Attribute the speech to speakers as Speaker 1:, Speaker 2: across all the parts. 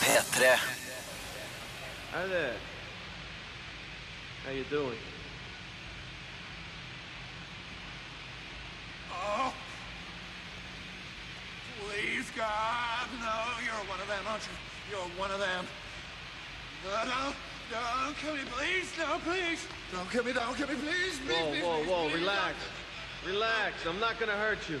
Speaker 1: P3.
Speaker 2: Hi there. How you doing?
Speaker 3: Oh, please, God, no, you're one of them, aren't you? You're one of them. No, no, don't kill me, please, no, please. Don't kill me, don't kill me, please. please
Speaker 2: Whoa,
Speaker 3: please,
Speaker 2: whoa,
Speaker 3: please,
Speaker 2: whoa,
Speaker 3: please,
Speaker 2: relax. Relax. I'm not gonna hurt you.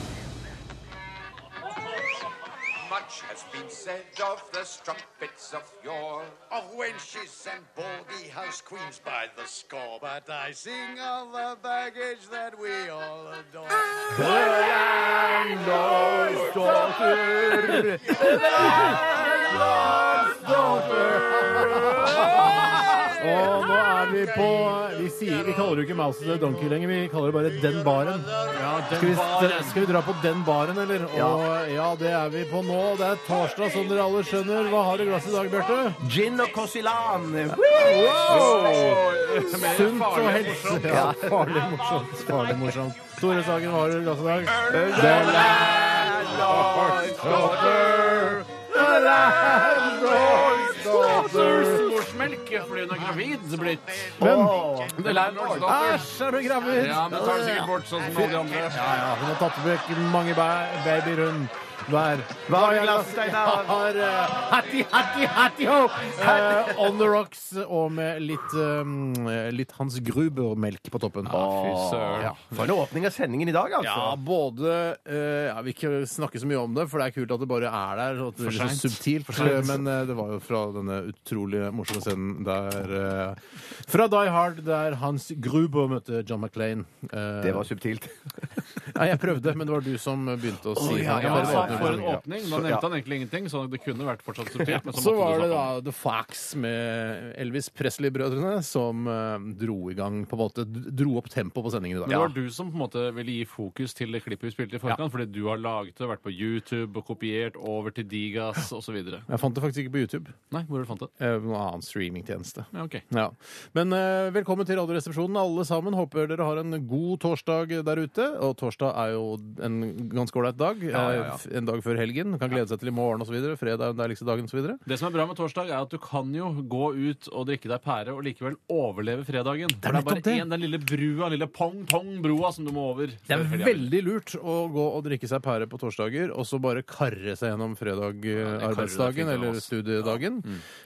Speaker 4: Much has been said of the strumpets of yore, of wenches and baldy house queens by the score, but I sing of the baggage that we all adore.
Speaker 5: Og nå er vi på Vi, sier, vi kaller jo ikke Mouse the Donkey lenger, vi kaller det bare Den baren. skal, vi, skal vi dra på Den baren, eller? Ja. Og ja, det er vi på nå. Det er torsdag, som dere alle skjønner. Hva har du i glasset i dag, Bjarte?
Speaker 6: Gin og Kosilan.
Speaker 5: Sunt og helse. Ja, farlig morsomt. Farlig morsomt. Store Sagen, hva har du i glasset i dag?
Speaker 7: Morsmelk fordi hun er gravid blitt.
Speaker 5: Hvem?
Speaker 7: The Landlord's Daughter.
Speaker 5: Æsj, er du gravid?
Speaker 7: Ja, men tar det sikkert bort sånn som alle de andre.
Speaker 5: Ja, ja. Hun har tatt vekk mange bæ- babyer hun hver. Hva
Speaker 6: har du i glasset, Steinar?
Speaker 5: har eh, Hattie, hattie, hattie ho! Eh, on the rocks og med litt, eh, litt Hans Gruber-melk på toppen.
Speaker 7: fy søren.
Speaker 5: Ja.
Speaker 6: For en åpning av sendingen i dag, altså.
Speaker 5: Ja, både eh, ja, Vi ikke snakker så mye om det, for det er kult at det bare er der. Og at det er så
Speaker 7: sent.
Speaker 5: subtilt. Men eh, det var jo fra denne utrolig morsomme scenen der eh, Fra Die Hard, der Hans Gruber møtte John McClain. Eh,
Speaker 6: Det var subtilt.
Speaker 5: Nei, jeg prøvde, men det var du som begynte å
Speaker 6: ja,
Speaker 5: si det.
Speaker 6: ja,
Speaker 7: Ja,
Speaker 6: men
Speaker 7: han sa
Speaker 6: det
Speaker 7: for en åpning. Da
Speaker 6: ja.
Speaker 7: nevnte han egentlig ingenting, så det kunne vært fortsatt subtilt. Men så
Speaker 5: Så
Speaker 7: måtte
Speaker 5: var
Speaker 7: du
Speaker 5: det
Speaker 7: snakke om
Speaker 5: da The Fox med Elvis Presley-brødrene som eh, dro i gang på en måte, dro opp tempoet på sendingen i dag.
Speaker 7: Men det var du som på en måte ville gi fokus til det klippet vi spilte i forkant, fordi du har laget det, vært på YouTube og kopiert over til Digas osv. Nei,
Speaker 5: Jeg fant det faktisk ikke på YouTube.
Speaker 7: hvor har du fant det?
Speaker 5: eh, Noen annen streamingtjeneste.
Speaker 7: Ja, ok.
Speaker 5: Ja. Men eh, velkommen til Radioresepsjonen, alle sammen. Håper dere har en god torsdag der ute. Og torsdag er jo en ganske ålreit dag. Eh, f- En dag før helgen. Kan glede seg til i morgen osv. Fredag er den deiligste dagen osv.
Speaker 7: Det som er bra med torsdag, er at du kan jo gå ut og drikke deg pære og likevel overleve fredagen. For det er
Speaker 5: nettopp
Speaker 7: bare
Speaker 5: det.
Speaker 7: én, den lille brua, den lille pong-pong-broa som du må over.
Speaker 5: Det er veldig lurt å gå og drikke seg pære på torsdager, og så bare karre seg gjennom fredag, eh,
Speaker 7: det karrer deg
Speaker 5: arbeidsdagen
Speaker 7: fint,
Speaker 5: eller
Speaker 7: ass.
Speaker 5: studiedagen.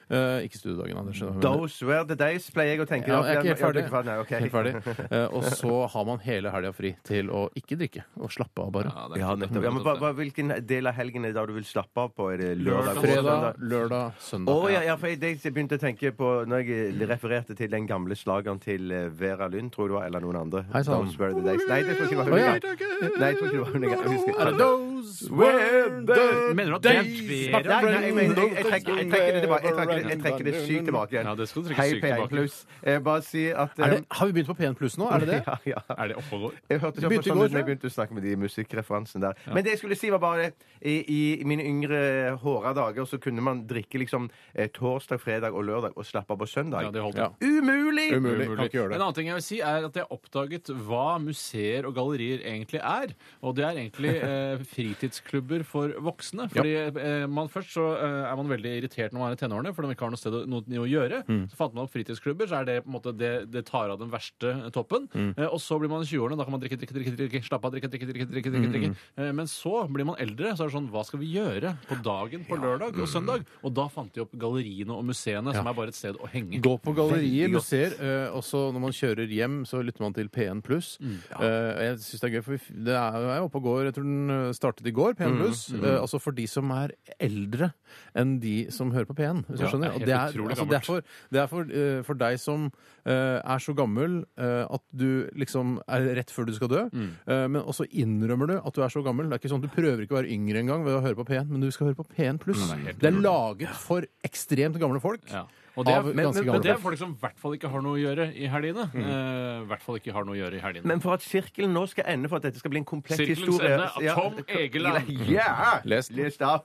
Speaker 5: Eh, ikke studiedagen, Anders. men-
Speaker 6: Those were the days, pleier jeg å tenke.
Speaker 5: Ja, jeg er ikke helt
Speaker 6: Ja, du
Speaker 5: ferdig.
Speaker 6: er Nei, ok.
Speaker 5: Helt ferdig. Eh, og så har man hele helga fri til å ikke drikke, og slappe av bare.
Speaker 7: Ja, det er
Speaker 6: Ja,
Speaker 7: ikke
Speaker 6: nettopp. Ja, men hva, hva, hvilken del av helgen er det da du vil slappe av på? Er det lørdag?
Speaker 5: Fredag, lørdag, søndag.
Speaker 6: Å ja, ja, for jeg, det jeg begynte å tenke på når jeg refererte til den gamle slageren til eh, Vera Lund, tror jeg det var, eller noen andre.
Speaker 5: Hei, sann.
Speaker 6: Those were the days. Nei, det tror jeg ikke det
Speaker 5: Å,
Speaker 6: var
Speaker 5: ja.
Speaker 6: hun. engang. Nei, jeg tror ikke det var hun. engang. Jeg
Speaker 5: Er det
Speaker 6: husker
Speaker 5: those were the
Speaker 7: Mener du at
Speaker 5: days?
Speaker 7: det er
Speaker 6: Nei, nei, jeg mener, jeg, jeg, trekker, jeg trekker det tilbake. Jeg trekker det, jeg trekker det sykt tilbake igjen.
Speaker 7: Ja, det skal du trekke
Speaker 6: Hei,
Speaker 7: sykt tilbake.
Speaker 6: P1+. Jeg Bare si at
Speaker 5: Er
Speaker 6: eh,
Speaker 5: det, har vi begynt på P1 pluss nå? Er det det?
Speaker 6: Ja, ja.
Speaker 7: Er det oppe og går?
Speaker 6: Jeg hørte
Speaker 5: Du
Speaker 6: så
Speaker 5: begynte i
Speaker 6: sånn
Speaker 5: går,
Speaker 6: ut når jeg
Speaker 5: tror jeg.
Speaker 6: begynte å snakke med de musikkreferansen der. Men det jeg skulle si, var bare i, i mine yngre håra dager så kunne man drikke liksom eh, torsdag, fredag og lørdag og slappe av på søndag.
Speaker 7: Ja, det holder.
Speaker 5: Ja.
Speaker 6: Umulig!
Speaker 5: Umulig. Kan ikke gjøre
Speaker 7: En
Speaker 5: det.
Speaker 7: annen ting jeg vil si er at jeg oppdaget hva museer og gallerier egentlig er. Og det er egentlig eh, fritidsklubber for voksne. Fordi eh, man Først så eh, er man veldig irritert når man er i tenårene, fordi man ikke har noe sted å, noe å gjøre.
Speaker 5: Mm.
Speaker 7: Så fant man opp fritidsklubber, så er det på en måte det, det tar av den verste toppen.
Speaker 5: Mm.
Speaker 7: Eh, og så blir man i 20-årene, da kan man drikke, drikke, drikke, drikke, slappe av, drikke, drikke, drikke. drikke, drikke, drikke.
Speaker 5: Mm.
Speaker 7: Eh, men så blir man eldre, så er det sånn Hva skal vi gjøre på dagen på lørdag og søndag? Og da fant de opp galleriene og museene, som er bare et sted å henge.
Speaker 5: Gå på gallerier, museer. eh, Og så når man kjører hjem, så lytter man til P1 pluss.
Speaker 7: Mm.
Speaker 5: Eh, Jeg syns det er gøy, for vi f- det er jo jeg er oppe og går. Jeg tror den eh, startet i går,
Speaker 7: Mm.
Speaker 5: P1 pluss. Eh, Altså for de som er eldre enn de som hører på P1. Hvis du
Speaker 7: Ja,
Speaker 5: skjønner. Og
Speaker 7: det er helt
Speaker 5: Det er,
Speaker 7: utrolig
Speaker 5: altså, det er,
Speaker 7: gammelt.
Speaker 5: for, det er for, eh, for deg som eh, er så gammel eh, at du liksom er rett før du skal dø.
Speaker 7: Mm.
Speaker 5: Eh, Men også innrømmer du at du er så gammel. Det er ikke sånn at Du prøver ikke å være yngre engang ved å høre på P1, men du skal høre på P1 pluss. Det er laget for ekstremt gamle folk.
Speaker 7: Ja. Og det er,
Speaker 5: Av
Speaker 7: men,
Speaker 5: ganske
Speaker 7: men, men
Speaker 5: gamle
Speaker 7: det er
Speaker 5: folk.
Speaker 7: folk som i hvert fall ikke har noe å gjøre i helgene.
Speaker 5: Mm.
Speaker 7: Eh, I hvert fall ikke har noe å gjøre i helgene.
Speaker 6: Men for at sirkelen nå skal ende, for at dette skal bli en komplett
Speaker 7: Sirkelens
Speaker 6: historie
Speaker 7: ende av Tom Egeland.
Speaker 6: Ja!
Speaker 5: Les den.
Speaker 6: Les det av.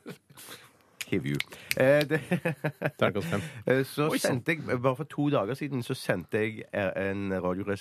Speaker 8: Give You. Eh, det,
Speaker 5: Terningkast fem.
Speaker 8: Eh, så sendte jeg, Bare for to dager siden så sendte jeg eh, en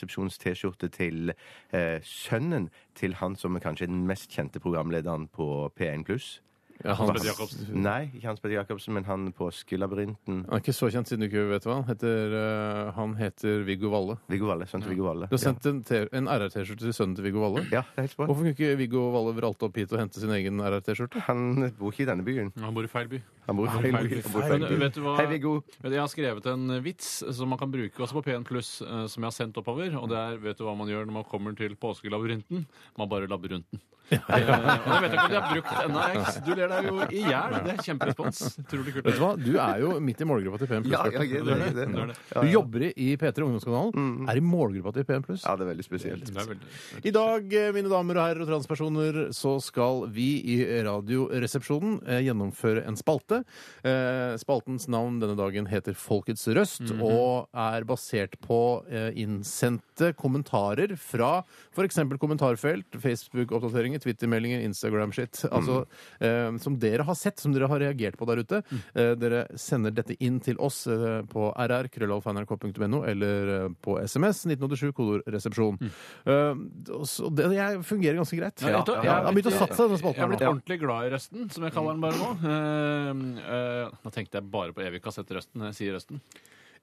Speaker 8: Radioresepsjons-T-skjorte til eh, sønnen til han som er kanskje den mest kjente programlederen på P1 pluss.
Speaker 5: Ja, han,
Speaker 7: Hans Petter
Speaker 5: han
Speaker 7: Jacobsen.
Speaker 8: Nei, ikke Hans Petter Jacobsen, men han påskelabyrinten.
Speaker 5: er ikke så kjent siden du ikke vet hva han heter. eh, Han heter Viggo Valle.
Speaker 8: Viggo Valle. Sønnen til Viggo Valle.
Speaker 5: Du har sendt en, T- en RR-T-skjorte til sønnen til Viggo Valle.
Speaker 8: Ja, det er helt sprøtt.
Speaker 5: Hvorfor kunne ikke Viggo Valle vralte opp hit og hente sin egen RR-T-skjorte?
Speaker 8: Han bor ikke i denne byen.
Speaker 7: Han bor i feil by.
Speaker 8: Han bor i feil by. Han bor i feil
Speaker 7: Men, vet du
Speaker 8: by.
Speaker 7: hva?
Speaker 8: Hei, Viggo.
Speaker 7: Jeg har skrevet en vits som man kan bruke også på P1 Pluss, eh, som jeg har sendt oppover. Og det er vet du hva man gjør når man kommer til påskelabyrinten? Man bare labyrinten. Eh, og jeg vet ikke om de har brukt ennå. Alex. Du ler deg jo i hjel. Det er kjemperespons. Utrolig kult.
Speaker 5: Vet du hva? Du er jo midt i målgruppa til PM+.
Speaker 8: Ja, ja, ja, det er det.
Speaker 7: Det er det.
Speaker 5: Du jobber i- i P3 Ungdomskanalen. Er i målgruppa til PM+.
Speaker 8: Ja, det er veldig spesielt.
Speaker 7: Det er veldig...
Speaker 5: I dag, eh, mine damer og herrer og transpersoner, så skal vi i Radioresepsjonen eh, gjennomføre en spalte. Eh, Spaltens navn denne dagen heter Folkets røst, og er basert på eh, innsendte kommentarer fra f.eks. kommentarfelt, Facebook-oppdateringer, Twitter-meldinger, Instagram-shit. Altså, eh, som dere har sett, som dere har reagert på der ute. Eh, dere sender dette inn til oss eh, på rr.krøllalfa.nrk.no eller eh, på SMS 1987 kodeord 'resepsjon'. Eh, og så- det jeg fungerer ganske greit.
Speaker 7: Ja, jeg tror-
Speaker 5: Jeg har begynt å satse denne spalten.
Speaker 7: Jeg har
Speaker 5: her
Speaker 7: blitt
Speaker 5: nå.
Speaker 7: ordentlig glad i røsten, som jeg kaller den bare nå. Eh, eh, nå tenkte jeg bare på evig kassettrøsten når jeg sier røsten.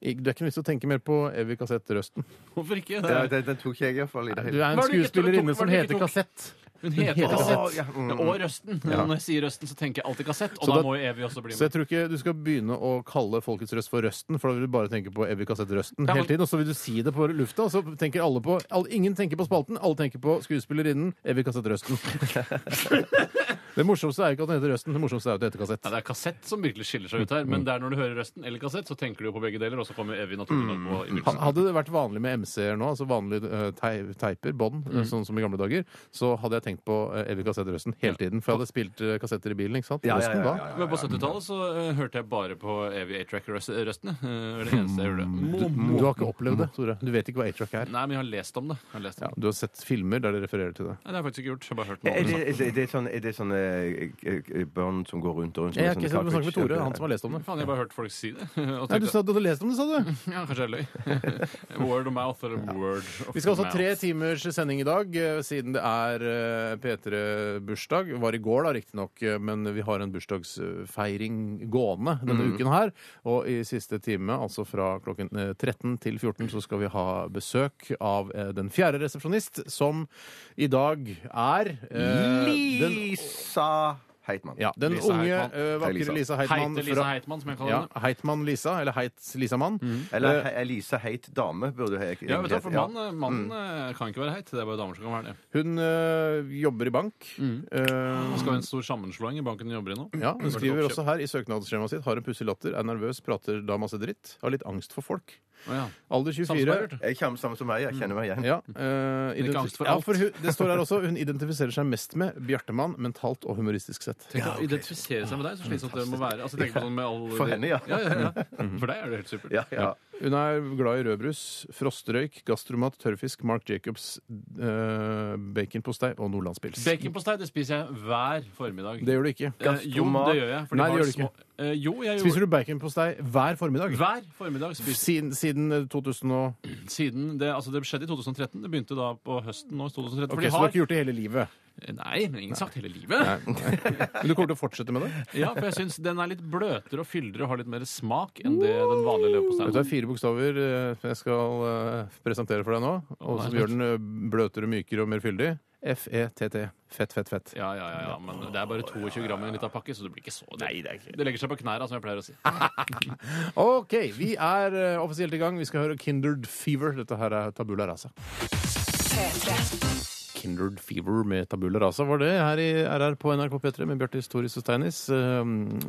Speaker 5: Ik- Du er ikke nødt til å tenke mer på Evy Kassett Røsten.
Speaker 7: Hvorfor ikke? Det
Speaker 8: Ja,
Speaker 7: er,
Speaker 8: Den den tok ikke jeg iallfall i det
Speaker 5: Du
Speaker 8: hele
Speaker 5: er en
Speaker 7: Hva er det du ikke tok?
Speaker 5: skuespillerinne som
Speaker 7: Hva er det
Speaker 5: heter
Speaker 7: du ikke tok?
Speaker 5: Kassett.
Speaker 7: hun heter
Speaker 5: heter
Speaker 7: Kassett.
Speaker 8: Å, ja, mm.
Speaker 7: Og Røsten. Når jeg sier Røsten, så tenker jeg alltid Kassett. Og
Speaker 5: Så
Speaker 7: da
Speaker 5: da-
Speaker 7: må jo Evy også bli
Speaker 5: Så
Speaker 7: med.
Speaker 5: jeg tror ikke du skal begynne å kalle Folkets Røst for Røsten, for da vil du bare tenke på Evy Kassett Røsten
Speaker 7: Ja,
Speaker 5: hele
Speaker 7: men-
Speaker 5: tiden, og så vil du si det på lufta, og så tenker alle på alle, Ingen tenker på spalten, alle tenker på skuespillerinnen Evy Kassett Røsten. det morsomste er jo ikke at den heter Røsten, det morsomste er at den heter Kassett.
Speaker 7: Ja, det er kassett som virkelig skiller seg ut her,
Speaker 5: Mm.
Speaker 7: men det er når du hører røsten eller kassett, så tenker du jo på begge deler, og så kommer Evy naturlig nok på. i
Speaker 5: Ha-
Speaker 7: begynnelsen.
Speaker 5: Hadde det vært vanlig med MC-er nå, altså vanlige eh, tei- teiper, bånd,
Speaker 8: Mm.
Speaker 5: eh, sånn som i gamle dager, så hadde jeg tenkt på eh, Evy Kassett Røsten hele tiden. For jeg hadde spilt eh, kassetter i bilen, ikke sant?
Speaker 8: ja, ja,
Speaker 5: Røsten
Speaker 8: ja,
Speaker 5: da.
Speaker 7: Men på 70-tallet så eh, hørte jeg bare på Evy A-Track-røstene. eh, det var det eneste jeg gjorde. Mo-
Speaker 5: Du, du har ikke
Speaker 8: Mm.
Speaker 5: opplevd det, Tore. Du vet ikke hva A-track er.
Speaker 7: Nei, men jeg har lest om det. Jeg har lest om
Speaker 5: Ja,
Speaker 7: det.
Speaker 5: du har sett filmer der de refererer til det.
Speaker 7: Nei, det har jeg faktisk ikke gjort. Jeg har bare hørt
Speaker 8: Er
Speaker 7: noe om det.
Speaker 8: det, er det, er det sånn, er det sånne eh, eh, barn som går rundt og rundt? som
Speaker 5: Jeg
Speaker 8: er
Speaker 5: har
Speaker 7: sånn
Speaker 5: ikke
Speaker 8: sånne
Speaker 5: snakket med Tore,
Speaker 8: cartridge?
Speaker 5: han som har lest om det. Mm.
Speaker 7: Faen, jeg har bare hørt folk si det. Og
Speaker 5: Nei, du
Speaker 7: tenkte,
Speaker 5: sa du hadde lest om det, sa du?
Speaker 7: ja, kanskje jeg løy. Word of mouth eller word of
Speaker 5: Vi skal også ha tre
Speaker 7: mouth.
Speaker 5: timers sending i dag, eh, siden det er eh, P3-bursdag. Det Var i går, da, riktignok, eh, men vi har en bursdagsfeiring gående denne
Speaker 7: Mm.
Speaker 5: uken her. Og i siste time, altså fra klokken eh, 13 til 14, så skal vi ha besøk av eh, den fjerde resepsjonist, som i dag er eh, den,
Speaker 8: Lisa Heitmann.
Speaker 5: ja, den
Speaker 7: Lisa
Speaker 5: unge,
Speaker 7: Heitmann.
Speaker 5: eh, vakre
Speaker 8: Lisa.
Speaker 5: Lisa Heitmann.
Speaker 7: Heite Lisa
Speaker 5: fra-
Speaker 7: Heitmann, som jeg kaller
Speaker 5: Ja,
Speaker 7: henne.
Speaker 5: Heitmann-Lisa, eller Heitz-Lisamann.
Speaker 8: Eller
Speaker 5: Eh.
Speaker 8: he, Lisa Heit Dame, burde jeg
Speaker 7: Ja, vet du, for
Speaker 8: Ja.
Speaker 7: mann, eh, mannen
Speaker 5: Mm.
Speaker 7: eh, kan ikke være heit. Det er bare damer som kan være det.
Speaker 5: Hun eh, jobber i bank. Eh,
Speaker 7: Nå skal vi ha en stor sammenslåing i banken du jobber i nå.
Speaker 5: Ja, Hun
Speaker 7: Vært
Speaker 5: skriver
Speaker 7: oppkjøpt.
Speaker 5: også her i søknadsskjemaet sitt har en pussig latter, er nervøs, prater da masse dritt. Har litt angst for folk.
Speaker 7: Å, ja.
Speaker 5: Alder 24.
Speaker 7: Samsvarer, du.
Speaker 8: Jeg kommer samme som meg, jeg kjenner meg igjen.
Speaker 5: Ja, eh,
Speaker 7: ikke
Speaker 5: identi-
Speaker 7: angst for
Speaker 5: ja,
Speaker 7: alt.
Speaker 5: for hun, det står her også hun identifiserer seg mest med Bjartemann mentalt og humoristisk sett.
Speaker 7: Tenk å identifisere seg med deg, så slitsomt det må være. Altså, tenk på sånn med all...
Speaker 8: For henne, ja.
Speaker 7: ja, ja, ja.
Speaker 5: Mhm.
Speaker 7: For deg er det helt supert.
Speaker 8: Ja, ja.
Speaker 5: Hun er glad i rødbrus, frostrøyk, gastromat, tørrfisk, Mark Jacobs, eh, baconpostei og nordlandspils.
Speaker 7: Baconpostei det spiser jeg hver formiddag.
Speaker 5: Det gjør du ikke.
Speaker 7: Eh, jo, det gjør jeg. for de
Speaker 5: Nei, det
Speaker 7: har
Speaker 5: gjør du
Speaker 7: små- Eh, jo, jeg
Speaker 5: Spiser
Speaker 7: gjorde
Speaker 5: du baconpostei hver formiddag?
Speaker 7: Hver formiddag spiser
Speaker 5: Siden, siden eh, 2000 og
Speaker 7: siden det, altså det skjedde i 2013. Det begynte da på høsten nå. 2013, for
Speaker 5: Ok, Så
Speaker 7: de
Speaker 5: du har
Speaker 7: har Eh,
Speaker 5: ikke gjort det hele livet?
Speaker 7: Nei, men ingen sagt hele livet.
Speaker 5: Men du kommer til å fortsette med det?
Speaker 7: Ja, for jeg syns den er litt bløtere og fyldigere og har litt mer smak enn det den vanlige leverposteien
Speaker 5: Vet du, Det er fire bokstaver eh, som jeg skal eh, presentere for deg nå, og som gjør den eh, bløtere, mykere og mer fyldig. F-E-T-T. Fett, fett, fett.
Speaker 7: Ja, ja, ja, ja, men det er bare 22 gram i en liten pakke, så det blir ikke Ah, så Nei, det, legger seg på knærne, som jeg pleier å si.
Speaker 5: OK, vi er eh, offisielt i gang. Vi skal høre Kindred Fever. Dette her er Tabula Rasa. Kindred Fever med Tabula Rasa var det her i RR på NRK P3 med Bjartis Toris og Steinis. Eh,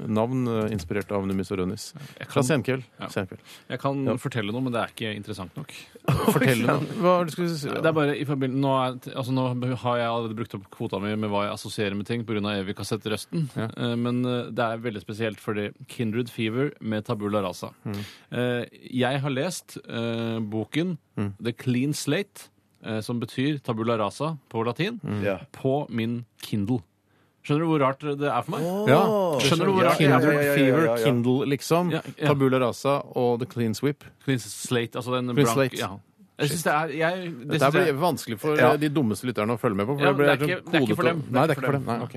Speaker 5: Navn eh, inspirert av Numis og Rønnis. Fra Senkveld. Senkveld.
Speaker 7: Jeg kan fortelle noe, men det er ikke interessant nok.
Speaker 5: Fortell noe. Hva er det du skulle si?
Speaker 7: Det er bare i forbindelse- nå, er, altså, nå har jeg allerede brukt opp kvota mi med hva jeg assosierer med ting pga. evig kassettrøsten, Eh, men eh, det er veldig spesielt fordi Kindred Fever med Tabula Rasa.
Speaker 5: Mm.
Speaker 7: Eh, Jeg har lest eh, boken
Speaker 5: Mm.
Speaker 7: The Clean
Speaker 5: Mm.
Speaker 7: Slate, eh, som betyr Tabula Rasa på latin,
Speaker 8: Ja.
Speaker 7: på min Kindle. Skjønner du hvor rart det er for meg?
Speaker 5: Ja.
Speaker 7: Skjønner du hvor rart det er?
Speaker 5: Kindred Fever, Kindle, liksom.
Speaker 7: Ja, ja.
Speaker 5: Tabula Rasa og The Clean Sweep.
Speaker 7: Clean Slate, altså den
Speaker 5: Clean
Speaker 7: blank-
Speaker 5: Slate.
Speaker 7: Ja. Jeg synes det er jeg, det
Speaker 5: Det
Speaker 7: synes
Speaker 5: blir
Speaker 7: jeg,
Speaker 5: vanskelig for
Speaker 6: Ja.
Speaker 5: eh, de dummeste lytterne å følge med på. For
Speaker 7: Ja,
Speaker 5: det, blir
Speaker 7: det er ikke-
Speaker 5: sånn
Speaker 7: det er ikke for
Speaker 5: kodete.
Speaker 7: dem. Det er
Speaker 5: Nei, det
Speaker 7: ikke
Speaker 5: er
Speaker 7: for
Speaker 5: ikke for dem. Nei, ok.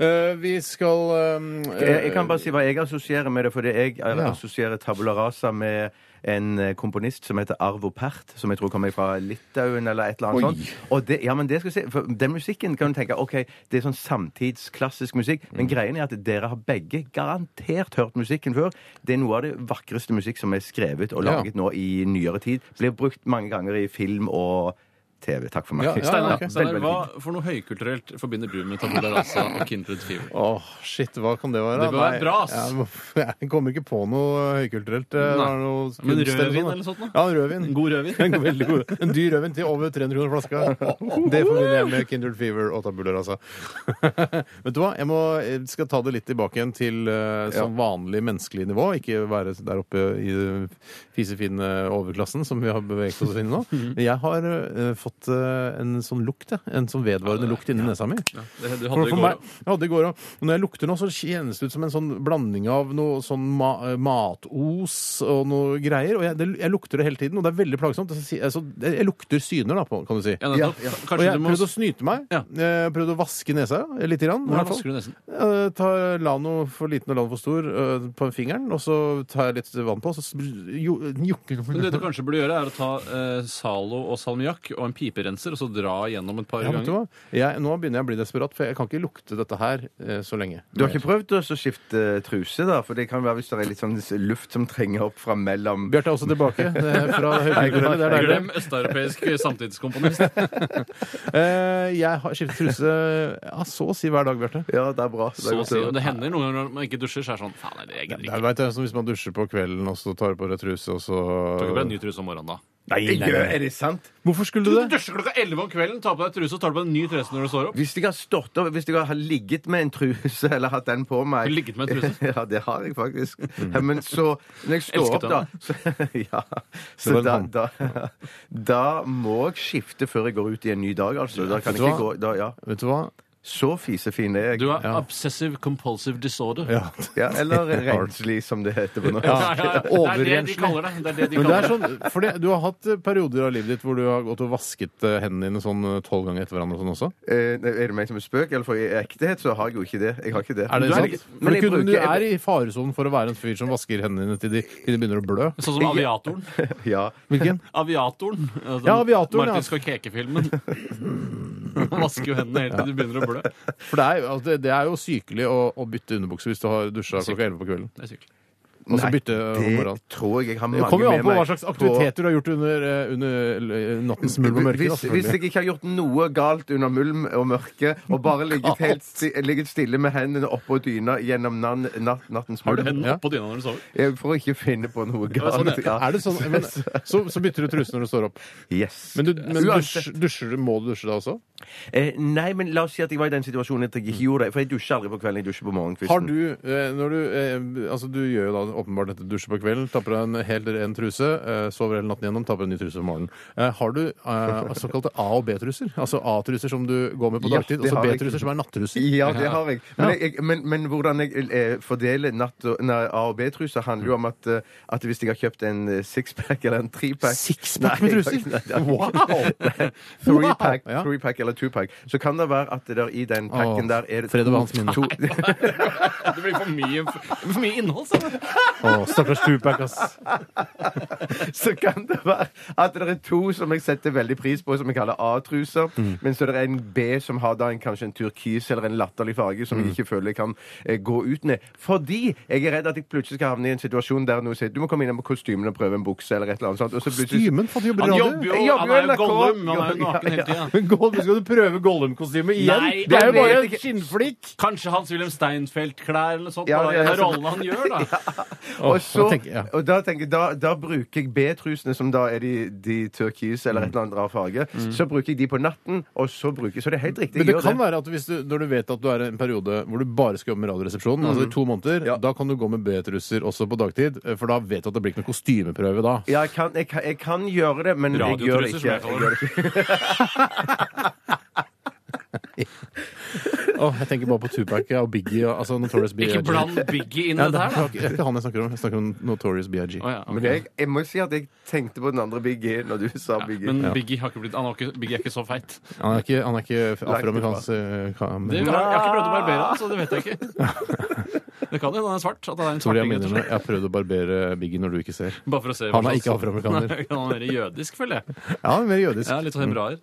Speaker 5: Eh, vi skal eh,
Speaker 6: Jeg, jeg kan bare si hva jeg assosierer med det, fordi jeg eh,
Speaker 5: Ja.
Speaker 6: assosierer tabula rasa med en eh, komponist som heter Arvo Pärt, som jeg tror kommer fra Litauen eller et eller annet
Speaker 5: Oi.
Speaker 6: sånt. Og det, ja, men det skal jeg si, for den musikken kan du tenke ok, det er sånn samtidsklassisk musikk,
Speaker 5: Mm.
Speaker 6: men greien er at dere har begge garantert hørt musikken før. Det er noe av det vakreste musikk som er skrevet og
Speaker 5: Ja.
Speaker 6: laget nå i nyere tid. Blir brukt mange ganger i film og TV. Takk for meg.
Speaker 5: Ja, ja,
Speaker 7: Steinar,
Speaker 5: ja, ok.
Speaker 7: Steinar,
Speaker 6: Veldig, veldig fint.
Speaker 7: hva for noe høykulturelt forbinder du med Tabula Rasa og Kindred Fever?
Speaker 5: Åh, shit, hva kan det være?
Speaker 7: Det bør
Speaker 5: Nei,
Speaker 7: være bra, ass.
Speaker 5: Jeg, må- jeg kommer ikke på noe høykulturelt. eh, det
Speaker 7: Nei.
Speaker 5: er noe
Speaker 7: Men
Speaker 5: kunst
Speaker 7: rødvin
Speaker 5: noe.
Speaker 7: eller sånt noe?
Speaker 5: Ja, rødvin.
Speaker 7: God rødvin?
Speaker 5: En god- veldig god. En dyr rødvin til over 300 kroner flaska. Det forbinder jeg med Kindred Fever og Tabula Rasa. Vet du hva, jeg må, jeg skal ta det litt tilbake igjen til eh, sånn vanlig menneskelig nivå. Ikke være der oppe i den fisefine overklassen som vi har beveget oss inn i nå.
Speaker 7: Mhm.
Speaker 5: Men jeg har eh, fått eh, en sånn lukt, jeg. En sånn vedvarende lukt inni nesa mi.
Speaker 7: Det, du
Speaker 5: For,
Speaker 7: hadde i
Speaker 5: for
Speaker 7: går,
Speaker 5: meg, jeg hadde i går òg. Når jeg lukter nå, så kjennes det ut som en sånn blanding av noe sånn ma eh, matos og noe greier. Og jeg, det, jeg lukter det hele tiden, og det er veldig plagsomt. Så si- Altså, jeg, jeg lukter syner, da, på, kan du si.
Speaker 7: ja, nettopp.
Speaker 5: Og
Speaker 7: Kanskje
Speaker 5: jeg
Speaker 7: du må
Speaker 5: prøvde å snyte meg.
Speaker 7: Ja.
Speaker 5: eh, Prøvde å vaske nesa eh, litt. Grann, i hvert
Speaker 7: Hvordan
Speaker 5: fall.
Speaker 7: vasker du nesen?
Speaker 5: Jeg tar Lano for liten og Lano for stor eh, på fingeren, og så tar jeg litt vann på, og så sp- jo- jukker
Speaker 7: Men det du kanskje burde gjøre, er å ta eh, Zalo og salmiakk og en piperenser og så dra gjennom et par
Speaker 5: Ja, vet du
Speaker 7: ganger.
Speaker 5: hva? jeg, nå begynner jeg å bli desperat, for jeg kan ikke lukte dette her eh, så lenge.
Speaker 6: Du har ikke prøvd å skifte truse, da? For det kan være hvis det er litt sånn luft som trenger opp fra mellom
Speaker 5: Bjarte er også tilbake eh, fra høykulturelle. Det er deilig.
Speaker 7: Glem østeuropeisk samtidskomponist.
Speaker 5: Eh, jeg har skiftet truse ja, så å si hver dag, Bjarte.
Speaker 6: Ja, det er bra. Det er
Speaker 7: Så å
Speaker 6: godt
Speaker 7: si.
Speaker 6: å høre.
Speaker 7: Og det hender noen ganger når man ikke dusjer, så er det sånn Faen, nei, det jeg gidder
Speaker 5: Jeg
Speaker 7: ikke.
Speaker 5: vet, det er som Hvis man dusjer på kvelden og så tar du på deg truse og så
Speaker 7: Du tar ikke på deg en ny truse om morgenen da.
Speaker 6: Nei, gjør- Er det sant?
Speaker 5: Hvorfor skulle
Speaker 7: Du
Speaker 5: du det?
Speaker 7: dusjer klokka 11 om kvelden, tar på deg truse og tar på deg en ny truse når du står opp.
Speaker 6: Hvis jeg har stått opp, hvis jeg har ligget med en truse eller hatt den på meg
Speaker 7: Har du ligget med en truse?
Speaker 6: Ja, det har jeg faktisk. Ja, men så Når jeg står
Speaker 7: Elsket
Speaker 6: opp, da så, Ja.
Speaker 5: Det
Speaker 6: Så
Speaker 5: var
Speaker 6: da,
Speaker 5: en
Speaker 6: da, da må jeg skifte før jeg går ut i en ny dag, altså. Da kan
Speaker 5: Vet
Speaker 6: jeg
Speaker 5: du
Speaker 6: ikke gå
Speaker 5: hva?
Speaker 6: da, ja.
Speaker 5: Vet du hva?
Speaker 6: Så fisefin er jeg.
Speaker 7: Du har obsessive compulsive disorder.
Speaker 5: Ja.
Speaker 6: Ja, eller renslig, som det heter på norsk.
Speaker 7: Ja, ja, ja. Det er det de
Speaker 5: Overrenslig.
Speaker 7: kaller det. det, er det de
Speaker 5: Men det
Speaker 7: kaller
Speaker 5: er sånn, for det, Du har hatt eh, perioder av livet ditt hvor du har gått og vasket eh, hendene dine sånn eh, tolv ganger etter hverandre. og sånn også.
Speaker 6: Eh, nei, er det meg som er spøk? Eller for i ektehet så har jeg jo ikke det. Jeg har ikke det.
Speaker 5: Er det
Speaker 6: Men-
Speaker 5: sant?
Speaker 6: Men jeg
Speaker 5: For
Speaker 6: bruker
Speaker 5: du, du er i faresonen for å være en fyr som vasker hendene dine til de, til de begynner å blø.
Speaker 7: Sånn som aviatoren.
Speaker 6: Ja.
Speaker 5: Hvilken?
Speaker 7: Aviatoren. Altså,
Speaker 5: Ja, Aviatoren, ja.
Speaker 7: Martin Skorkeke-filmen. Han vasker jo hendene helt til de begynner å blø. Det
Speaker 5: For det er, jo- altså, det- det er jo sykelig å, å bytte underbukse hvis du har dusja klokka elleve på kvelden.
Speaker 7: er sykt.
Speaker 5: Og så
Speaker 6: Nei,
Speaker 5: bytte om morgenen.
Speaker 6: Det tror jeg jeg har mange
Speaker 5: Det kommer jo an
Speaker 6: med
Speaker 5: på
Speaker 6: meg
Speaker 5: hva slags aktiviteter du har gjort under, eh, under eh, nattens mulm og
Speaker 6: Hvis,
Speaker 5: mørke. da,
Speaker 6: hvis jeg
Speaker 5: selvfølgelig.
Speaker 6: ikke har gjort noe galt under mulm og mørke, og bare ligget, helt sti, ligget stille med hendene oppå dyna gjennom nan, natt, nattens
Speaker 7: Har du
Speaker 6: mulm
Speaker 7: hendene oppå dyna når du sover?
Speaker 6: Jeg får ikke finne på noe
Speaker 7: sånn,
Speaker 6: galt. Ja.
Speaker 5: Er det sånn, men, så, så bytter du truse når du står opp.
Speaker 6: Yes.
Speaker 5: Men, du, men
Speaker 6: Uansett.
Speaker 5: dusj, dusjer du, må du dusje da også?
Speaker 6: Eh, nei, men la oss si at jeg var i den situasjonen at jeg ikke gjorde det. For jeg dusjer aldri på kvelden. Jeg dusjer på morgenkvisten.
Speaker 5: Har du, eh, når du eh, Altså, du gjør jo da åpenbart dette dusjer på kvelden, tapper deg en helt ren truse, eh, sover hele natten gjennom, tapper en ny truse om morgenen. Eh, har du eh, såkalte A- og B-truser? Altså A-truser som du går med på
Speaker 6: Ja,
Speaker 5: dagtid,
Speaker 6: det
Speaker 5: og så
Speaker 6: har jeg.
Speaker 5: B-truser som er nattruser?
Speaker 6: Ja, det har jeg. Men, jeg, jeg, men, men hvordan jeg eh, fordeler natt og, nei, A- og B-truser, handler jo om at, eh, at hvis jeg har kjøpt en eh, sixpack eller en trepack
Speaker 5: Sixpack
Speaker 6: Nei,
Speaker 5: med
Speaker 6: jeg-
Speaker 5: truser?
Speaker 6: nei, nei.
Speaker 5: Wow!
Speaker 6: Threepack
Speaker 5: Wow! Ja.
Speaker 6: threepack eller twopack. Så kan det være at det der i den packen der er det
Speaker 5: Fred og
Speaker 6: to-
Speaker 5: hans minne.
Speaker 6: to-
Speaker 7: Det blir for mye, for mye innhold, sa du.
Speaker 5: Å, stakkars tupac, ass.
Speaker 6: Så kan det være at det er to som jeg setter veldig pris på, som jeg kaller A-truser.
Speaker 5: Mm.
Speaker 6: Men så er det en B som har da en, kanskje en turkis eller en latterlig farge som
Speaker 5: Mm.
Speaker 6: jeg ikke føler jeg kan eh, gå ut med. Fordi jeg er redd at jeg plutselig skal havne i en situasjon der noen sier du må komme innom kostymen og prøve en bukse eller et eller annet sånt. Og så plutselig
Speaker 5: Dymen, for at du jobber i
Speaker 7: Han
Speaker 5: radio.
Speaker 7: jobber
Speaker 6: Jeg
Speaker 7: jo,
Speaker 6: jobber
Speaker 7: han
Speaker 6: jo
Speaker 7: er jo
Speaker 6: NRK.
Speaker 7: Gollum. Han er jo naken hele tida.
Speaker 5: Men Gollum, skal du prøve Gollum-kostyme igjen?
Speaker 7: Nei,
Speaker 5: det er jo
Speaker 6: jeg
Speaker 5: bare
Speaker 6: vet
Speaker 5: en
Speaker 6: ikke.
Speaker 5: skinnflikk!
Speaker 7: Kanskje Hans-Wilhelm Steinfeld-klær eller noe sånt.
Speaker 6: Ja,
Speaker 7: da.
Speaker 6: ja, ja,
Speaker 7: Det er
Speaker 6: sånn.
Speaker 7: rollen han gjør, da.
Speaker 6: Og, så,
Speaker 5: da tenker jeg, ja.
Speaker 6: og da, tenker, jeg- da, da bruker jeg B-trusene, som da er de, de turkise eller et
Speaker 5: Mm.
Speaker 6: eller annet rar farge. Så bruker jeg de på natten, og så bruker Så det er helt riktig.
Speaker 5: Men
Speaker 6: jeg
Speaker 5: det
Speaker 6: gjør
Speaker 5: kan være at hvis du, når du vet at du er i en periode hvor du bare skal jobbe med Radioresepsjonen, altså i to måneder, da kan du gå med B-trusser også på dagtid, for da vet du at det blir ikke noe kostymeprøve da.
Speaker 6: Ja, jeg kan, jeg, kan, jeg kan gjøre det, men jeg gjør det
Speaker 7: Radiotruser,
Speaker 6: ikke.
Speaker 7: som jeg
Speaker 6: Jeg
Speaker 7: kaller
Speaker 6: gjør det
Speaker 7: det.
Speaker 6: ikke.
Speaker 5: Åh, jeg tenker bare på Tupac og Biggie og altså Notorious B.I.G.
Speaker 7: Ikke bland Biggie inn
Speaker 5: ja,
Speaker 7: i
Speaker 5: det
Speaker 7: dette
Speaker 5: er,
Speaker 7: her, da.
Speaker 5: ikke- det er ikke han jeg snakker om. Jeg snakker om Notorious B.I.G.
Speaker 7: Å, ja, ok.
Speaker 8: Men jeg, jeg må si at jeg tenkte på den andre Big G når du sa Big E. G.
Speaker 7: Men Biggie, har ikke blitt, han har ikke, Biggie er ikke så feit.
Speaker 5: Han er ikke, han er ikke afroamerikansk. eh, ka- men-
Speaker 7: Det, jeg har ikke prøvd å barbere han, så det vet jeg ikke. Det kan hende han er svart. At han er en
Speaker 5: Tror jeg,
Speaker 7: svarting,
Speaker 5: mener,
Speaker 7: rett og
Speaker 5: når
Speaker 7: slett.
Speaker 5: jeg har prøvd å barbere Biggie når du ikke ser.
Speaker 7: Bare for å se
Speaker 5: Han
Speaker 7: hva
Speaker 5: er
Speaker 7: slags-
Speaker 5: ikke afroamerikaner.
Speaker 7: Nei, Han er mer jødisk, føler jeg.
Speaker 5: Ja, han er mer jødisk.
Speaker 7: Ja, litt sånn hebraer.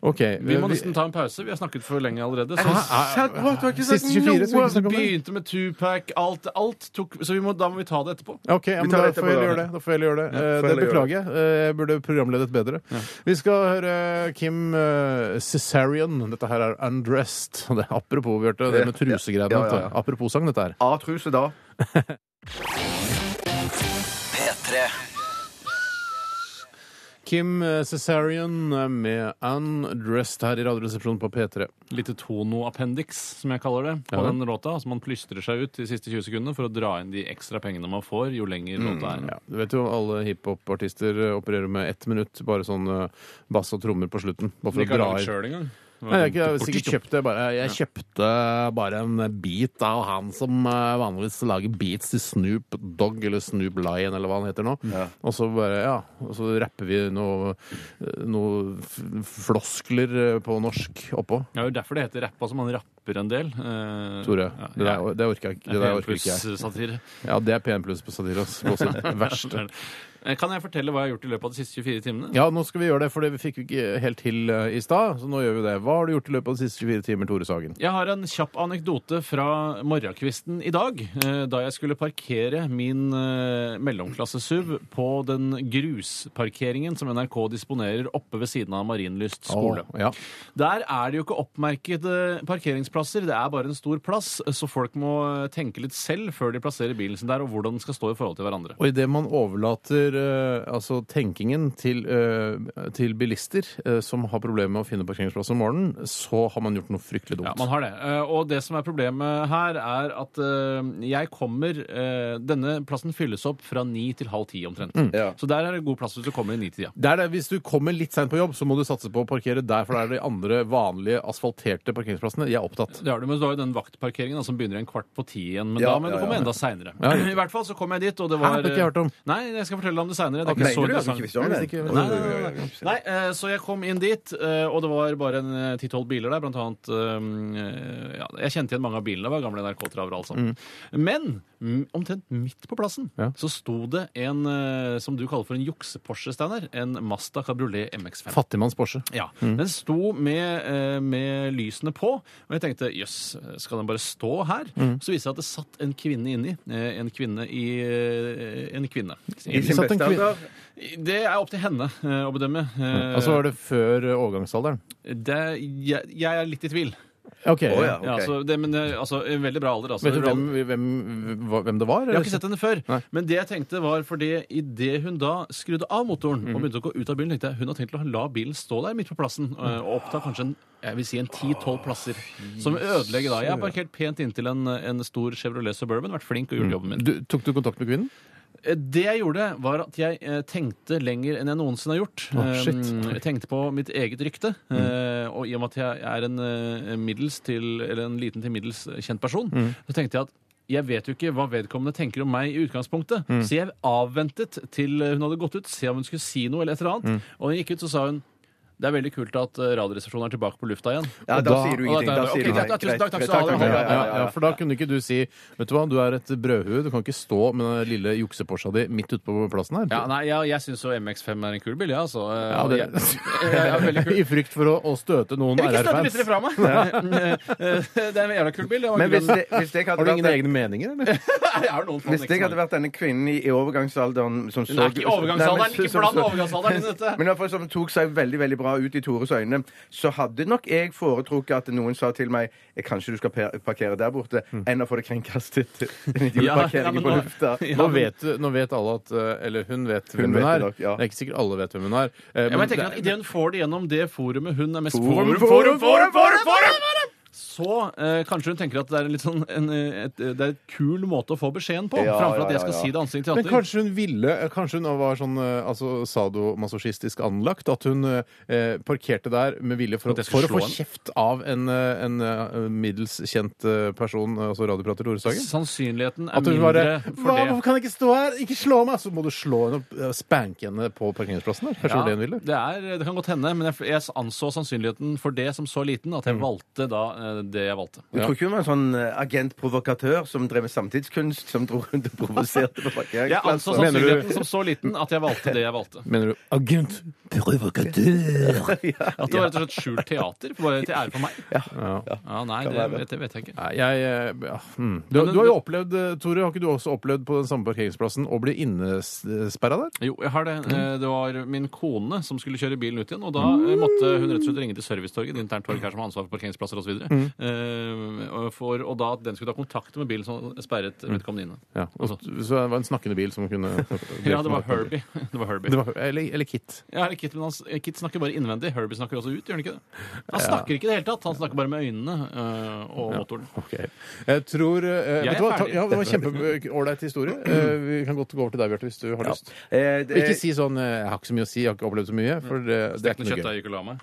Speaker 5: Ok, eh, Ah,
Speaker 7: Vi må nesten ta en pause. Vi har snakket for lenge allerede. Så
Speaker 8: Satt bra, du har ikke sagt
Speaker 5: Siste 24 skal vi ikke
Speaker 8: noe!
Speaker 5: snakke om det.
Speaker 7: begynte med Tupac, alt, alt tok Så vi må, da må vi ta det etterpå.
Speaker 5: Ok, ja, men
Speaker 8: tar
Speaker 5: da
Speaker 8: det
Speaker 5: får
Speaker 8: etterpå,
Speaker 5: jeg
Speaker 8: da.
Speaker 5: gjøre det. Da får jeg gjøre det. Eh,
Speaker 8: får
Speaker 5: det
Speaker 8: jeg gjøre
Speaker 5: beklager jeg. Eh, Jeg burde programledet bedre. Vi skal høre Kim eh, Cesarion. Dette her er 'Undressed'. Det er apropos, Bjarte. Det med trusegreiene.
Speaker 8: Ja, ja, ja.
Speaker 5: vet du. Apropos sang, dette her.
Speaker 8: A-truse da.
Speaker 1: P3.
Speaker 5: Kim eh, Cesarion eh, med 'Undressed' her i Radioresepsjonen på P3.
Speaker 7: Lite tono-appendix, som jeg kaller det, på
Speaker 5: Ja.
Speaker 7: den låta. Altså man plystrer seg ut de siste 20 sekundene for å dra inn de ekstra pengene man får jo lenger låta er.
Speaker 5: Mm, Ja, du vet jo alle hiphop-artister eh, opererer med ett minutt, bare sånn eh, bass og trommer på slutten. Bare for
Speaker 7: De
Speaker 5: å
Speaker 7: kan
Speaker 5: dra i.
Speaker 7: lage sjøl engang.
Speaker 5: Nei, jeg, har ikke- jeg, sikkert kjøpte bare, jeg kjøpte bare en bit av han som eh, vanligvis lager beats til Snoop Dogg eller Snoop Lion eller hva han heter nå. Og så bare, ja, og så rapper vi noe, eh, noe f- floskler eh, på norsk oppå.
Speaker 7: Ja, det er jo derfor det heter rapp. Altså, man rapper en del. eh,
Speaker 5: Tore,
Speaker 7: ja,
Speaker 5: det
Speaker 7: ja.
Speaker 5: der, det orker jeg ikke. Det der orker ikke jeg.
Speaker 7: P+-satire.
Speaker 5: Ja, det er P1 pluss på satire. ass. På sitt Verste.
Speaker 7: Eh, Kan jeg fortelle hva jeg har gjort i løpet av de siste 24 timene?
Speaker 5: Ja, nå skal vi gjøre det, for det vi fikk vi ikke helt til eh, i stad. Så nå gjør vi det. Hva har du gjort i løpet av de siste 24 timer, Tore Sagen?
Speaker 7: Jeg har en kjapp anekdote fra morgenkvisten i dag. eh, Da jeg skulle parkere min eh, mellomklasse-SUV på den grusparkeringen som NRK disponerer oppe ved siden av Marienlyst skole.
Speaker 5: Å, ja.
Speaker 7: Der er det jo ikke oppmerkede parkeringsplasser, det er bare en stor plass, så folk må eh, tenke litt selv før de plasserer bilen sin der, og hvordan den skal stå i forhold til hverandre.
Speaker 5: Og idet man overlater eh, altså tenkingen til, eh, til bilister eh, som har problemer med å finne parkeringsplass om morgenen, så har man gjort noe fryktelig dumt.
Speaker 7: Ja, man har det. Eh, Og det som er problemet her, er at eh, jeg kommer eh, Denne plassen fylles opp fra ni til halv ti omtrent.
Speaker 5: Mm.
Speaker 7: Så der er det god plass hvis du kommer i nitida.
Speaker 5: det er det, Hvis du kommer litt seint på jobb, så må du satse på å parkere der, for det er de andre vanlige asfalterte parkeringsplassene. Jeg er opptatt.
Speaker 7: Det har du, men du har jo den vaktparkeringen da, som begynner en kvart på ti igjen. Men
Speaker 8: Ja,
Speaker 7: da men
Speaker 8: ja,
Speaker 7: du kommer
Speaker 8: ja.
Speaker 7: enda seinere.
Speaker 5: Ja.
Speaker 7: I hvert fall så kom jeg dit, og det
Speaker 5: Hæ,
Speaker 7: var
Speaker 5: det har ikke jeg hørt om.
Speaker 7: Nei, jeg skal fortelle om det seinere. Det er
Speaker 8: Mener
Speaker 7: ikke
Speaker 8: du
Speaker 7: så
Speaker 8: at du ikke
Speaker 7: interessant.
Speaker 8: visste om
Speaker 5: Nei,
Speaker 8: den?
Speaker 5: ikke-
Speaker 8: Oi, oi, oi, oi.
Speaker 7: Nei, eh, så jeg kom inn dit, eh, og det var bare en eh, ti-tolv biler der, blant annet eh, ja, Jeg kjente igjen mange av bilene, det var gamle NRK-travere og alt sammen. Men mm, omtrent midt på plassen
Speaker 5: Ja.
Speaker 7: så sto det en eh, som du kaller for en jukse-Porsche, Steinar. En Mazda Cabriolet MX5.
Speaker 5: Fattigmanns Porsche.
Speaker 7: Ja, Den sto med, eh, med lysene på, og jeg tenkte jøss, skal den bare stå her? Så viste det seg at det satt en kvinne inni. eh, En kvinne i eh, En kvinne.
Speaker 8: I sin
Speaker 5: Satt en
Speaker 8: beste
Speaker 5: kvin-
Speaker 8: alder.
Speaker 7: Det er opp til henne eh, å bedømme. Eh,
Speaker 5: Altså var det før eh, overgangsalderen?
Speaker 7: det, jeg, jeg er litt i tvil.
Speaker 5: Ok.
Speaker 8: Å ja,
Speaker 7: Ja,
Speaker 8: ok.
Speaker 7: altså, det, men eh, altså, en veldig bra alder. Altså.
Speaker 5: Vet du hvem, hvem, hvem det var?
Speaker 7: Jeg har ikke sett henne før.
Speaker 5: Nei.
Speaker 7: Men det jeg tenkte var fordi idet hun da skrudde av motoren
Speaker 5: Mhm.
Speaker 7: og begynte å gå ut av bilen, tenkte jeg hun har tenkt å la bilen stå der midt på plassen eh,
Speaker 5: Mhm.
Speaker 7: og oppta kanskje en jeg vil si en 10-12 plasser, som ødelegger da. Jeg har parkert pent inntil en, en stor Chevrolet Suburban, vært flink og gjort jobben min.
Speaker 5: Mm. Du, tok du kontakt med kvinnen?
Speaker 7: Eh, Det jeg gjorde, var at jeg eh, tenkte lenger enn jeg noensinne har gjort.
Speaker 5: Å, shit.
Speaker 7: Eh, jeg tenkte på mitt eget rykte. eh, Og i og med at jeg er en, eh, middels til, eller en liten til middels eh, kjent person, så tenkte jeg at jeg vet jo ikke hva vedkommende tenker om meg i utgangspunktet. Så jeg avventet til eh, hun hadde gått ut, se om hun skulle si noe eller et eller annet. Og når hun gikk ut, så sa hun det er veldig kult at eh, Radioresepsjonen er tilbake på lufta igjen.
Speaker 8: Ja, da
Speaker 5: da-
Speaker 8: sier du
Speaker 7: og
Speaker 8: ingenting.
Speaker 7: da-
Speaker 8: Da
Speaker 7: ok,
Speaker 8: sier du
Speaker 7: takk,
Speaker 8: nei.
Speaker 7: takk, tusen takk, takk
Speaker 8: Greit,
Speaker 7: skal du
Speaker 8: takk,
Speaker 7: ha.
Speaker 5: Ja,
Speaker 8: takk,
Speaker 5: ja, ja, for da kunne ikke du si Vet du hva, du er et brødhue, du kan ikke stå med den lille jukseporsa di midt ute på plassen her.
Speaker 7: Ja, nei, jeg, jeg syns jo MX5 er en kul bil, jeg, ja, altså. Eh,
Speaker 5: Ja, det-
Speaker 7: jeg- jeg er veldig kul.
Speaker 5: I frykt for å, å støte noen
Speaker 7: Ikke støtt
Speaker 5: RR-fans.
Speaker 7: lyttere fra meg! det er en jævla kul bil. Det var
Speaker 8: Men
Speaker 7: ikke
Speaker 8: hvis,
Speaker 7: den-
Speaker 8: det, hvis, jeg hadde
Speaker 5: Har du ingen
Speaker 8: vært,
Speaker 5: egne meninger, eller?
Speaker 7: Jeg har noen faen
Speaker 8: hvis
Speaker 7: ikke
Speaker 8: jeg
Speaker 7: som
Speaker 8: hadde vært denne kvinnen i, i overgangsalderen som så
Speaker 7: Hun er ikke i
Speaker 8: Nei,
Speaker 7: overgangsalderen,
Speaker 8: men-
Speaker 7: ikke bland
Speaker 8: som- som-
Speaker 7: overgangsalderen inn i dette.
Speaker 8: Men i hvert fall som tok seg veldig veldig bra ut i Tores øyne, så hadde nok jeg foretrukket at noen sa til meg «Eh, Kanskje du skal per- parkere der borte, enn å få det kringkastet. En
Speaker 7: Ja, ja,
Speaker 8: idiotparkering
Speaker 7: men
Speaker 8: på
Speaker 7: nå-
Speaker 8: lufta.
Speaker 7: Ja,
Speaker 5: Nå
Speaker 7: men-
Speaker 5: vet, du- nå vet alle at eh, Eller hun vet hvem hun,
Speaker 8: vet
Speaker 5: er.
Speaker 8: det nok, ja.
Speaker 5: Det er ikke sikkert alle vet hvem hun er. eh,
Speaker 7: Ja, men jeg tenker
Speaker 5: det
Speaker 7: at
Speaker 5: er-
Speaker 7: Idet hun får det gjennom det forumet hun er mest
Speaker 8: Forum, forum, forum, forum, forum!
Speaker 7: Så så eh, kanskje hun tenker at det er en litt sånn en, eh, et, det er et kul måte å få beskjeden på,
Speaker 6: Ja,
Speaker 7: framfor at
Speaker 6: ja,
Speaker 7: jeg skal
Speaker 6: ja, ja.
Speaker 7: si det ansikt til
Speaker 5: Men
Speaker 7: ansikt.
Speaker 5: kanskje hun ville Kanskje hun var sånn eh, altså, sadomasochistisk anlagt? At hun eh, parkerte der med vilje for,
Speaker 7: At jeg
Speaker 5: for
Speaker 7: skulle
Speaker 5: å få
Speaker 7: slå henne?
Speaker 5: kjeft av en, eh, en eh, middels kjent eh, person, eh, altså radioprater Tore Sagen?
Speaker 7: Sannsynligheten er
Speaker 5: At hun
Speaker 7: mindre
Speaker 5: bare
Speaker 7: for
Speaker 5: Hva,
Speaker 7: det.
Speaker 5: Hvorfor kan jeg ikke stå her? Ikke slå meg! Så må du slå henne opp, eh, spanke henne på parkeringsplassen der. Kanskje det var det hun ville?
Speaker 7: det, er, det kan godt hende, men jeg, jeg anså sannsynligheten for det som så liten at jeg valgte da eh, det jeg valgte.
Speaker 6: Jeg tror ikke hun var en sånn eh, agent-provokatør som drev med samtidskunst, som dro rundt og provoserte på
Speaker 7: Jeg anså
Speaker 6: parkeringsplassen.
Speaker 5: Mener du-
Speaker 7: altså sannsynligheten som så liten at jeg valgte det jeg valgte.
Speaker 5: Mener du agent provokatør?
Speaker 7: At det var rett og slett skjult teater, bare til ære for meg.
Speaker 5: Ja.
Speaker 7: Ja, nei, det, vet- det vet jeg ikke.
Speaker 5: Nei, jeg eh, ja, hmm. du, du har jo opplevd, eh, Tore, har ikke du også opplevd på den samme parkeringsplassen å bli innesperra der?
Speaker 7: Jo, jeg har det.
Speaker 5: Mm.
Speaker 7: Eh, Det var min kone som skulle kjøre bilen ut igjen, og da eh, måtte hun rett og slett ringe til servicetorget, et internt torg her som har ansvar for parkeringsplasser osv.,
Speaker 5: Mm.
Speaker 7: Eh, og, for- og da at den skulle ta kontakt med bilen som sperret vedkommende inne.
Speaker 5: Mm. Ja, og, så det var en snakkende bil som kunne
Speaker 7: Ja, det var Herbie. Det var Herbie.
Speaker 5: Det var, eller, eller Kit.
Speaker 7: Ja, eller Kit, men han, s- eh, Kit snakker bare innvendig. Herbie snakker også ut, gjør han ikke det? Han snakker ikke i det hele tatt. Han snakker bare med øynene øh, og motoren.
Speaker 5: Jeg tror eh,
Speaker 7: Jeg
Speaker 5: vet
Speaker 7: er
Speaker 5: du hva, ta,
Speaker 7: ferdig.
Speaker 5: ja, Det var en kjempeålreit historie. Eh, vi kan godt gå over til deg, Bjarte, hvis du har lyst.
Speaker 6: Eh, det-
Speaker 5: Ikke si sånn eh, 'jeg har ikke så mye å si, jeg har ikke opplevd så mye', for eh, det, det er
Speaker 7: Stekte
Speaker 5: ikke noe gøy.
Speaker 7: kjøttdeig ukulama.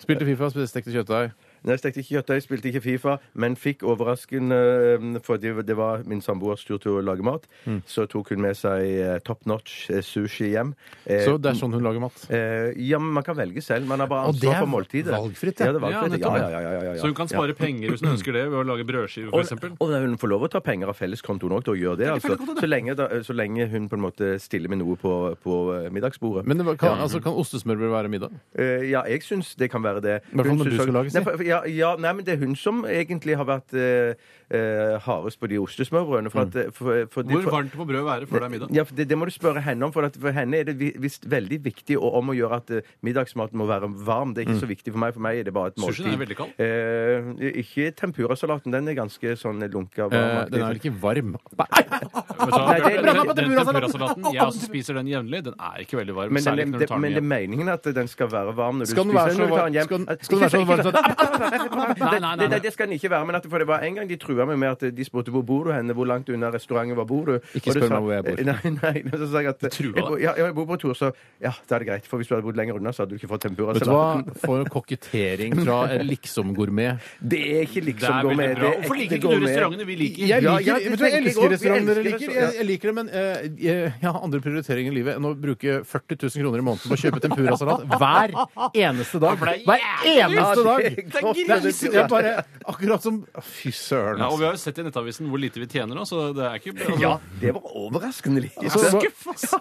Speaker 5: Spilte Fifa, spiste stekte kjøttdeig.
Speaker 6: Nei, jeg stekte ikke kjøttdeig, spilte ikke Fifa, men fikk overraskende eh, Fordi det var min samboers tur til å lage mat.
Speaker 5: Mm.
Speaker 6: Så tok hun med seg eh, top notch eh, sushi hjem. Eh,
Speaker 5: Så det er sånn hun lager mat.
Speaker 6: eh, ja, men man kan velge selv. Man har bare
Speaker 5: Og det
Speaker 6: ansvar
Speaker 5: er
Speaker 6: for måltidet.
Speaker 5: valgfritt, ja.
Speaker 6: ja. det er
Speaker 7: Ja,
Speaker 6: valgfritt.
Speaker 7: nettopp,
Speaker 6: Ja,
Speaker 7: ja.
Speaker 6: ja, ja, ja, ja, ja.
Speaker 7: Så hun kan spare penger hvis hun ønsker det, ved å lage brødskiver,
Speaker 6: Og-
Speaker 7: f.eks.
Speaker 6: Og hun får lov å ta penger av felleskontoen òg, og gjøre det. Altså. Så, lenge, da, så lenge hun på en måte stiller med noe på, på eh, middagsbordet.
Speaker 5: Men det var, kan, altså, kan ostesmørbrød være middag?
Speaker 6: Eh, ja, jeg syns det kan være det.
Speaker 5: hvert fall
Speaker 6: Hun
Speaker 5: når
Speaker 6: syns
Speaker 5: du skal
Speaker 6: også-
Speaker 5: lage, si.
Speaker 6: Nei, for- for- ja, ja, nei, men det er hun som egentlig har vært eh, eh, hardest på de ostesmørbrødene.
Speaker 5: Mm.
Speaker 6: For at, eh, for, for de,
Speaker 7: Hvor
Speaker 6: for,
Speaker 7: varmt må brød være før det er middag?
Speaker 6: ja, for det, det må du spørre henne om, for, at for henne er det vi- visst veldig viktig og om å gjøre at eh, middagsmaten må være varm. Det er
Speaker 5: Mm.
Speaker 6: ikke så viktig for meg. For meg er det bare et måltid.
Speaker 7: Sushien er veldig kald.
Speaker 6: Eh, ikke tempurasalaten. Den er ganske sånn lunka.
Speaker 5: Eh,
Speaker 6: varmaktig.
Speaker 5: den er vel ikke varm?
Speaker 7: Vet du hva?
Speaker 6: Nei, det-
Speaker 7: Den-
Speaker 6: Bra, bra,
Speaker 5: bra,
Speaker 7: Den
Speaker 5: tempura-salaten.
Speaker 7: tempurasalaten, jeg også spiser den jevnlig. Den er ikke veldig varm.
Speaker 6: men,
Speaker 7: Særlig
Speaker 6: det,
Speaker 7: ikke når
Speaker 6: det,
Speaker 7: du tar
Speaker 6: men
Speaker 7: den
Speaker 6: det er
Speaker 7: hjem.
Speaker 6: meningen at den skal være varm når du
Speaker 5: Skal den
Speaker 6: spiser
Speaker 5: være så
Speaker 6: når du tar
Speaker 5: varm
Speaker 6: den hjem.
Speaker 5: skal,
Speaker 6: At-
Speaker 5: skal den være så
Speaker 6: Ikke-
Speaker 5: varm sånn
Speaker 7: Nei, nei, Ah, nei,
Speaker 6: Det,
Speaker 7: nei.
Speaker 6: det, det skal den ikke være. Men at, for det var en gang de trua meg med at eh, de spurte hvor bor du henne, hvor langt unna restauranten var bor du.
Speaker 5: Ikke
Speaker 6: Og da
Speaker 5: spør
Speaker 6: sa-
Speaker 5: meg hvor jeg bor.
Speaker 6: Nei, nei, nei, så sa jeg at
Speaker 7: trua
Speaker 6: jeg,
Speaker 7: deg?
Speaker 6: bor- ja, ja, jeg bor på Torshov. Ja, da er det greit. For hvis du hadde bodd lenger unna, så hadde du ikke fått tempura.
Speaker 5: Vet du hva? For en kokettering fra en liksom-gourmet.
Speaker 6: Det er ikke
Speaker 7: Det
Speaker 6: liksom
Speaker 7: er
Speaker 6: gourmet.
Speaker 7: veldig
Speaker 6: det
Speaker 7: bra.
Speaker 6: er
Speaker 7: Hvorfor
Speaker 6: ekte
Speaker 7: liker ikke du
Speaker 6: gourmet.
Speaker 7: restaurantene vi liker?
Speaker 5: Jeg
Speaker 6: Ja,
Speaker 5: liker,
Speaker 6: ja, det
Speaker 5: vet du, hva, jeg
Speaker 6: tenker jeg også.
Speaker 5: elsker
Speaker 6: Jeg
Speaker 5: restauranter jeg
Speaker 6: elsker
Speaker 5: liker.
Speaker 6: restaurant-
Speaker 5: Jeg, jeg liker det, men eh, jeg, jeg har andre prioriteringer i livet enn å bruke 40 000 kroner i måneden på å kjøpe tempurasalat hver eneste dag. Hver eneste
Speaker 6: Ja,
Speaker 5: dag!
Speaker 6: det er godt,
Speaker 5: Det
Speaker 6: men
Speaker 5: er
Speaker 6: det
Speaker 5: liksom- jeg bare, akkurat som Fy søren,
Speaker 7: Ja, og
Speaker 5: altså.
Speaker 7: vi har jo sett i Nettavisen hvor lite vi tjener nå, så det er ikke altså,
Speaker 6: Ja, det var overraskende likt.
Speaker 5: Så-
Speaker 7: Skuff, ass!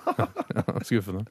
Speaker 5: Skuffende.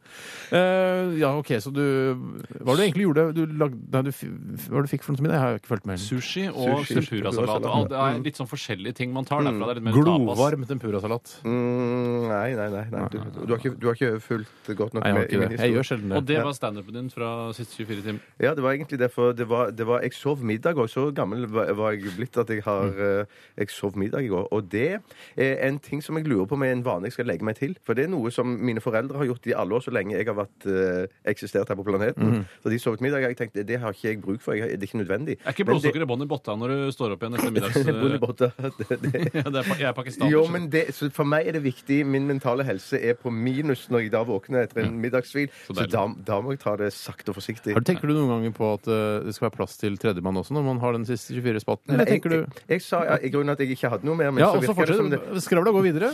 Speaker 5: Eh, ja, OK, så du Hva var det du egentlig gjorde? Du lagde, nei, du, f- hva var det du fikk for noe til middag? Jeg har ikke fulgt med. heller.
Speaker 7: Sushi og
Speaker 6: Sushi, Mm.
Speaker 7: tempurasalat. og alt- Det er litt sånn forskjellige ting man tar derfra. Det er litt mer tapas.
Speaker 5: Glovarm tempurasalat.
Speaker 6: Mm, nei, nei, nei. nei. Du, du, har ikke, du har ikke fulgt godt nok
Speaker 5: Nei, jeg har
Speaker 6: med i
Speaker 5: ikke
Speaker 6: min
Speaker 5: det. Jeg
Speaker 6: historie.
Speaker 5: gjør sjelden
Speaker 7: Og
Speaker 5: det.
Speaker 7: det var standupen din fra siste 24 timer.
Speaker 6: Ja, det var egentlig derfor det var, det var, Jeg sov middag òg. Så gammel var var jeg blitt at jeg har
Speaker 7: Mm.
Speaker 6: eh, Jeg sov middag i går. Og det er en ting som jeg lurer på om er en vane jeg skal legge meg til. For det er noe som mine foreldre har gjort i alle år så lenge jeg har vært, eh, eksistert her på planeten.
Speaker 7: Mm.
Speaker 6: Så de sovet middag. og Jeg tenkte det har ikke jeg bruk for. Jeg, har- det er ikke nødvendig.
Speaker 7: Er ikke
Speaker 6: Men det-
Speaker 7: blodsukkeret bånd i botta når du står opp igjen etter middags... eh,
Speaker 6: Bånd i botta. Det- det-
Speaker 7: Ja, det er, pa- jeg er pakistaner.
Speaker 6: Jo, men det, så For meg er det viktig. Min mentale helse er på minus når jeg da våkner etter en middagshvil. Så,
Speaker 7: Mm. deilig.
Speaker 6: da, da må jeg ta det sakte og forsiktig.
Speaker 5: Har du- Tenker du noen ganger på at eh, det skal være plass til tredjemann også, når man har den siste 24-spalten? Eller
Speaker 6: jeg,
Speaker 5: tenker du
Speaker 6: jeg, jeg sa ja, i grunnen at jeg ikke hadde noe mer, men
Speaker 5: Ja,
Speaker 6: så
Speaker 5: og så
Speaker 6: virker det som det
Speaker 5: fortsetter Skravla går videre.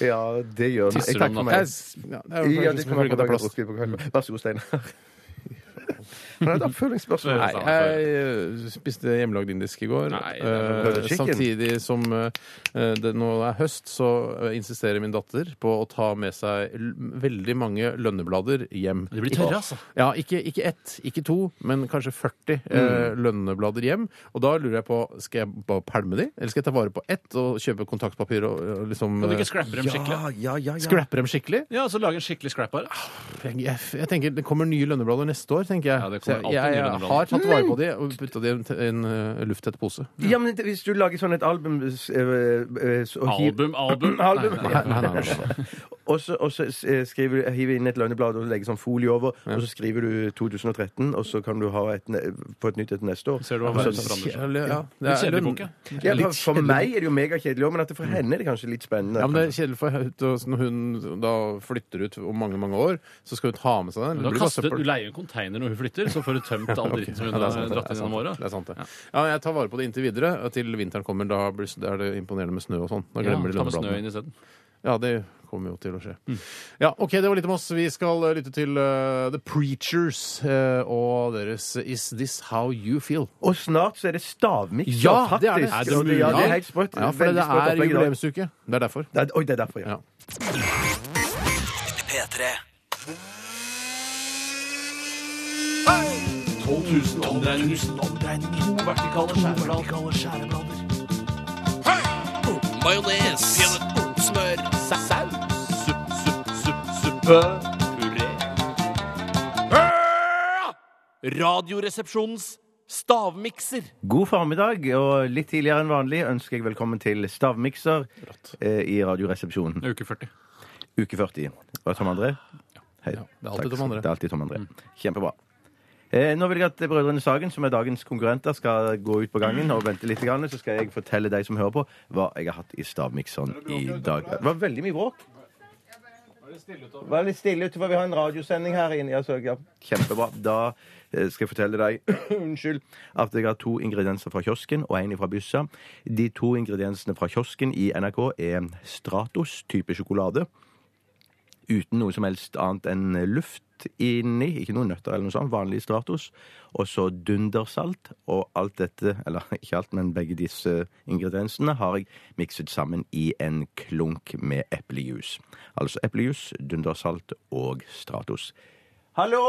Speaker 6: Ja, det gjør det.
Speaker 7: Tisser
Speaker 6: Jeg
Speaker 7: du
Speaker 6: takker
Speaker 7: om
Speaker 6: for meg.
Speaker 5: Ja,
Speaker 6: Ja, det kommer på dagen drukket på kvelden. Vær så god, Steinar. Han hadde oppfølgingsspørsmål. altså.
Speaker 7: Nei.
Speaker 5: Nei, jeg eh, spiste hjemmelagd indisk i går.
Speaker 7: Nei, det er
Speaker 5: Eh,
Speaker 6: Butter chicken.
Speaker 5: samtidig som eh, det nå er høst, så eh, insisterer min datter på å ta med seg l veldig mange lønneblader hjem.
Speaker 7: De blir tørre, altså.
Speaker 5: Ja, ikke, ikke ett, ikke to, men kanskje 40 eh, lønneblader hjem. Og da lurer jeg på, skal jeg bare pælme de, eller skal jeg ta vare på ett og kjøpe kontaktpapir og, og liksom
Speaker 7: Kan du
Speaker 5: eh,
Speaker 7: ikke scrappe dem skikkelig?
Speaker 6: ja, ja, ja.
Speaker 5: Scrappe dem skikkelig?
Speaker 7: Ja, så lage en skikkelig scrap bare.
Speaker 5: Jeg, jeg, jeg tenker Det kommer nye lønneblader neste år, tenker jeg.
Speaker 7: Ja, det
Speaker 5: Så
Speaker 7: kommer
Speaker 5: jeg, jeg,
Speaker 7: alltid nye
Speaker 5: jeg
Speaker 7: lønneblader.
Speaker 5: har tatt vare på de og putta de i en, en eh, lufttett pose.
Speaker 6: Ja, men det- hvis du lager sånn et album eh, eh, så- og hiver-
Speaker 7: Album, album.
Speaker 6: Album.
Speaker 7: Nei, nei,
Speaker 5: Nei, nei, nei, nei.
Speaker 6: Og og så, og så eh, skriver du, hiver inn et lønneblad og legger sånn folie over, og så skriver du 2013, og så kan du ha et, ne- på et nytt et neste år.
Speaker 7: Ser du hva
Speaker 6: Og så-
Speaker 7: verden forandrer seg.
Speaker 5: Kjedelig, ja.
Speaker 7: Litt kjedelig bok, ja.
Speaker 6: Ja,
Speaker 5: Litt
Speaker 6: for- for
Speaker 5: kjedelig
Speaker 6: meg er det jo megakjedelig òg, men at det for henne er det kanskje litt spennende.
Speaker 5: Ja, men det er kjedelig for Haut og- når hun da flytter ut om mange mange år, så skal hun ta med seg den.
Speaker 7: Du,
Speaker 5: Det
Speaker 7: har
Speaker 5: blir bare
Speaker 7: kastet,
Speaker 5: søppel.
Speaker 7: du leier en container når hun flytter, så får du tømt all dritten som hun
Speaker 5: Ja, det er
Speaker 7: har
Speaker 5: sant, det.
Speaker 7: dratt
Speaker 5: Det er
Speaker 7: inn gjennom
Speaker 5: sant,
Speaker 7: åra.
Speaker 5: Det er sant, det. Ja, jeg tar vare på det inntil videre. Til vinteren kommer, da blir det er det imponerende med snø og sånn. Da
Speaker 7: Ja,
Speaker 5: glemmer de
Speaker 7: ta med snø
Speaker 5: lønnebladene.
Speaker 7: inn Mm. isteden.
Speaker 5: Ja, det kommer jo til å skje. Ja, OK, det var litt om oss. Vi skal eh, lytte til eh, The Preachers eh, og deres Is This How You Feel?
Speaker 6: Og snart så er det stavmikser,
Speaker 5: Ja, det
Speaker 6: faktisk.
Speaker 5: er det.
Speaker 7: Er det
Speaker 6: Og det, ja, det er helt sprøtt.
Speaker 5: Ja, for
Speaker 6: Veldig
Speaker 5: det
Speaker 6: sprøtt
Speaker 5: er
Speaker 6: opplegg i dag.
Speaker 5: jubileumsuke. Det er derfor.
Speaker 6: Det er- Oi, det er derfor, ja.
Speaker 5: Ja.
Speaker 9: P3.
Speaker 6: God formiddag, og litt tidligere enn vanlig ønsker jeg velkommen til Stavmikser eh, i Radioresepsjonen,
Speaker 7: Uke 40.
Speaker 6: uke 40. Var det Tom André? Hei.
Speaker 5: Ja, det er alltid
Speaker 6: Takk.
Speaker 5: Tom André. Mm.
Speaker 6: Det er alltid Tom André. Kjempebra. Eh, nå vil jeg at Brødrene Sagen, som er dagens konkurrenter, skal gå ut på gangen og vente litt. Grann, så skal jeg fortelle deg som hører på, hva jeg har hatt i stavmikseren i dag. Det var veldig mye bråk. Vær litt stille utover. Vi har en radiosending her inne. Ja, så, ja. Kjempebra. Da eh, skal jeg fortelle deg Unnskyld. at jeg har to ingredienser fra kiosken og en fra byssa. De to ingrediensene fra kiosken i NRK er Stratos-type sjokolade. Uten noe som helst annet enn luft inni. Ikke noen nøtter eller noe sånt. Vanlig Stratos. Og så dundersalt. Og alt dette, eller ikke alt, men begge disse eh, ingrediensene har jeg mikset sammen i en klunk med eplejus. Altså eplejus, dundersalt og Stratos. Hallo!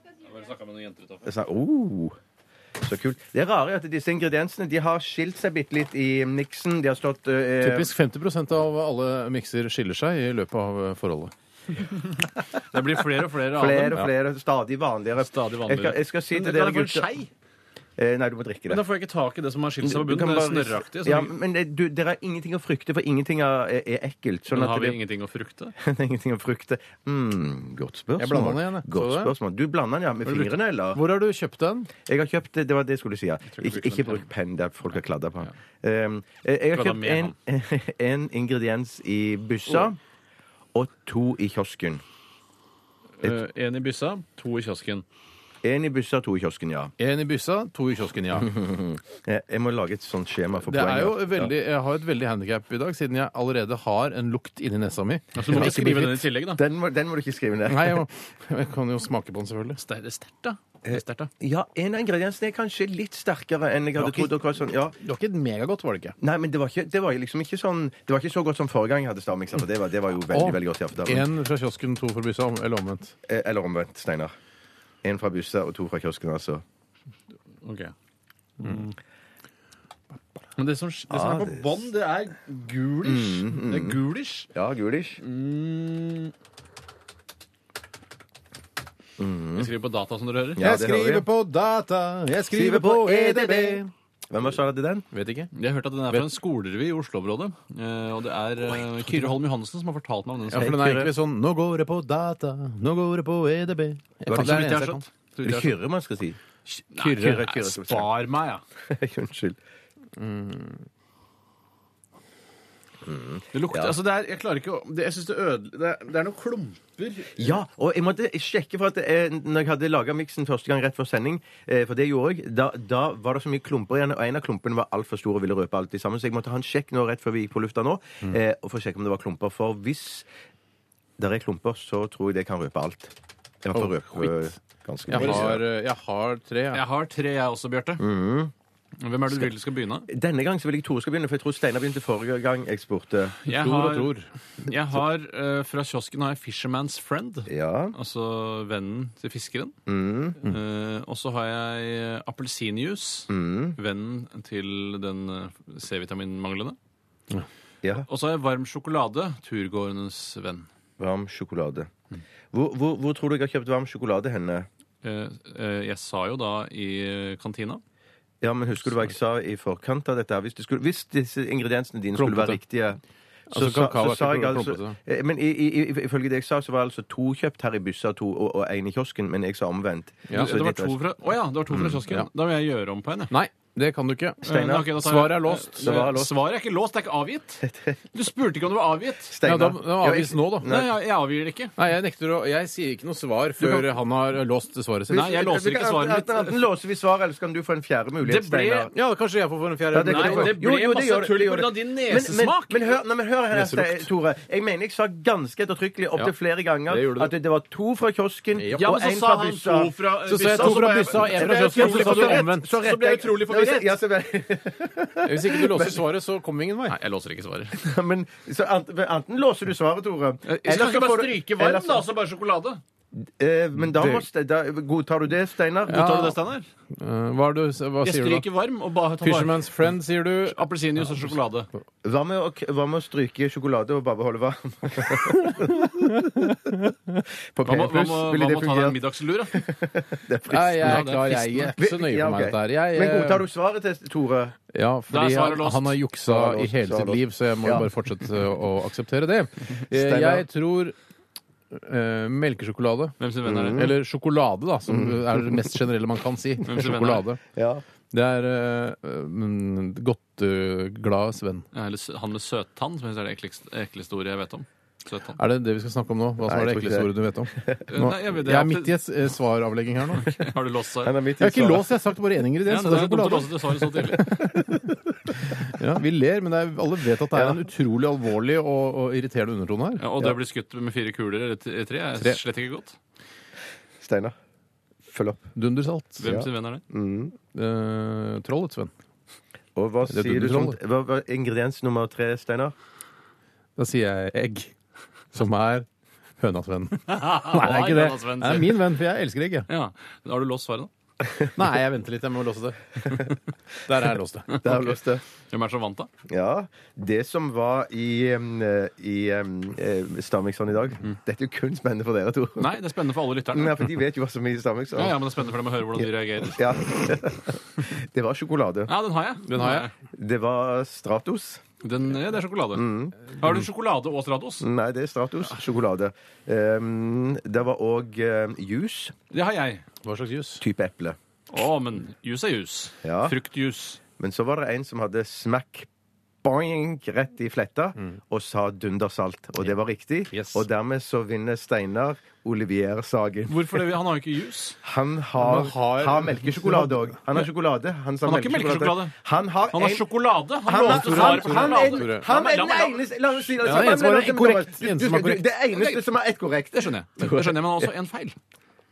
Speaker 6: Jeg sa, oh. Så kult. Det rare er at disse ingrediensene de har skilt seg bitte litt i miksen. De har stått eh,
Speaker 5: Typisk 50 av alle mikser skiller seg i løpet av eh, forholdet.
Speaker 7: Det blir flere og
Speaker 6: Flere
Speaker 7: flere, av
Speaker 6: og
Speaker 7: dem.
Speaker 6: flere, stadig vanligere.
Speaker 7: Stadig vanligere.
Speaker 6: Jeg skal, jeg skal si til
Speaker 7: Men kan
Speaker 6: dere
Speaker 7: jeg få en
Speaker 6: gutter
Speaker 7: skei?
Speaker 6: Eh, Nei, du må drikke
Speaker 7: Men da
Speaker 6: det.
Speaker 7: får jeg ikke tak i det som har skilt seg på
Speaker 6: Du kan
Speaker 7: bunnen. Det
Speaker 6: bare-
Speaker 7: snørraktige.
Speaker 6: ja,
Speaker 7: så-
Speaker 6: men eh, du, dere har ingenting å frykte, for ingenting er, er- er ekkelt. Sånn
Speaker 7: Men har
Speaker 6: at
Speaker 7: vi
Speaker 6: det,
Speaker 7: ingenting å frukte?
Speaker 6: det er ingenting å frykte. Mm, godt spørsmål.
Speaker 5: Jeg blander den igjen, jeg.
Speaker 6: Godt
Speaker 5: Så du det?
Speaker 6: spørsmål. Du blander den, ja. Med
Speaker 5: brukt-
Speaker 6: fingrene, eller?
Speaker 5: Hvor har du kjøpt den?
Speaker 6: Jeg har kjøpt Det var det jeg skulle si. ja.
Speaker 7: tror
Speaker 6: Ikke,
Speaker 7: ikke du brukte
Speaker 6: ikke
Speaker 7: den
Speaker 6: bruk penn der folk har kladda på. Um, eh, jeg har
Speaker 7: Kladda
Speaker 6: kjøpt
Speaker 7: med
Speaker 6: en, en ingrediens i byssa og to i kiosken.
Speaker 7: Eh, En i byssa, to i kiosken.
Speaker 6: Én i byssa, to i kiosken, ja.
Speaker 5: Én i byssa, to i kiosken, ja.
Speaker 6: Eh, Jeg må lage et sånt skjema for
Speaker 5: Det er jo
Speaker 6: poenget.
Speaker 5: veldig, jeg har et veldig handikap i dag, siden jeg allerede har en lukt inni nesa mi.
Speaker 7: Så
Speaker 5: Den
Speaker 7: du må ikke
Speaker 5: er
Speaker 7: skrive
Speaker 5: blitt-
Speaker 7: den i tillegg, da.
Speaker 6: Den må, den må du ikke skrive ned.
Speaker 5: Nei, jeg, må, jeg kan jo smake på den, selvfølgelig.
Speaker 7: Det er sterkt, da. Det er sterkt, da.
Speaker 6: Ja, En av ingrediensene er kanskje litt sterkere enn jeg hadde
Speaker 5: Det var ikke-
Speaker 6: trodd. og hva Sånn, ja.
Speaker 5: Det var ikke et megagodt, var det ikke?
Speaker 6: Nei, men det var, ikke, det var jo liksom ikke sånn Det var ikke så godt som forrige gang jeg hadde stavmikser. for Det var, det var jo veldig,
Speaker 5: Og
Speaker 6: veldig godt. i aften.
Speaker 5: En fra kiosken, to fra byssa, om- eller omvendt.
Speaker 6: Eh, Eller omvendt, Steinar. En fra bussa og to fra kiosken, altså.
Speaker 7: Ok.
Speaker 6: Mm.
Speaker 7: Men det som, det
Speaker 6: Ah,
Speaker 7: som er på bånn, det er gulish.
Speaker 6: Mm,
Speaker 7: Det er gulish.
Speaker 6: Ja, gulish.
Speaker 7: Jeg skriver på data, som dere hører.
Speaker 6: Mm. Ja, det hører vi.
Speaker 5: på data, jeg E
Speaker 6: Hvem var som hadde den?
Speaker 5: Vet ikke.
Speaker 7: Jeg har hørt at den er fra en skolerevy i Oslo-området. eh, Og det er eh, Kyrre Holm Johannessen som har fortalt meg om den.
Speaker 5: Ja, for den er egentlig sånn Nå går det på data, nå går det på E EDB. Jeg
Speaker 7: Var
Speaker 5: kan- det er
Speaker 7: det så vidt
Speaker 5: det
Speaker 7: jeg
Speaker 5: eneste
Speaker 7: har
Speaker 5: jeg kan.
Speaker 7: skjønt? Så
Speaker 6: Det er
Speaker 7: vidt jeg har skjønt.
Speaker 6: Kyrre man skal si.
Speaker 7: Nei,
Speaker 6: Kyrre,
Speaker 7: Kyrre,
Speaker 6: Kyrre, skal vi si.
Speaker 7: Spar meg, ja.
Speaker 6: Unnskyld.
Speaker 7: Det lukter,
Speaker 6: Ja.
Speaker 7: altså det er, jeg klarer ikke å det, Jeg synes det ødele... Det er, det er noen klumper
Speaker 6: Ja, og jeg måtte sjekke for at eh, når jeg hadde laga miksen første gang rett før sending, eh, for det gjorde jeg, da, da var det så mye klumper igjen, og en av klumpene var altfor stor og ville røpe alt i sammen, så jeg måtte ha en sjekk nå rett før vi gikk på lufta nå,
Speaker 5: Mm.
Speaker 6: eh, og for å sjekke om det var klumper. For hvis det er klumper, så tror jeg det kan røpe alt. Jeg får røpe eh, ganske
Speaker 5: Oh, Jeg
Speaker 6: mye.
Speaker 5: har, jeg har tre. Mm-hmm. Jeg.
Speaker 7: Jeg har tre, jeg også, Bjarte. Hvem er det du vil skal begynne?
Speaker 6: Denne gang så vil jeg Tore skal begynne, for jeg tror Steinar begynte forrige gang jeg spurte.
Speaker 7: Jeg
Speaker 5: Tror og
Speaker 7: har,
Speaker 5: tror.
Speaker 7: jeg har eh, Fra kiosken har jeg Fisherman's Friend.
Speaker 6: Ja.
Speaker 7: Altså vennen til fiskeren.
Speaker 5: Mm-hmm.
Speaker 7: Eh, og så har jeg eh, appelsinjuice.
Speaker 5: Mm-hmm.
Speaker 7: Vennen til den eh, C-vitaminmanglende.
Speaker 6: ja.
Speaker 7: Og så har jeg varm sjokolade. Turgåernes venn.
Speaker 6: Varm sjokolade. Hvor, hvor, hvor tror du jeg har kjøpt varm sjokolade henne?
Speaker 7: Eh, eh, jeg sa jo da i eh, kantina.
Speaker 6: Ja, men husker du hva jeg sa i forkant av dette? her? Hvis, det skulle, hvis disse ingrediensene dine skulle være
Speaker 5: Klumpete.
Speaker 6: riktige så,
Speaker 5: Altså,
Speaker 6: sa-
Speaker 5: kakao er
Speaker 6: så sa
Speaker 5: ikke
Speaker 6: jeg altså,
Speaker 5: klumpete.
Speaker 6: eh, men i, i, i- ifølge det jeg sa, så var altså to kjøpt her i Byssa to, og, og en i kiosken, men jeg sa omvendt.
Speaker 7: Ja,
Speaker 6: Så
Speaker 7: det var
Speaker 6: dette er-
Speaker 7: to fra, å ja, det var to fra kiosken.
Speaker 5: ja.
Speaker 7: Da vil jeg gjøre om på en. jeg.
Speaker 5: Nei, det kan du ikke.
Speaker 7: Eh,
Speaker 6: Steinar,
Speaker 7: ok, da tar jeg-
Speaker 5: svaret er låst.
Speaker 7: Eh,
Speaker 6: Svaret er låst.
Speaker 7: Svaret er ikke låst, det er ikke avgitt. Du spurte ikke om det var avgitt.
Speaker 6: Steinar.
Speaker 5: Ja, da, da
Speaker 6: Ja,
Speaker 5: avgis
Speaker 6: jeg-
Speaker 5: nå, da.
Speaker 7: Nei, jeg, jeg avgir det ikke.
Speaker 5: Nei, jeg nekter å Jeg sier ikke noe svar før han har låst svaret sitt.
Speaker 7: Nei, jeg
Speaker 6: Vi
Speaker 7: låser
Speaker 6: kan-
Speaker 7: ikke svaret
Speaker 6: enten-
Speaker 7: mitt.
Speaker 6: Enten låser vi svaret, eller så kan du få en fjerde mulighet,
Speaker 7: Det ble-
Speaker 6: Steinar.
Speaker 5: Ja, kanskje jeg får for en fjerde.
Speaker 6: Ja, det kan
Speaker 7: Nei,
Speaker 6: du få.
Speaker 7: det ble
Speaker 6: Jo, jo,
Speaker 7: masse
Speaker 6: gjør det,
Speaker 7: tull
Speaker 6: gjør
Speaker 7: på grunn av
Speaker 6: det.
Speaker 7: din
Speaker 6: Men-
Speaker 7: nesesmak.
Speaker 6: Men, men, hør, nei, men hør her,
Speaker 5: Neselukt.
Speaker 6: Ste- Tore. Jeg mener jeg sa ganske ettertrykkelig opptil
Speaker 5: Ja.
Speaker 6: flere ganger
Speaker 5: Det gjorde du.
Speaker 6: at det var to fra kiosken
Speaker 7: Ja,
Speaker 6: og
Speaker 7: men
Speaker 6: én
Speaker 7: så sa
Speaker 6: fra
Speaker 7: han
Speaker 6: byssa.
Speaker 7: to fra
Speaker 5: Så sa jeg to
Speaker 7: så
Speaker 5: fra
Speaker 7: ble jeg-
Speaker 5: byssa og én fra
Speaker 7: Jeg ble
Speaker 5: kiosken.
Speaker 7: utrolig
Speaker 5: Så sa du
Speaker 7: forvirret.
Speaker 5: omvendt.
Speaker 7: Så ble jeg utrolig forvirret.
Speaker 6: Ja, så ble-
Speaker 5: Hvis ikke du låser svaret, så kommer vi ingen vei.
Speaker 7: Nei, jeg låser ikke svaret.
Speaker 6: Ja, men, så ant- enten låser du svaret, Tore
Speaker 7: Eh, Skal
Speaker 6: får
Speaker 7: ikke bare
Speaker 6: du-
Speaker 7: stryke
Speaker 6: eller
Speaker 7: varm,
Speaker 6: så-
Speaker 7: da, så bare sjokolade?
Speaker 6: Eh, men da, må, Ste- da godtar du det, Steinar?
Speaker 7: Godtar du det, Steinar?
Speaker 5: Eh, Hva, er du, hva
Speaker 7: Jeg
Speaker 5: sier du da?
Speaker 7: stryker varm og bare tar bare
Speaker 5: Fisherman's friend, sier du.
Speaker 7: appelsinjuice og sjokolade.
Speaker 6: Hva med, å, hva med å stryke sjokolade og bare beholde varm? På
Speaker 7: Hva må, hva
Speaker 6: P+,
Speaker 7: må,
Speaker 6: ville
Speaker 7: hva
Speaker 6: det
Speaker 7: må ta deg
Speaker 6: fungert?
Speaker 7: en middagslur, da?
Speaker 5: Nei, jeg
Speaker 7: Ja,
Speaker 5: er
Speaker 7: det er
Speaker 5: klar. Jeg er ikke så nøye
Speaker 6: Ja,
Speaker 5: med
Speaker 6: ok.
Speaker 5: dette her. Jeg, eh,
Speaker 6: Men godtar du svaret til Tore?
Speaker 5: Ja, fordi
Speaker 7: svaret
Speaker 5: han,
Speaker 7: låst.
Speaker 5: han har juksa
Speaker 6: Svaret
Speaker 5: i
Speaker 6: låst,
Speaker 5: hele
Speaker 6: svaret
Speaker 5: sitt
Speaker 6: låst.
Speaker 5: liv, så jeg må
Speaker 6: Ja.
Speaker 5: bare fortsette å akseptere det. Eh,
Speaker 6: Steinar.
Speaker 5: Jeg tror eh, melkesjokolade.
Speaker 7: Hvem sin venn er det?
Speaker 5: Eller sjokolade, da, som
Speaker 6: Mm.
Speaker 5: er det mest generelle man kan si.
Speaker 7: er det?
Speaker 5: Sjokolade.
Speaker 6: Ja.
Speaker 5: Det er eh, mm, godteglad Sven.
Speaker 7: Ja, Eller sø- han med søttann, som jeg synes er det ekleste, ekleste ordet jeg vet om. Søttann.
Speaker 5: Er det det vi skal snakke om nå? Hva som
Speaker 6: Nei,
Speaker 5: er
Speaker 6: jeg
Speaker 5: det
Speaker 6: tror
Speaker 5: ekleste
Speaker 6: ikke
Speaker 5: ordet du vet om?
Speaker 7: Eh,
Speaker 5: Nå,
Speaker 7: nei, jeg vet det.
Speaker 5: jeg er midt i et eh, svaravlegging her nå. Jeg
Speaker 7: Har du låst
Speaker 6: Han
Speaker 7: seg?
Speaker 6: er midt i
Speaker 5: har ikke
Speaker 6: svaret.
Speaker 5: låst, jeg har sagt bare én
Speaker 7: Ja,
Speaker 5: ingrediens.
Speaker 7: det
Speaker 5: og det
Speaker 7: er
Speaker 5: er
Speaker 7: dumt å
Speaker 5: sjokolade.
Speaker 7: låse til svaret så tidlig.
Speaker 5: Ja, vi ler, men det er, alle vet at det er en utrolig alvorlig og, og irriterende undertone her.
Speaker 7: Ja, og det å bli skutt med fire kuler eller t- tre er
Speaker 5: Tre.
Speaker 7: slett ikke godt.
Speaker 6: Steinar, følg opp.
Speaker 5: Dundersalt.
Speaker 7: Hvem sin venn er det?
Speaker 5: Eh, Trollets venn.
Speaker 6: Og hva
Speaker 5: Det er
Speaker 6: sier du som
Speaker 5: dundertroll,
Speaker 6: hva, hva, Ingrediens nummer tre, Steinar?
Speaker 5: Da sier jeg egg, som er hønas venn. Nei, det er ikke
Speaker 7: Jonas
Speaker 5: det.
Speaker 7: venn,
Speaker 5: Det er
Speaker 7: sier.
Speaker 5: min venn, for jeg elsker egg. jeg.
Speaker 7: Ja. Har du låst svaret, da?
Speaker 5: Nei, jeg venter litt. Jeg må låse det. Der er jeg låst det.
Speaker 6: Der har du låst det.
Speaker 7: Hvem er det som vant, da?
Speaker 6: Ja. Det som var i, um, eh, i um, eh, Stavmikseren i dag
Speaker 7: Mm.
Speaker 6: Dette er jo kun spennende for dere to.
Speaker 7: Nei, det er spennende for alle lytterne.
Speaker 6: Nei, for de vet jo hva som er i Stavmikseren.
Speaker 7: Ja, ja, men det er spennende for dem å høre hvordan de reagerer.
Speaker 6: Mm, Ja. Det var sjokolade.
Speaker 7: Ja, den har jeg.
Speaker 5: Den har jeg.
Speaker 6: Det var Stratos.
Speaker 7: Den, ja, det er sjokolade. Har du sjokolade og stratos?
Speaker 6: Nei, det er Stratos. Sjokolade. Um, det var òg um, juice.
Speaker 7: Det har jeg.
Speaker 5: Hva slags jus?
Speaker 6: Type eple.
Speaker 7: Å, men jus er jus.
Speaker 6: Ja.
Speaker 7: Fruktjus.
Speaker 6: Men så var det en som hadde smack boing rett i fletta
Speaker 7: Mm.
Speaker 6: og sa dundersalt. Og det var riktig.
Speaker 5: Yes.
Speaker 6: Og dermed så vinner Steinar Olivier-sagen.
Speaker 7: Hvorfor det? Han har jo ikke jus.
Speaker 6: Han har,
Speaker 5: Han har-
Speaker 6: har, melkesjokolade òg. Han har sjokolade. Han, sa
Speaker 7: Han har ikke melkesjokolade.
Speaker 6: Han har,
Speaker 7: Han har
Speaker 6: en-
Speaker 7: sjokolade! Han,
Speaker 6: Han er,
Speaker 7: låste svaret på
Speaker 6: han, han, er,
Speaker 7: sjokolade.
Speaker 6: han er
Speaker 7: La
Speaker 6: den
Speaker 7: meg- la meg-
Speaker 6: eneste La oss si la oss
Speaker 5: Ja,
Speaker 6: si-
Speaker 5: eneste var
Speaker 6: la oss si-
Speaker 5: korrekt.
Speaker 6: Du- du-
Speaker 5: Eneste var korrekt.
Speaker 6: Det eneste som er ett korrekt.
Speaker 7: Det skjønner jeg. Det skjønner jeg, Men også en feil.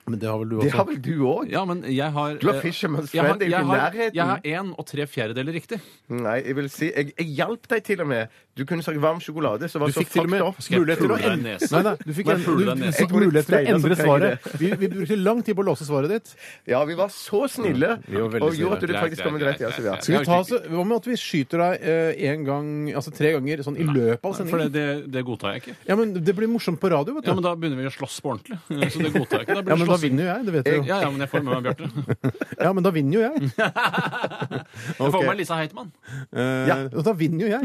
Speaker 5: Men det har vel du
Speaker 6: Det har
Speaker 5: også?
Speaker 6: vel du òg?
Speaker 7: Ja, men jeg har
Speaker 6: Du har
Speaker 7: eh,
Speaker 6: Fisherman's
Speaker 7: jeg har-
Speaker 6: Friend, det er jo
Speaker 7: jeg
Speaker 6: ikke
Speaker 7: har-
Speaker 6: nærheten.
Speaker 7: Jeg har én og tre fjerdedeler riktig.
Speaker 6: Nei, jeg vil si Jeg, jeg hjalp deg til og med. Du kunne sagt varm sjokolade, så var
Speaker 5: Du
Speaker 6: så
Speaker 5: fikk til og
Speaker 6: fucked
Speaker 5: med
Speaker 6: up.
Speaker 5: mulighet til å
Speaker 7: pulle deg i
Speaker 5: endre
Speaker 7: nesen?
Speaker 5: Nei, nei, du fikk,
Speaker 7: Må jeg
Speaker 5: en,
Speaker 7: pulle
Speaker 5: du,
Speaker 7: deg i
Speaker 5: du
Speaker 7: nesen?
Speaker 5: fikk mulighet til å
Speaker 6: Steinar som
Speaker 5: endre
Speaker 6: trenger
Speaker 5: svaret. Vi, vi brukte lang tid på å låse svaret ditt.
Speaker 6: Ja, vi var så snille,
Speaker 5: Vi var veldig
Speaker 6: og gjorde at du
Speaker 7: snille.
Speaker 6: faktisk kom rett.
Speaker 7: Greit,
Speaker 6: Ja,
Speaker 7: greit,
Speaker 6: så vi har.
Speaker 7: greit, greit.
Speaker 5: Skal vi ta oss, Hva med at vi skyter deg eh, en gang, altså tre ganger sånn i løpet av
Speaker 7: For det,
Speaker 5: sendingen?
Speaker 7: det, det godtar jeg ikke.
Speaker 5: Ja, men Det blir morsomt på radio, vet
Speaker 7: Ja,
Speaker 5: du.
Speaker 7: men Da begynner vi å slåss på ordentlig. Eh, Så det godtar jeg ikke. Da
Speaker 5: Ja,
Speaker 7: blir det
Speaker 5: men da
Speaker 7: slåss.
Speaker 5: vinner jo jeg. Det vet du jo.
Speaker 7: Ja, ja, men jeg får med meg Bjarte.
Speaker 5: Ja, men da vinner jo jeg.
Speaker 7: Jeg får med meg Lisa Heitmann.
Speaker 5: Eh, og Da vinner jo jeg.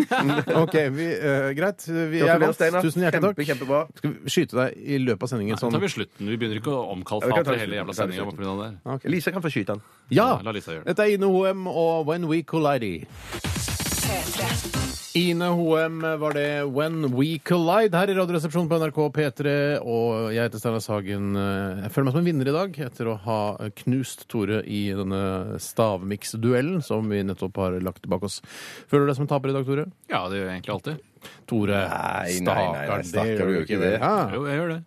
Speaker 5: OK, vi, eh, greit. Vi, jeg
Speaker 6: Gratulerer,
Speaker 5: vant.
Speaker 6: Steinar.
Speaker 5: Tusen
Speaker 6: Kjempe,
Speaker 5: hjertelig takk.
Speaker 6: kjempebra.
Speaker 5: Skal vi skyte deg i løpet av sendingen
Speaker 7: Så
Speaker 5: sånn?
Speaker 7: tar vi slutten. Vi begynner ikke å
Speaker 6: Ja, vi kan ta
Speaker 7: omkalfatre hele
Speaker 6: slutten.
Speaker 7: jævla
Speaker 6: Ta det
Speaker 7: sendinga pga. det. her.
Speaker 6: Lisa kan få skyte han.
Speaker 5: Ja!
Speaker 7: La Lisa gjøre det.
Speaker 5: Dette er Ine Hoem og When We Collide. Ine Hoem var det When We Collide her i Radioresepsjonen på NRK P3. Og jeg heter Steinar Sagen. Jeg føler meg som en vinner i dag etter å ha knust Tore i denne stavmiksduellen som vi nettopp har lagt bak oss. Føler du deg som en taper i dag, Tore?
Speaker 7: Ja, det gjør jeg egentlig alltid.
Speaker 5: Tore,
Speaker 6: Nei, nei, nei, nei, stakkar, du gjør ikke det.
Speaker 5: Ja,
Speaker 7: Jo, jeg gjør det.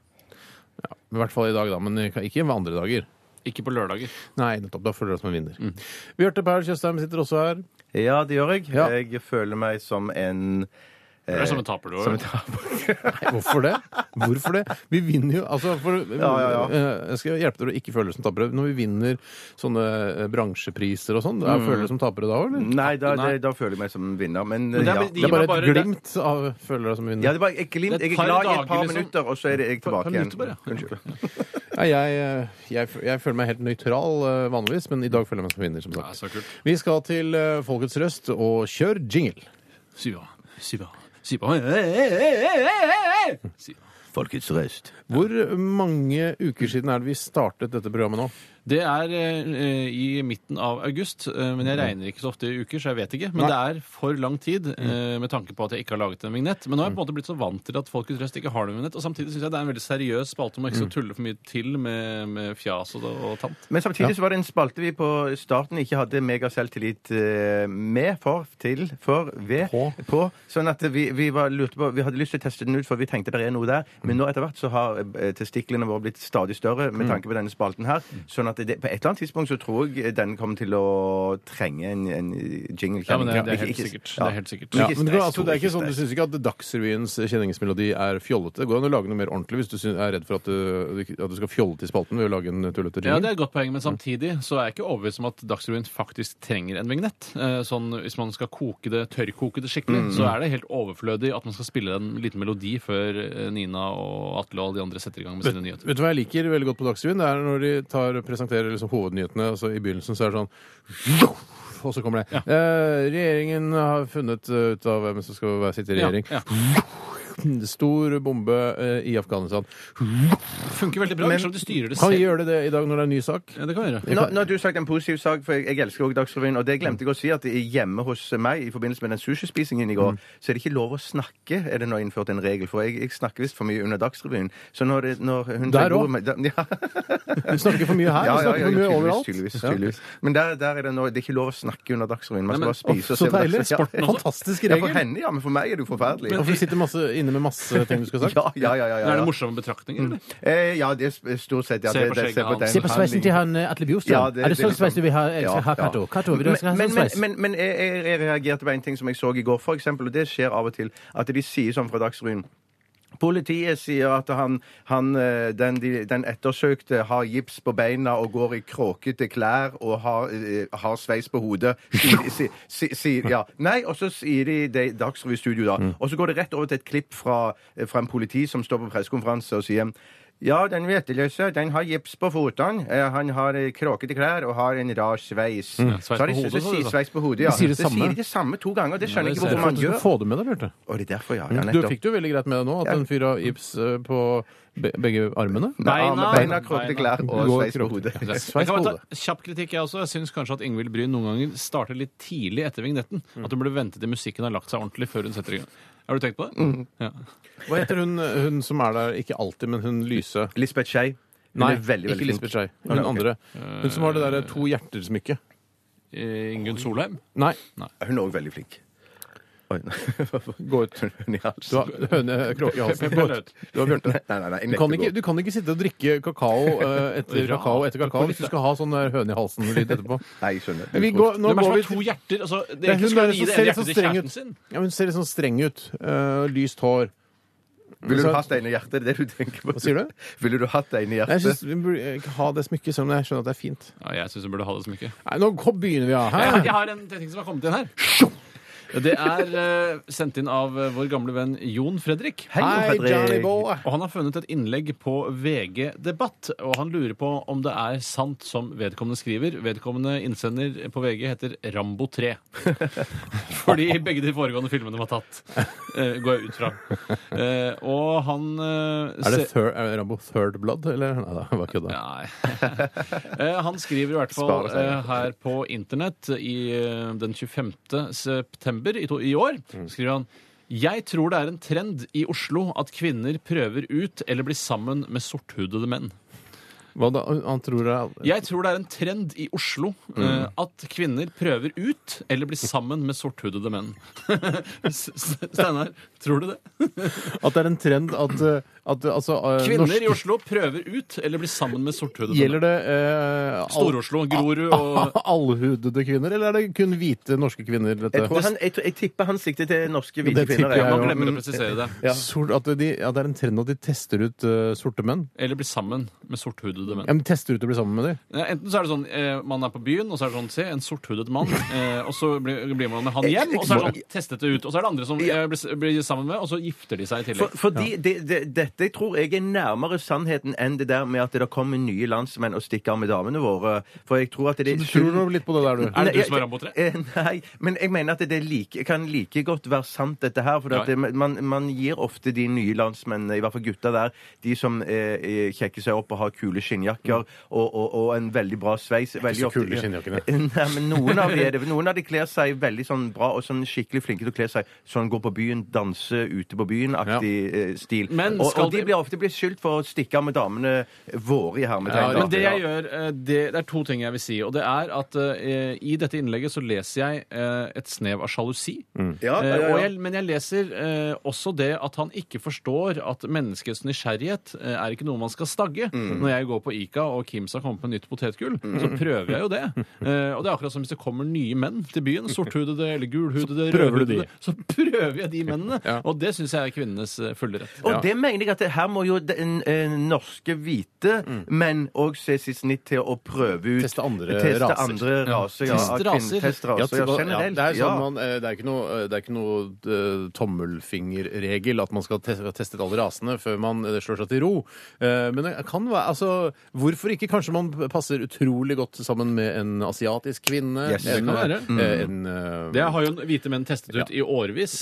Speaker 5: I hvert fall i dag, da. Men ikke ved andre dager.
Speaker 7: Ikke på lørdager.
Speaker 5: Nei, nettopp. Da føler du deg som en vinner.
Speaker 6: Mm.
Speaker 5: Bjarte Paul Tjøstheim sitter også her.
Speaker 6: Ja, det gjør jeg.
Speaker 5: Ja.
Speaker 6: Jeg føler meg som en
Speaker 7: Det er som en taper, du
Speaker 6: Eh, som en
Speaker 7: òg.
Speaker 5: Hvorfor det? Hvorfor det? Vi vinner jo altså for,
Speaker 6: ja, ja.
Speaker 5: Eh, Jeg skal hjelpe deg å ikke føle deg som tapere. Når vi vinner sånne eh, bransjepriser og sånn, da
Speaker 6: Mm.
Speaker 5: føler du deg som tapere da òg, eller?
Speaker 6: Nei, da,
Speaker 7: Nei.
Speaker 6: det- da føler jeg meg som en vinner, men,
Speaker 7: det er
Speaker 6: ja.
Speaker 7: vel de-
Speaker 5: Det er bare
Speaker 7: bare-
Speaker 5: et glimt av føler deg som
Speaker 6: Ja,
Speaker 5: vinner.
Speaker 6: det er bare, jeg, glimt,
Speaker 7: Det
Speaker 6: jeg er
Speaker 7: tar
Speaker 6: glad i
Speaker 7: dager,
Speaker 6: et par
Speaker 7: liksom.
Speaker 6: minutter, og så er det jeg
Speaker 7: Par-
Speaker 6: tilbake
Speaker 7: par
Speaker 6: igjen.
Speaker 7: minutter bare, ja.
Speaker 6: Unnskyld.
Speaker 5: Ja, jeg, eh, jeg, jeg føler meg helt nøytral eh, vanligvis, men i dag føler jeg meg som vinner. som
Speaker 7: Ja,
Speaker 5: sagt.
Speaker 7: så kult.
Speaker 5: Vi skal til eh, Folkets Røst, og kjør jingle.
Speaker 7: Syva, syva, syva Hey, hey, hey, hey, hey, hey! Syva.
Speaker 10: Folkets røst.
Speaker 5: Hvor mange uker siden er det vi startet dette programmet nå?
Speaker 7: Det er eh, i midten av august, eh, men jeg regner ikke så ofte i uker, så jeg vet ikke. Men det er for lang tid eh, med tanke på at jeg ikke har laget en vignett. Men nå har jeg på en måte blitt så vant til at Folkets Røst ikke har noen vignett. Og samtidig syns jeg det er en veldig seriøs spalte om ikke skal tulle for mye til med, med fjas og, og tant.
Speaker 6: Men samtidig så var det en spalte vi på starten ikke hadde megaselvtillit eh, med, for, til, for, ved,
Speaker 5: På.
Speaker 6: på. sånn at vi, vi var, lurte på Vi hadde lyst til å teste den ut, for vi tenkte det er noe der.
Speaker 5: Mm.
Speaker 6: Men nå etter hvert så har eh, testiklene våre blitt stadig større med tanke på denne spalten her.
Speaker 5: Mm.
Speaker 6: Sånn at det, på et eller annet tidspunkt så tror jeg den kommer til å trenge en, en jingle.
Speaker 7: Ja, men det- det er
Speaker 6: Ikke-
Speaker 7: helt
Speaker 6: ikke-
Speaker 7: sikkert.
Speaker 6: ja.
Speaker 7: Det er helt sikkert.
Speaker 6: Men
Speaker 5: Ja,
Speaker 6: ikke
Speaker 5: men det, går-
Speaker 6: stress,
Speaker 5: altså, det er ikke
Speaker 6: Tore,
Speaker 5: sånn, Du
Speaker 6: stress.
Speaker 5: syns ikke at Dagsrevyens kjenningsmelodi er fjollete? Det går an å lage noe mer ordentlig hvis du syns- er redd for at du, at du skal fjollete i spalten ved å lage en tullete
Speaker 7: Ja, det
Speaker 5: jingle?
Speaker 7: er et godt poeng, men samtidig så er jeg ikke overbevist om at Dagsrevyen faktisk trenger en vignett. Eh, Sånn, Hvis man skal koke det, tørrkoke det skikkelig, så er det helt overflødig at man skal spille en liten melodi før eh, Nina og Atle og alle de andre setter i gang med sine nyheter.
Speaker 5: Vet du hva jeg liker veldig godt på Dagsrevyen? Det er når de tar, presenterer liksom hovednyhetene. Altså, I begynnelsen så er det sånn Og så kommer det. Eh, regjeringen har funnet eh, ut av hvem som skal være- sitte i regjering.
Speaker 7: Ja,
Speaker 5: Stor bombe eh, i Afghanistan.
Speaker 7: ja. Funker veldig bra. Selv om de styrer det
Speaker 5: Kan vi
Speaker 7: selv.
Speaker 5: gjøre det, det i dag når det er en ny sak?
Speaker 7: Ja, det kan vi gjøre.
Speaker 6: Nå, nå har du sagt en positiv sak, for jeg, jeg elsker også Dagsrevyen. Og det glemte jeg å si, at i- hjemme hos meg i forbindelse med den sushispisingen i går,
Speaker 7: Mm.
Speaker 6: så er det ikke lov å snakke, er det nå innført en regel for. Jeg, jeg snakker visst for mye under Dagsrevyen. Så når, det, når hun
Speaker 5: Der
Speaker 6: tar
Speaker 5: også?
Speaker 6: ordet med- da- Ja,
Speaker 5: Du snakker for mye
Speaker 6: ja,
Speaker 5: her, du
Speaker 6: ja,
Speaker 5: snakker
Speaker 6: ja,
Speaker 5: for mye
Speaker 6: tydeligvis.
Speaker 5: overalt.
Speaker 6: tydeligvis,
Speaker 5: Ja.
Speaker 6: tydeligvis. Men der, der er det nå Det er ikke lov å snakke under Dagsrevyen. Man skal
Speaker 7: Nei, men-
Speaker 6: bare spise og
Speaker 5: Så
Speaker 6: se på
Speaker 5: deilig.
Speaker 6: Dagsrevyen. Ja,
Speaker 5: Sporten også. Fantastisk
Speaker 6: Ja, for
Speaker 5: regel.
Speaker 6: henne, ja. Men for meg er det jo forferdelig.
Speaker 5: Og for du sitter masse, inne med masse ting du skulle sagt.
Speaker 6: Ja, ja, ja. ja, ja.
Speaker 7: Er det morsomme
Speaker 5: Mm.
Speaker 7: betraktninger, eller?
Speaker 6: Eh, ja, det er sp- stort sett ja,
Speaker 7: Se
Speaker 6: det-
Speaker 7: på
Speaker 6: det-
Speaker 7: skjegget hans.
Speaker 6: den.
Speaker 7: Se
Speaker 6: Han ligner-
Speaker 5: Atle
Speaker 6: Ja, det- Er det det er sånn liksom- sveis du vil ha? Jeg skal Ja, ha sånn ja. Cato. Men, men, men, men jeg, jeg- jeg reagerte på en ting som jeg så i går, for eksempel, og det skjer av og til, at de sier sånn fra Dagsrevyen Politiet sier at han, han eh, den, de, den ettersøkte har gips på beina og går i kråkete klær og har, eh, har sveis på hodet. Sier de- si, si, si, ja. Nei, og så sier de det i Dagsrevy studio,
Speaker 7: Mm.
Speaker 6: da. Og så går det rett over til et klipp fra, eh, fra en politi som står på pressekonferanse og sier ja, den hveteløse den har gips på fotene. eh, Han har eh, kråkete klær og har en rar sveis.
Speaker 7: Mm. sveis
Speaker 6: Så har de-
Speaker 7: på hodet,
Speaker 6: så
Speaker 7: sa du
Speaker 6: sier
Speaker 7: da?
Speaker 6: Sveis på hodet, ja.
Speaker 5: De sier det
Speaker 6: Så
Speaker 5: samme.
Speaker 6: sier de det samme to ganger. Det skjønner jeg
Speaker 7: det
Speaker 6: ikke
Speaker 7: ser
Speaker 6: hvorfor man
Speaker 5: Du skal
Speaker 6: gjør.
Speaker 5: få det med deg, Bjarte.
Speaker 6: Og det er derfor, ja. ja
Speaker 5: Du
Speaker 6: nettopp.
Speaker 5: fikk det jo veldig greit med deg nå, at
Speaker 6: Ja.
Speaker 5: en fyr har gips eh, på be begge armene.
Speaker 6: Nei,
Speaker 7: Beina.
Speaker 6: beina, beina kråkete klær og
Speaker 5: Går
Speaker 6: sveis på
Speaker 5: kråkete.
Speaker 6: hodet.
Speaker 5: Ja, det er
Speaker 7: Jeg
Speaker 5: Sveis
Speaker 7: kan
Speaker 5: på
Speaker 7: bare
Speaker 5: hodet.
Speaker 7: ta kjapp kritikk, jeg også. Jeg syns kanskje at Ingvild Bryn noen ganger starter litt tidlig etter vignetten.
Speaker 5: Mm.
Speaker 7: At hun burde vente til musikken har lagt seg ordentlig før hun setter i gang. Har du tenkt på det?
Speaker 5: Mm.
Speaker 7: Ja.
Speaker 5: Hva heter hun, eh, hun som er der ikke alltid, men hun lyse?
Speaker 6: Lisbeth Skei. Hun
Speaker 5: Nei,
Speaker 6: er veldig,
Speaker 5: ikke
Speaker 6: veldig
Speaker 5: Lisbeth Skei.
Speaker 6: Nei,
Speaker 5: Hun
Speaker 6: ok.
Speaker 5: andre. Hun som har det derre to hjerter-smykket.
Speaker 7: Eh, Ingunn Solheim?
Speaker 5: Nei,
Speaker 6: flink. Hun er òg veldig flink. Oi, nei.
Speaker 5: gå ut.
Speaker 6: Hun i halsen.
Speaker 5: Du har hønekråke i halsen.
Speaker 7: Pepper
Speaker 5: Gå
Speaker 7: Lød.
Speaker 5: ut. Du har Bjarte.
Speaker 6: Nei, nei, nei, jeg
Speaker 5: Du
Speaker 6: nekter
Speaker 5: kan,
Speaker 6: å
Speaker 5: ikke,
Speaker 6: gå.
Speaker 5: du kan ikke sitte og drikke kakao eh, etter
Speaker 7: Bra.
Speaker 5: kakao etter kakao hvis du skal ha sånn der høne i halsen-lyd etterpå.
Speaker 6: Nei, jeg skjønner.
Speaker 5: Vi går, nå
Speaker 7: Hvem er
Speaker 5: går vi
Speaker 7: som har
Speaker 5: til
Speaker 7: to hjerter? Altså, det
Speaker 5: Det
Speaker 7: er
Speaker 5: er
Speaker 7: ikke
Speaker 5: hun
Speaker 7: skulle
Speaker 5: der
Speaker 7: gi
Speaker 5: som
Speaker 7: det
Speaker 5: ser
Speaker 7: ene
Speaker 5: litt
Speaker 7: hjertet
Speaker 5: sånn
Speaker 7: til
Speaker 5: streng
Speaker 7: kjæresten
Speaker 5: ut.
Speaker 7: sin.
Speaker 5: Ja, men hun ser litt sånn streng ut. Eh, lyst hår.
Speaker 6: Ville du hatt en i hjertet? Det er det du tenker på.
Speaker 5: altså- Hva sier du?
Speaker 6: Ville du hatt en i
Speaker 5: Jeg
Speaker 6: hjertet?
Speaker 5: synes Vi burde ikke ha det smykket, selv om jeg skjønner at det er fint.
Speaker 7: Ja, jeg syns hun burde ha det smykket.
Speaker 5: Nei, Nå kom- begynner vi, ja.
Speaker 7: Jeg, har-
Speaker 5: Hæ?
Speaker 7: jeg har en ting som har kommet inn her. Det er eh, sendt inn av eh, vår gamle venn Jon Fredrik.
Speaker 5: Hei,
Speaker 6: Fredrik.
Speaker 5: Johnny Boy.
Speaker 7: Og han har funnet et innlegg på VG Debatt, og han lurer på om det er sant som vedkommende skriver. Vedkommende innsender på VG heter Rambo 3. Fordi begge de foregående filmene var tatt, eh, går jeg ut fra. Eh, og han eh,
Speaker 5: Er det
Speaker 7: se-
Speaker 5: third, er det Rambo Third Blood, eller? Nei da, jeg bare kødda.
Speaker 7: Nei. Eh, Han skriver i hvert fall
Speaker 6: Spare seg.
Speaker 7: eh, her på internett i eh, den 25. september i, to, i år.
Speaker 6: Mm.
Speaker 7: skriver han jeg tror det er en trend i Oslo at kvinner prøver ut eller blir sammen med sorthudede menn.
Speaker 5: Hva da? Han tror det er
Speaker 7: Jeg tror det er en trend i Oslo eh,
Speaker 6: Mm.
Speaker 7: at kvinner prøver ut eller blir sammen med sorthudede menn. S- S- Steinar, tror du det?
Speaker 5: At det er en trend at, eh, at eh, altså, eh,
Speaker 7: Kvinner
Speaker 5: norsk-
Speaker 7: i Oslo prøver ut eller blir sammen med sorthudede menn.
Speaker 5: Gjelder det eh, all-
Speaker 7: Stor-Oslo, Grorud og
Speaker 5: allhudede kvinner, eller er det kun hvite norske kvinner? Dette?
Speaker 6: Jeg, tror han, jeg, tror- jeg tipper han sikter til norske hvite
Speaker 5: Det
Speaker 6: kvinner.
Speaker 5: tipper
Speaker 6: ja.
Speaker 5: jeg
Speaker 7: Man
Speaker 5: også.
Speaker 7: glemmer å presisere det.
Speaker 5: Sort, at, de, at det er en trend at de tester ut eh, sorte menn?
Speaker 7: Eller blir sammen med sorthudede sorthudet menn.
Speaker 5: Ja, men Tester du ut å bli sammen med dem?
Speaker 7: Ja, Enten så er det sånn eh, man er på byen, og så er det sånn se, en sorthudet mann. Eh, og så blir, blir man med han hjem, og så er det sånn testet det ut. Og så er det andre som eh, blir, blir sammen med, og så gifter de seg i
Speaker 6: For,
Speaker 7: tillegg.
Speaker 6: fordi det, det, dette tror jeg er nærmere sannheten enn det der med at det kommer nye landsmenn og stikker av med damene våre. For jeg tror at det
Speaker 5: Du tror du litt på det der, du.
Speaker 7: Er det du
Speaker 6: Nei,
Speaker 7: som er Rambo 3?
Speaker 6: eh, Nei, men jeg mener at det er like, kan like godt være sant, dette her. For at
Speaker 7: Ja.
Speaker 6: det, man, man gir ofte de nye landsmennene, i hvert fall gutta der, de som eh, eh, kjekker seg opp og har kule skinnjakker
Speaker 7: Mm.
Speaker 6: og, og, og en veldig bra sveis veldig
Speaker 5: så
Speaker 6: ofte-
Speaker 5: kule skinnjakkene.
Speaker 6: Nei, men noen av de er det. Noen av de kler seg veldig sånn bra og sånn skikkelig flinke til å kle seg sånn gå på byen, danse ute på byen-aktig eh, stil.
Speaker 7: Men
Speaker 6: og,
Speaker 7: skal
Speaker 6: og de
Speaker 7: de-
Speaker 6: blir ofte blitt skyldt for å stikke av med damene våre i hermetegn. da.
Speaker 7: Men det jeg gjør, eh, det, det er to ting jeg vil si. Og det er at eh, i dette innlegget så leser jeg eh, et snev av sjalusi.
Speaker 5: Mm.
Speaker 8: Ja, ja, ja, ja.
Speaker 7: Eh, og jeg, men jeg leser eh, også det at han ikke forstår at menneskets nysgjerrighet eh, er ikke noe man skal stagge.
Speaker 5: Mm.
Speaker 7: Når jeg går på Ica og Kims har kommet med nytt potetgull, så prøver jeg jo det. Eh, og det er akkurat som hvis det kommer nye menn til byen, sorthudede eller gulhudede,
Speaker 5: prøver du
Speaker 7: rødhudede,
Speaker 5: de.
Speaker 7: så prøver jeg de mennene.
Speaker 5: Ja.
Speaker 7: Og det syns jeg er kvinnenes eh, fulle rett.
Speaker 6: Og det mener jeg at det, her må jo den eh, norske hvite menn òg se sitt snitt til å prøve ut
Speaker 5: Teste andre
Speaker 6: teste
Speaker 5: raser.
Speaker 6: Andre raser ja.
Speaker 7: Teste raser.
Speaker 6: Teste
Speaker 5: Ja,
Speaker 6: raser. Ja,
Speaker 5: til- ja,
Speaker 6: generelt.
Speaker 5: det er
Speaker 6: ja.
Speaker 5: sånn man, eh, det er ikke noe, eh, det er ikke noe eh, tommelfingerregel at man skal te- ha testet alle rasene før man eh, slår seg til ro. Eh, Men det kan være altså, Hvorfor ikke? Kanskje man passer utrolig godt sammen med en asiatisk kvinne?
Speaker 6: Yes.
Speaker 5: en,
Speaker 7: Det kan være. Mm.
Speaker 5: eh, en, eh,
Speaker 7: Det har jo hvite menn testet ut i årevis.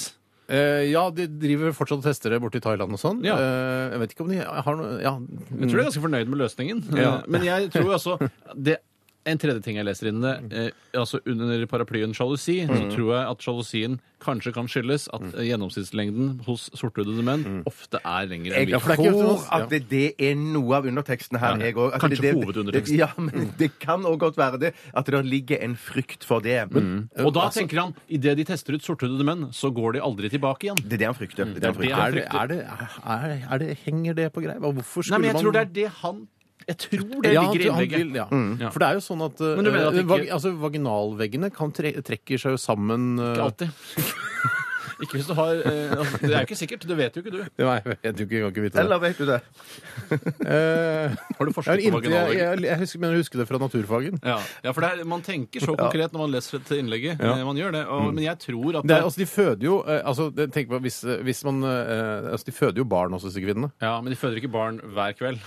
Speaker 5: eh, ja, de driver fortsatt og tester det borte i Thailand og sånn.
Speaker 7: Ja.
Speaker 5: Eh, Jeg vet ikke om de har noe ja.
Speaker 7: Jeg tror de er ganske fornøyd med løsningen.
Speaker 5: Mm. Ja.
Speaker 7: Eh, Men jeg tror jo også det en tredje ting jeg leser inne, eh, altså under paraplyen sjalusi,
Speaker 5: Mm.
Speaker 7: så tror jeg at sjalusien kanskje kan skyldes at eh, gjennomsnittslengden hos sorthudede menn ofte er lengre enn
Speaker 6: Jeg
Speaker 7: hvite.
Speaker 5: Mm. for det er ikke
Speaker 6: tror
Speaker 5: ofte man-
Speaker 6: at det, det er noe av underteksten her. Jeg også. At
Speaker 7: Kanskje
Speaker 6: det, det,
Speaker 7: hovedunderteksten.
Speaker 6: Ja, men det kan òg godt være det. At det ligger en frykt for det. altså,
Speaker 7: Og da
Speaker 5: Altså-
Speaker 7: tenker han idet de tester ut sorthudede menn, så går de aldri tilbake igjen.
Speaker 6: Det er det han frykter. Det er det han
Speaker 7: det
Speaker 6: frykter.
Speaker 7: jeg
Speaker 5: er det, er det, er det, er det, henger det på greip? Hvorfor skulle
Speaker 7: Nei, men jeg
Speaker 5: man
Speaker 7: tror det er det han Jeg tror det ligger i
Speaker 5: han- han vil-
Speaker 7: innlegget. Mm.
Speaker 5: ja. For det er jo sånn at, eh,
Speaker 7: Men du mener at det
Speaker 5: vag,
Speaker 7: ikke-
Speaker 5: altså, vaginalveggene kan tre trekker seg jo sammen eh,
Speaker 7: Ikke alltid. Ikke hvis du har eh, altså, Det er jo ikke sikkert. Det vet jo ikke du.
Speaker 5: Nei, jeg vet jo ikke, jeg kan ikke vite det. Eh,
Speaker 6: Eller vet du det?
Speaker 7: Har du
Speaker 5: jeg,
Speaker 7: forsket
Speaker 5: har
Speaker 7: på
Speaker 5: inntil- jeg,
Speaker 7: vaginalvegg?
Speaker 5: jeg, jeg husker, mener, jeg husker det fra naturfagen.
Speaker 7: Ja, ja for det er, Man tenker så konkret når man leser dette innlegget.
Speaker 5: Ja.
Speaker 7: Eh, Man gjør det, og, Men jeg tror at
Speaker 5: Det er, altså, de føder jo eh, altså, det- tenk på, hvis, eh, hvis man, eh, altså, De føder jo barn også, disse kvinnene.
Speaker 7: Ja, Men de føder ikke barn hver kveld.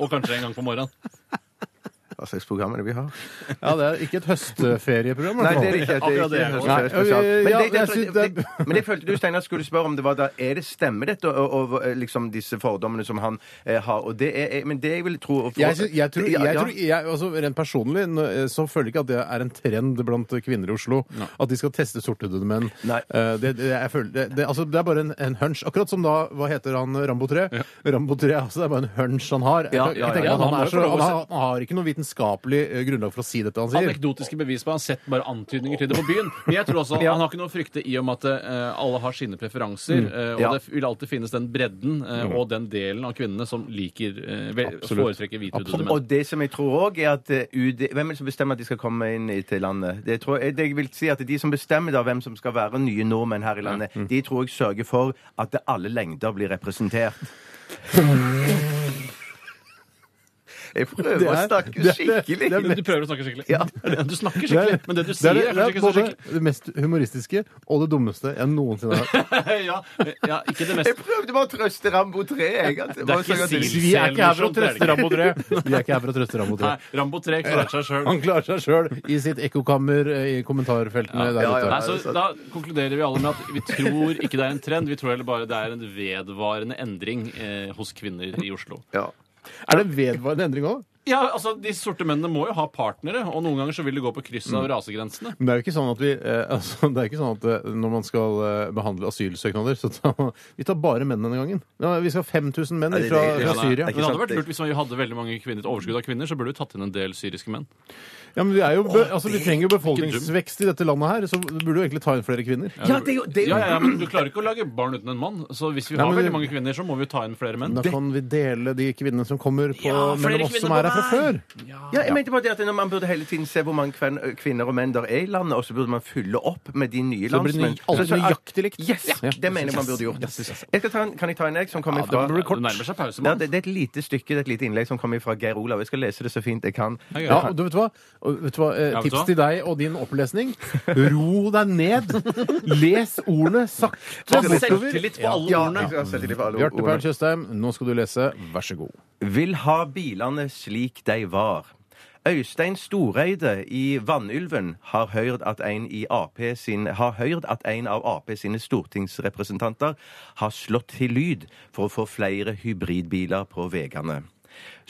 Speaker 7: og kanskje en gang på morgenen.
Speaker 6: Hva slags program er det Altså, vi har?
Speaker 5: Ja, Det er ikke et høstferieprogram. i hvert
Speaker 6: Nei,
Speaker 5: fall.
Speaker 6: det er det ikke. Det er
Speaker 7: Akkurat det
Speaker 6: ikke
Speaker 7: jeg
Speaker 6: høres
Speaker 7: går.
Speaker 6: veldig spesielt.
Speaker 5: Nei,
Speaker 6: Men
Speaker 5: ja,
Speaker 6: det- det-
Speaker 5: jeg synes det er-
Speaker 6: det- Men jeg følte du, Steinar, skulle spørre om det var da Er det stemmer dette og, og, og, liksom disse fordommene som han eh, har? Og det er, er- men det jeg vil tro og for-
Speaker 5: Jeg, synes, jeg tror,
Speaker 6: Ja,
Speaker 5: jeg
Speaker 6: ja.
Speaker 5: tror jeg, altså, Rent personlig nå, eh, så føler jeg ikke at det er en trend blant kvinner i Oslo. At de skal teste sorthudede menn.
Speaker 6: Nei.
Speaker 5: Eh, Det, det, jeg føler, det, det, altså, det er bare en, en hunch. Akkurat som da Hva heter han Rambo 3? Rambo 3 altså, det er bare en hunch han har. Jeg,
Speaker 6: Ja,
Speaker 5: jeg,
Speaker 6: ja, ja,
Speaker 5: tenker
Speaker 7: ja,
Speaker 5: at han,
Speaker 7: han må
Speaker 5: er
Speaker 7: jo
Speaker 5: så,
Speaker 7: få lov
Speaker 5: han,
Speaker 7: å
Speaker 5: har, han har ikke noe vitenskapelig eh, grunnlag for å si dette han sier.
Speaker 7: Anekdotiske bevis på Han har sett bare antydninger til det på byen. Men jeg tror også Han har ikke noe å frykte i og med at eh, alle har sine preferanser. eh, og
Speaker 6: Ja.
Speaker 7: det vil alltid finnes den bredden eh, og den delen av kvinnene som liker eh, vel-
Speaker 5: Absolutt.
Speaker 7: foretrekker hvithudede
Speaker 6: Og
Speaker 7: menn.
Speaker 6: det som jeg tror òg, er at eh, UD Hvem er det som bestemmer at de skal komme inn i- til landet? Det, tror, jeg, det jeg vil si at De som bestemmer da hvem som skal være nye nordmenn her i landet, de tror jeg sørger for at alle lengder blir representert. Jeg prøver å snakke skikkelig.
Speaker 7: Men Du prøver å snakke skikkelig.
Speaker 6: Ja.
Speaker 7: Du snakker skikkelig, men det du sier, er, kanskje ikke så
Speaker 5: både
Speaker 7: skikkelig.
Speaker 5: det mest humoristiske og det dummeste jeg noensinne har hørt.
Speaker 7: ja, ja, ikke det mest
Speaker 6: Jeg prøvde bare å trøste Rambo 3. Jeg, at, det
Speaker 7: ikke silt.
Speaker 5: Vi er ikke her for å trøste Rambo 3. Vi er ikke her for å trøste Rambo 3.
Speaker 7: Nei, Rambo 3 klarer seg sjøl.
Speaker 5: Han klarer seg sjøl i sitt ekkokammer eh, i kommentarfeltene der
Speaker 6: ja,
Speaker 5: ute.
Speaker 6: ja.
Speaker 7: Nei, så Da konkluderer vi alle med at vi tror ikke det er en trend, vi tror heller bare det er en vedvarende endring eh, hos kvinner i Oslo.
Speaker 5: Er det en vedvarende endring òg?
Speaker 7: Ja, altså, De sorte mennene må jo ha partnere, og noen ganger så vil det gå på kryss av rasegrensene.
Speaker 5: Men det er jo ikke sånn at vi eh, altså, Det er jo ikke sånn at eh, når man skal eh, behandle asylsøknader, så tar man- vi tar bare menn denne gangen. Ja, vi skal ha 5000 menn
Speaker 6: det-
Speaker 5: fra,
Speaker 6: det-
Speaker 5: fra
Speaker 7: Men
Speaker 5: Syria.
Speaker 7: det hadde vært lurt hvis man hadde veldig mange kvinner, et overskudd av kvinner, så burde du tatt inn en del syriske menn.
Speaker 5: Ja, men vi, er jo, be- altså, vi trenger jo befolkningsvekst i dette landet her, så burde jo egentlig ta inn flere kvinner.
Speaker 6: Ja, det er jo det,
Speaker 7: Ja, ja, men Du klarer ikke å lage barn uten en mann, så hvis vi
Speaker 5: Nei,
Speaker 7: har
Speaker 5: men-
Speaker 7: veldig mange kvinner, så må vi ta inn flere menn.
Speaker 5: Da kan vi dele de kvinnene som kommer, på,
Speaker 7: Ja, flere
Speaker 5: mellom oss som
Speaker 7: kvinner
Speaker 5: er
Speaker 7: på
Speaker 5: her fra før.
Speaker 6: Ja, jeg mente bare det at når Man burde hele tiden se hvor mange kven, kvinner og menn der er i landet, og så burde man fylle opp med de nye
Speaker 5: Så blir det
Speaker 6: landsmenn.
Speaker 5: nøy- alt
Speaker 6: Så- så-
Speaker 5: nøyaktig likt.
Speaker 6: Yes!
Speaker 5: Ja.
Speaker 6: Det mener jeg man burde gjort.
Speaker 5: Yes, yes, yes.
Speaker 6: Jeg skal ta en, kan jeg ta en jeg som kommer
Speaker 5: Ja, det
Speaker 6: fra
Speaker 5: må bli kort.
Speaker 7: Det nærmer seg pause,
Speaker 6: Ja,
Speaker 7: mann.
Speaker 6: det, det er et lite stykke, det er et lite innlegg som kommer fra Geir Olav. Jeg skal lese det så fint jeg kan.
Speaker 5: Ja, og du vet hva? Og Vet du hva? Eh,
Speaker 7: Ja, vet du
Speaker 5: Tips
Speaker 7: hva?
Speaker 5: til deg og din opplesning. Ro deg ned. Les ordene sakte
Speaker 7: Ta selvtillit på alle
Speaker 6: Ja,
Speaker 7: ordene.
Speaker 6: jeg skal sette litt på alle
Speaker 5: Bjarte Paul
Speaker 6: ordene.
Speaker 5: Tjøstheim, nå skal du lese. Vær så god.
Speaker 6: Vil ha bilene slik de var. Øystein Storeide i Vannylven har hørt at en, i AP sin, har hørt at en av AP sine stortingsrepresentanter har slått til lyd for å få flere hybridbiler på veiene.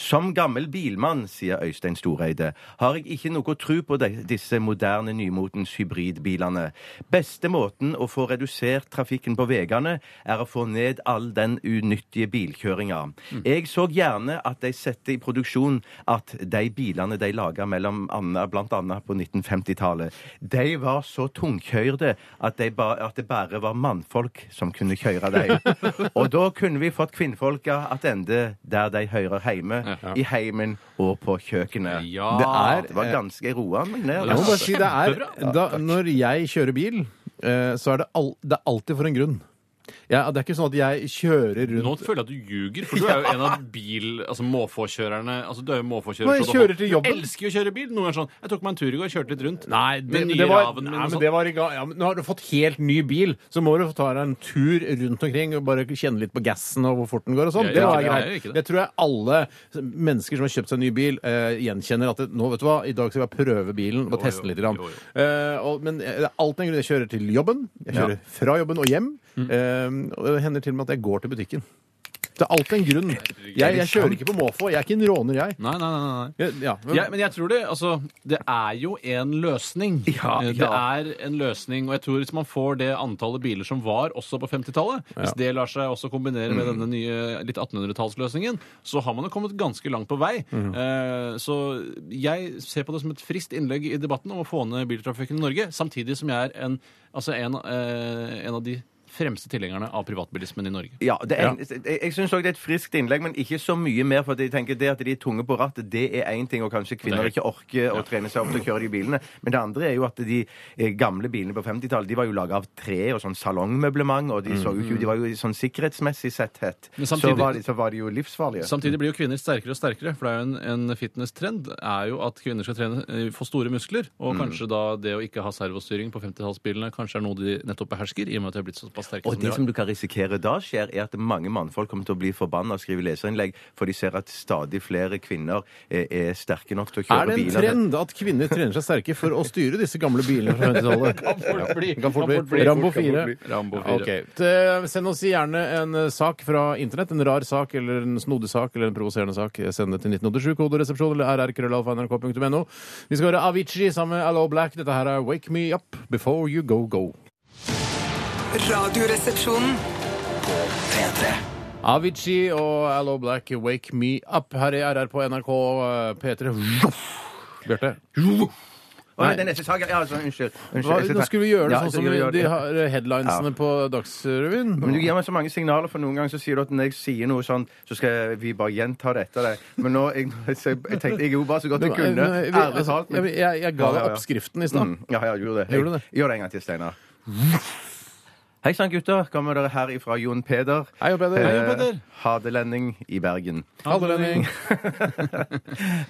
Speaker 6: Som gammel bilmann, sier Øystein Storeide, har jeg ikke noe tro på de, disse moderne nymotens hybridbilene. Beste måten å få redusert trafikken på veiene, er å få ned all den unyttige bilkjøringa. Jeg så gjerne at de setter i produksjon at de bilene de laga mellom anna, blant annet på 1950-tallet, de var så tungkjørte at, de ba, at det bare var mannfolk som kunne kjøre dem. Og da kunne vi fått kvinnfolka attende der de hører hjemme, i heimen og på kjøkkenet.
Speaker 7: Ja.
Speaker 6: Det, er, det var ganske roa meg ned.
Speaker 5: Jeg må
Speaker 6: altså.
Speaker 5: bare si det er da, Når jeg kjører bil, eh, så er det, al det er alltid for en grunn. Jeg, det er ikke sånn at jeg kjører
Speaker 7: Nå
Speaker 5: rundt
Speaker 7: føler jeg at du ljuger, for du er jo en av bil... Altså måfåkjørerne. Altså, du er jo måfåkjører.
Speaker 5: Når jeg
Speaker 7: så du-
Speaker 5: kjører til jobben.
Speaker 7: Du elsker jo å kjøre bil. Noen ganger sånn Jeg tok meg en tur i går, kjørte litt rundt.
Speaker 5: Nei, det,
Speaker 7: Med nye
Speaker 5: det var,
Speaker 7: raven min
Speaker 5: nei
Speaker 7: og
Speaker 5: men
Speaker 7: sånn.
Speaker 5: det var i ga- ja, men Nå har du fått helt ny bil, så må du få ta deg en tur rundt omkring og bare kjenne litt på gassen og hvor fort den går og sånn.
Speaker 7: Jeg
Speaker 5: Det
Speaker 7: gjør
Speaker 5: var
Speaker 7: ikke det, jeg
Speaker 5: greit.
Speaker 7: gjør ikke det.
Speaker 5: Det tror jeg alle mennesker som har kjøpt seg en ny bil, eh, gjenkjenner at det, nå, vet du hva, i dag skal jeg prøve bilen og teste den litt. Grann.
Speaker 7: jo, jo.
Speaker 5: Eh, og, men det er alltid en grunn. Jeg kjører til jobben, jeg kjører fra jobben og hjem.
Speaker 7: Mm.
Speaker 5: eh, og det hender til og med at jeg går til butikken. Det er alltid en grunn. Jeg, jeg kjører ikke på måfå. Jeg er ikke en råner, jeg.
Speaker 7: Nei, nei, nei. nei.
Speaker 5: Jeg- Ja, men,
Speaker 7: Ja, men jeg tror det. Altså, det er jo en løsning.
Speaker 6: Ja,
Speaker 7: Eh, Det er en løsning, og jeg tror hvis man får det antallet biler som var også på 50-tallet, hvis det lar seg også kombinere
Speaker 6: Mm.
Speaker 7: med denne nye litt 1800-tallsløsningen, så har man jo kommet ganske langt på vei.
Speaker 6: Mm.
Speaker 7: Eh, så jeg ser på det som et friskt innlegg i debatten om å få ned biltrafikken i Norge, samtidig som jeg er en, altså en, eh, en av de fremste tilhengerne av privatbilismen i Norge.
Speaker 6: Ja, det er, Jeg, jeg syns òg det er et friskt innlegg, men ikke så mye mer. For at jeg tenker det at de er tunge på rattet, det er én ting, og kanskje kvinner
Speaker 7: Det
Speaker 6: ikke orker å trene seg opp til å kjøre de bilene. Men det andre er jo at de eh, gamle bilene på 50-tallet de var jo laga av tre og sånn salongmøblement, og de, så jo ikke, de var jo sånn sikkerhetsmessig sett hett.
Speaker 7: Men
Speaker 6: Så
Speaker 7: samtidig-
Speaker 6: var, de, så var de jo livsfarlige.
Speaker 7: Samtidig blir jo kvinner sterkere og sterkere, for det er jo en, en fitness-trend er jo at kvinner skal trene, eh, få store muskler, og kanskje da det å ikke ha servostyring på 50-tallsbilene kanskje er noe de nettopp behersker, i og med at de har blitt såpass sterke
Speaker 6: Og
Speaker 7: som de
Speaker 6: det som
Speaker 7: har.
Speaker 6: du kan risikere da skjer, er at mange mannfolk kommer til å bli forbanna og skrive leserinnlegg, for de ser at stadig flere kvinner eh, er sterke nok til å
Speaker 5: Er
Speaker 6: kjøre
Speaker 5: det en
Speaker 6: biler.
Speaker 5: trend at kvinner trener seg sterke for å styre disse gamle bilene fra 50-tallet?
Speaker 7: Kan fort bli.
Speaker 5: Kan fort
Speaker 7: Kan
Speaker 5: bli.
Speaker 7: fort bli.
Speaker 5: Rambo
Speaker 7: Kan
Speaker 5: 4.
Speaker 7: fort bli. Rambo
Speaker 5: Ja,
Speaker 7: 4.
Speaker 5: ok. T- eh, Send oss gjerne en eh, sak fra internett. En rar sak eller en snodig sak eller en provoserende sak. eh, Send det til 1987, koderesepsjon eller rrkrøllalfa.nrk.no. Vi skal høre Avicii sammen med Allo Black. Dette her er Wake Me Up Before You Go Go.
Speaker 11: Radioresepsjonen.
Speaker 1: P3
Speaker 5: Avicii og Allo Black, Wake Me Up. Her i RR på NRK eh, P3. Bjarte.
Speaker 6: Å, nei, den neste saken Ja, altså, unnskyld. unnskyld
Speaker 5: Hva,
Speaker 6: jeg skal
Speaker 5: nå
Speaker 6: ta-
Speaker 5: skulle vi gjøre det
Speaker 6: Ja,
Speaker 5: sånn
Speaker 6: jeg
Speaker 5: som
Speaker 6: skal
Speaker 5: vi,
Speaker 6: gjøre
Speaker 5: de
Speaker 6: det.
Speaker 5: har headlinesene på Dagsrevyen.
Speaker 6: Men du gir meg så mange signaler, for noen ganger så sier du at når jeg sier noe sånn, så skal vi bare gjenta det etter deg. Men nå jeg, så jeg, jeg tenkte jeg gjorde bare så godt jeg kunne.
Speaker 5: Nei, vi-
Speaker 6: Ærlig
Speaker 5: altså,
Speaker 6: talt. Men,
Speaker 5: jeg, jeg, jeg ga
Speaker 6: Ja, ja,
Speaker 5: deg
Speaker 6: ja.
Speaker 5: oppskriften i stad.
Speaker 6: mm, ja, ja, jeg gjorde det.
Speaker 5: Gjorde du det?
Speaker 6: gjør det en gang til, Steinar. Hei sann, gutter. Kommer dere her ifra Jon Peder?
Speaker 5: Hei, Jon Peder.
Speaker 6: Eh,
Speaker 5: Hei, Jon Peder.
Speaker 6: Hadelending i Bergen.
Speaker 5: Ha det, Lenning.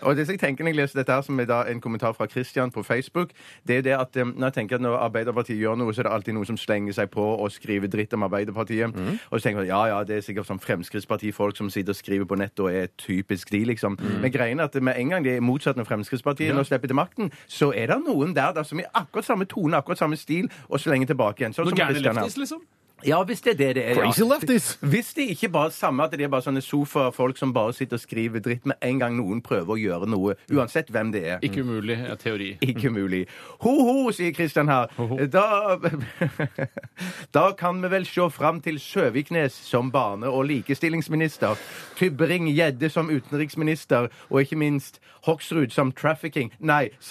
Speaker 6: Og det som jeg tenker når jeg leser dette her, som er da en kommentar fra Christian på Facebook, det er det at eh, når jeg tenker at når Arbeiderpartiet gjør noe, så er det alltid noen som slenger seg på og skriver dritt om Arbeiderpartiet. Og så tenker man ja, ja, det er sikkert sånn Fremskrittspartifolk som sitter og skriver på nett og er typisk de, liksom. Men greien er at med en gang de er motsatt når Fremskrittspartiet nå slipper til makten, så er det noen der da som i akkurat samme tone, akkurat samme stil, og slenger tilbake igjen. Sånn
Speaker 7: Noen
Speaker 6: som
Speaker 7: gærne
Speaker 6: Christian her.
Speaker 7: lefties, liksom?
Speaker 6: Ja, hvis det er det det er.
Speaker 5: Crazy
Speaker 6: ja.
Speaker 5: lefties.
Speaker 6: Hvis det ikke bare er samme at det er bare sånne sofafolk som bare sitter og skriver dritt med en gang noen prøver å gjøre noe, uansett hvem det er.
Speaker 7: Ikke umulig eh, teori.
Speaker 6: Ikke mulig. Ho-ho, sier Kristian her. Da, da kan vi vel se fram til Søviknes som barne- og likestillingsminister, Tybring-Gjedde som utenriksminister, og ikke minst Hoksrud som trafficking... Nei,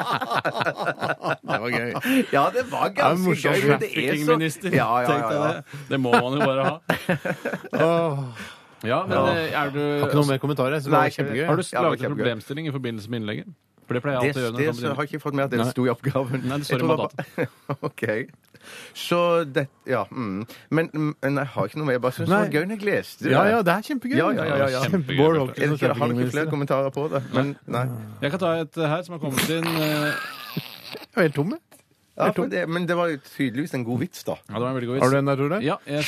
Speaker 6: samferdselsminister.
Speaker 5: Det var gøy.
Speaker 6: Ja, det var
Speaker 5: Det er
Speaker 6: ganske
Speaker 5: morsomt.
Speaker 6: gøy. men Det er så...
Speaker 7: Trafficking-minister.
Speaker 6: Ja, ja,
Speaker 7: Tenk
Speaker 6: ja,
Speaker 7: deg
Speaker 6: ja.
Speaker 7: Det. det må man jo bare ha.
Speaker 5: Åh.
Speaker 7: Ja, men eh, er du
Speaker 5: Har ikke noe mer kommentarer. jeg synes
Speaker 6: Nei,
Speaker 5: det var kjempegøy.
Speaker 6: kjempegøy.
Speaker 7: Har du
Speaker 6: Ja, det var
Speaker 7: laget en
Speaker 6: kjempegøy.
Speaker 7: problemstilling i forbindelse med innlegget? For det pleier jeg
Speaker 6: Det,
Speaker 7: alltid å gjøre. når
Speaker 6: det
Speaker 7: det
Speaker 6: så
Speaker 7: kommer til
Speaker 6: har jeg ikke fått med at det
Speaker 7: Nei.
Speaker 6: sto i oppgaven.
Speaker 7: Nei, det står
Speaker 6: Jeg
Speaker 7: i
Speaker 6: tror bare- OK. Så det Ja. Mm. Men mm, men jeg har ikke noe mer. Jeg bare syns det var
Speaker 5: Nei.
Speaker 6: gøy når jeg leste det.
Speaker 5: Ja, ja, det er kjempegøy.
Speaker 6: Ja, ja, ja, ja, ja.
Speaker 5: Kjempe- Bård
Speaker 7: Kjempegøy,
Speaker 5: Hopkins
Speaker 6: Er det
Speaker 5: og
Speaker 6: ikke, har dere ikke flere
Speaker 5: kjøpeminister.
Speaker 6: kommentarer på det? Men, nei.
Speaker 7: innlegg. Jeg kan ta et eh, her som har kommet inn. eh,
Speaker 5: Jeg er helt tom, jeg.
Speaker 6: Ja, for det, men det var jo tydeligvis en god vits, da.
Speaker 7: Ja, det var en veldig god vits.
Speaker 5: Har du en der, Tore?
Speaker 7: Ja, jeg,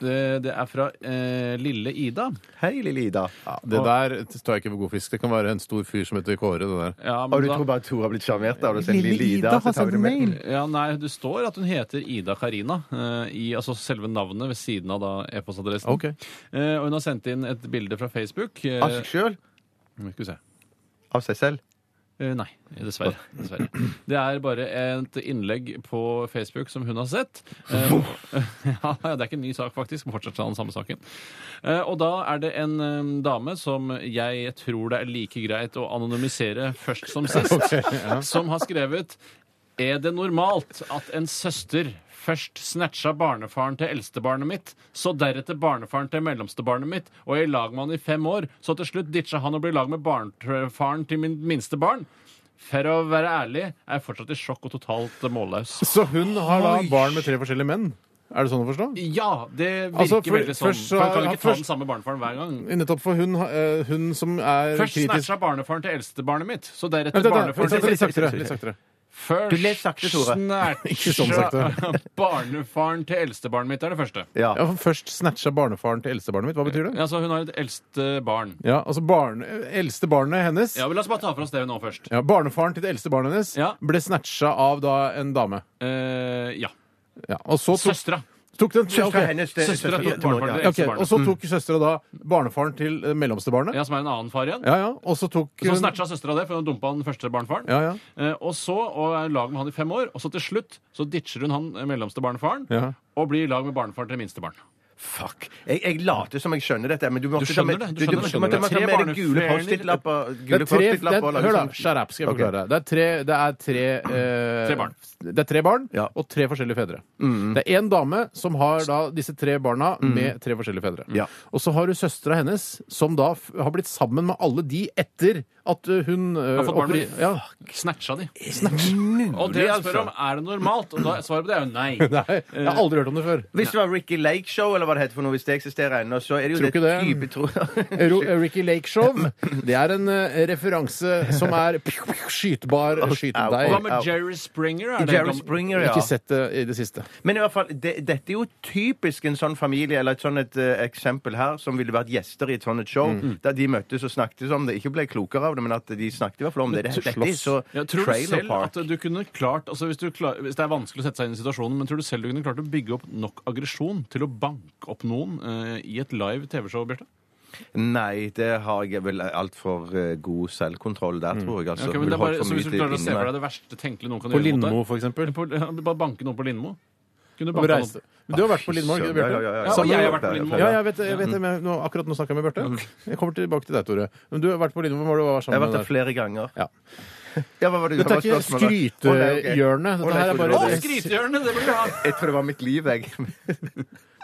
Speaker 7: det, det er fra eh, lille Ida.
Speaker 6: Hei, lille Ida.
Speaker 5: Det der tar jeg ikke for god fisk. Det kan være en stor fyr som heter Kåre. det der.
Speaker 7: Ja,
Speaker 6: Og
Speaker 7: men
Speaker 6: du
Speaker 7: da-
Speaker 6: tror bare Tor har blitt sjarmert av å si lille Ida? så tar vi det med.
Speaker 7: Ja, nei, Det står at hun heter Ida Karina, eh, i altså selve navnet ved siden av da e-postadressen.
Speaker 5: Ok.
Speaker 7: Eh, og hun har sendt inn et bilde fra Facebook. eh,
Speaker 6: Av seg sjøl?
Speaker 7: skal vi se.
Speaker 6: Av seg selv?
Speaker 7: Eh, nei, dessverre. dessverre. Det er bare et innlegg på Facebook som hun har sett. Eh, ja, det er ikke en ny sak, faktisk. men Fortsatt er den samme saken. Eh, og da er det en eh, dame som jeg tror det er like greit å anonymisere først som sist, som har skrevet Er det normalt at en søster Først snatcha barnefaren til eldstebarnet mitt, så deretter barnefaren til mellomstebarnet mitt, og jeg er i lag med han i fem år, så til slutt ditcha han og ble i lag med barnefaren til min minste barn. For å være ærlig er jeg fortsatt i sjokk og totalt målløs.
Speaker 5: Så hun har da barn med tre forskjellige menn? Er det sånn å forstå?
Speaker 7: Ja, det virker
Speaker 5: Altså, for-
Speaker 7: veldig sånn.
Speaker 5: først så
Speaker 7: For han kan
Speaker 5: har-
Speaker 7: ikke ta
Speaker 5: først-
Speaker 7: den samme barnefaren hver gang.
Speaker 5: Nettopp for hun, har- eh, hun som er
Speaker 7: Først
Speaker 5: kritisk
Speaker 7: snatcha barnefaren til eldstebarnet mitt, så deretter
Speaker 5: Vent, vent, vent,
Speaker 7: barnefaren
Speaker 5: vent,
Speaker 7: til
Speaker 5: Litt saktere. Litt saktere.
Speaker 7: Først
Speaker 6: Du leser sakte, Tore.
Speaker 5: Ikke sånn
Speaker 7: snatcha
Speaker 5: sakte.
Speaker 7: barnefaren til eldstebarnet mitt, er det første.
Speaker 6: Ja.
Speaker 5: Ja, for først snatcha barnefaren til eldstebarnet mitt. Hva betyr det?
Speaker 7: Altså, hun har et eldste barn.
Speaker 5: Ja, altså barn, Eldste barnet hennes
Speaker 7: Ja, men La oss bare ta for oss det nå først.
Speaker 5: ja, Barnefaren til det eldste barnet hennes
Speaker 7: Ja.
Speaker 5: ble snatcha av da en dame.
Speaker 7: Eh, ja.
Speaker 5: Ja, og så tok,
Speaker 7: Søstera.
Speaker 5: tok den ja,
Speaker 6: Søstera
Speaker 5: ok.
Speaker 6: hennes. det-
Speaker 7: Søstera
Speaker 6: søstera-
Speaker 7: til barnefaren til
Speaker 5: Ja, ok,
Speaker 7: eldstebarnet.
Speaker 5: Og så tok søstera da barnefaren til eh, mellomste barnet.
Speaker 7: Ja, som er en annen far igjen.
Speaker 5: Ja, ja. Og så tok
Speaker 7: Så
Speaker 5: hun-
Speaker 7: snatcha søstera det, for hun dumpa den første barnefaren.
Speaker 5: Ja, ja.
Speaker 7: Eh, og så og er i lag med han i fem år, og så til slutt så ditcher hun han eh, mellomste barnefaren
Speaker 5: Ja.
Speaker 7: og blir i lag med barnefaren til det minste barn.
Speaker 6: Fuck. Jeg, jeg later som jeg skjønner dette, men du måtte
Speaker 7: Du
Speaker 6: ta med,
Speaker 7: skjønner det, du
Speaker 6: du, du,
Speaker 7: skjønner det.
Speaker 6: måtte ta
Speaker 7: Tre
Speaker 6: med deg gule
Speaker 7: barnefrener-
Speaker 6: Post-It-lapper.
Speaker 5: Det
Speaker 6: gule
Speaker 5: er tre, det
Speaker 6: Post-It-lapper og
Speaker 5: er,
Speaker 6: lage
Speaker 5: hør da,
Speaker 6: sånn-
Speaker 5: shut up, skal jeg
Speaker 6: Ok.
Speaker 5: forklare. Det er tre, det er tre, eh,
Speaker 7: Tre barn.
Speaker 5: Det er tre barn
Speaker 6: Ja.
Speaker 5: og tre forskjellige fedre. Det er én dame som har da disse tre barna med tre forskjellige fedre.
Speaker 6: Ja.
Speaker 5: Og så har du søstera hennes, som da f har blitt sammen med alle de etter at eh, hun
Speaker 7: Har fått barn med-
Speaker 5: ja,
Speaker 7: Snatcha de. Og det jeg spør om, er det normalt? Og da svaret på det er jo nei.
Speaker 5: Nei, jeg har aldri hørt om det før.
Speaker 6: Hvis det var Ricky Lake Show, eller hva det heter for noe, hvis det eksisterer ennå, så er det jo
Speaker 5: Tror
Speaker 6: det
Speaker 5: ikke
Speaker 6: type
Speaker 5: det.
Speaker 6: tro... Eh,
Speaker 5: Ro- Ricky Lake Show, det er en eh, referanse som er skytbar. Skyt
Speaker 6: Au,
Speaker 5: deg.
Speaker 7: Hva med Jerry Springer? Er det
Speaker 6: Jerry
Speaker 7: gam-
Speaker 6: Springer, ja.
Speaker 5: Ikke sett det i det siste.
Speaker 6: Men i hvert fall, det, dette er jo typisk en sånn familie, eller et sånn et eh, eksempel her, som ville vært gjester i et sånt et show,
Speaker 5: Mm.
Speaker 6: der de møttes og snakket om det. Ikke ble klokere av det, men at de snakket i hvert fall om det. Det- Dette er så
Speaker 7: Ja, tror du
Speaker 6: trailer
Speaker 7: selv at
Speaker 6: park.
Speaker 7: du kunne klart altså hvis, du klar, hvis det er vanskelig å sette seg inn i situasjonen, men tror du selv du kunne klart å bygge opp nok aggresjon til å banke opp noen eh, i et live TV-show, Bjarte?
Speaker 6: Nei, det har jeg vel altfor uh, god selvkontroll
Speaker 5: Mm.
Speaker 6: der, tror jeg. Altså.
Speaker 7: Ok, men det er
Speaker 6: Holdt
Speaker 7: bare,
Speaker 6: for
Speaker 7: så
Speaker 6: mye
Speaker 7: hvis du
Speaker 6: til
Speaker 7: klarer å
Speaker 6: inni
Speaker 7: se
Speaker 6: meg.
Speaker 7: for deg det verste tenkelige noen kan
Speaker 5: På
Speaker 7: gjøre mot deg
Speaker 5: Lindmo, for eksempel.
Speaker 7: På- ja, Bare banke noen på Lindmo? Kunne du
Speaker 5: Du
Speaker 7: banke noen
Speaker 5: reiste. Men du har vært på Lindmo? ikke det, Bjarte?
Speaker 6: Ja, ja, ja,
Speaker 7: Ja, og
Speaker 5: Sammen-
Speaker 7: jeg har vært på Lindmo.
Speaker 5: Ja, jeg vet, jeg vet det, men nå, akkurat nå snakka jeg med Bjarte. Jeg kommer tilbake til deg, Tore. Men du har vært på Lindmo hvor du var
Speaker 6: Mm. Jeg har
Speaker 5: sammen
Speaker 6: vært
Speaker 5: med
Speaker 6: der flere ganger.
Speaker 5: Ja.
Speaker 6: Ja, hva var det,
Speaker 5: Dette er
Speaker 6: hva var
Speaker 5: ikke
Speaker 6: spørsmålet? Å, nei, ok.
Speaker 5: skrytehjørnet.
Speaker 6: Å,
Speaker 5: Dette
Speaker 6: nei,
Speaker 5: her er
Speaker 6: jeg
Speaker 5: bare
Speaker 7: Å,
Speaker 6: trodde det var-
Speaker 7: skrytehjørnet! Det vil du ha!
Speaker 6: Jeg tror det var mitt liv, jeg.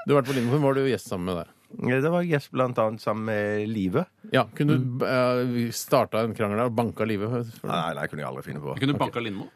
Speaker 5: Du har vært på Lindmo, hvor var du gjest sammen med der.
Speaker 6: Ja, Det var jeg gjest blant annet sammen med Live.
Speaker 5: Ja, Kunne du uh, starta en krangel der og banka livet? for det?
Speaker 6: Mm. Nei, nei, kunne jeg aldri finne på.
Speaker 7: Kunne du banka Lindmo?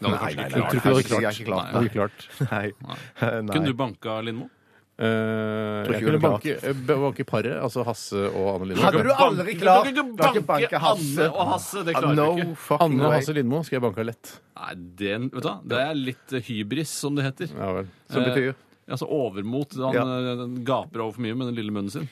Speaker 7: Det hadde du kanskje ikke
Speaker 5: nei,
Speaker 7: klart.
Speaker 5: tror ikke du hadde
Speaker 6: Jeg har ikke klart
Speaker 5: Det er ikke klart.
Speaker 6: Nei. Nei.
Speaker 7: Kunne du banka Lindmo?
Speaker 5: Eh,
Speaker 6: Tror ikke
Speaker 5: jeg
Speaker 6: du
Speaker 5: kunne
Speaker 6: hadde klart.
Speaker 5: banke, eh, banke paret, altså Hasse og Anne
Speaker 6: Hadde
Speaker 5: Lindmo.
Speaker 6: du aldri klart
Speaker 7: Du kan ikke
Speaker 6: Du kan ikke
Speaker 7: banke
Speaker 6: banke Hasse.
Speaker 7: Anne og Hasse, det klarer
Speaker 6: no
Speaker 7: du ikke.
Speaker 6: fucking
Speaker 5: Anne og
Speaker 6: way.
Speaker 5: Hasse Lindmo skulle jeg banka lett.
Speaker 7: Nei, det, vet du, hva, det er litt eh, hybris, som det heter.
Speaker 5: Ja vel. Eh,
Speaker 6: Som betyr
Speaker 7: Altså overmot. Han
Speaker 6: Ja.
Speaker 7: eh, gaper over for mye med den lille munnen sin.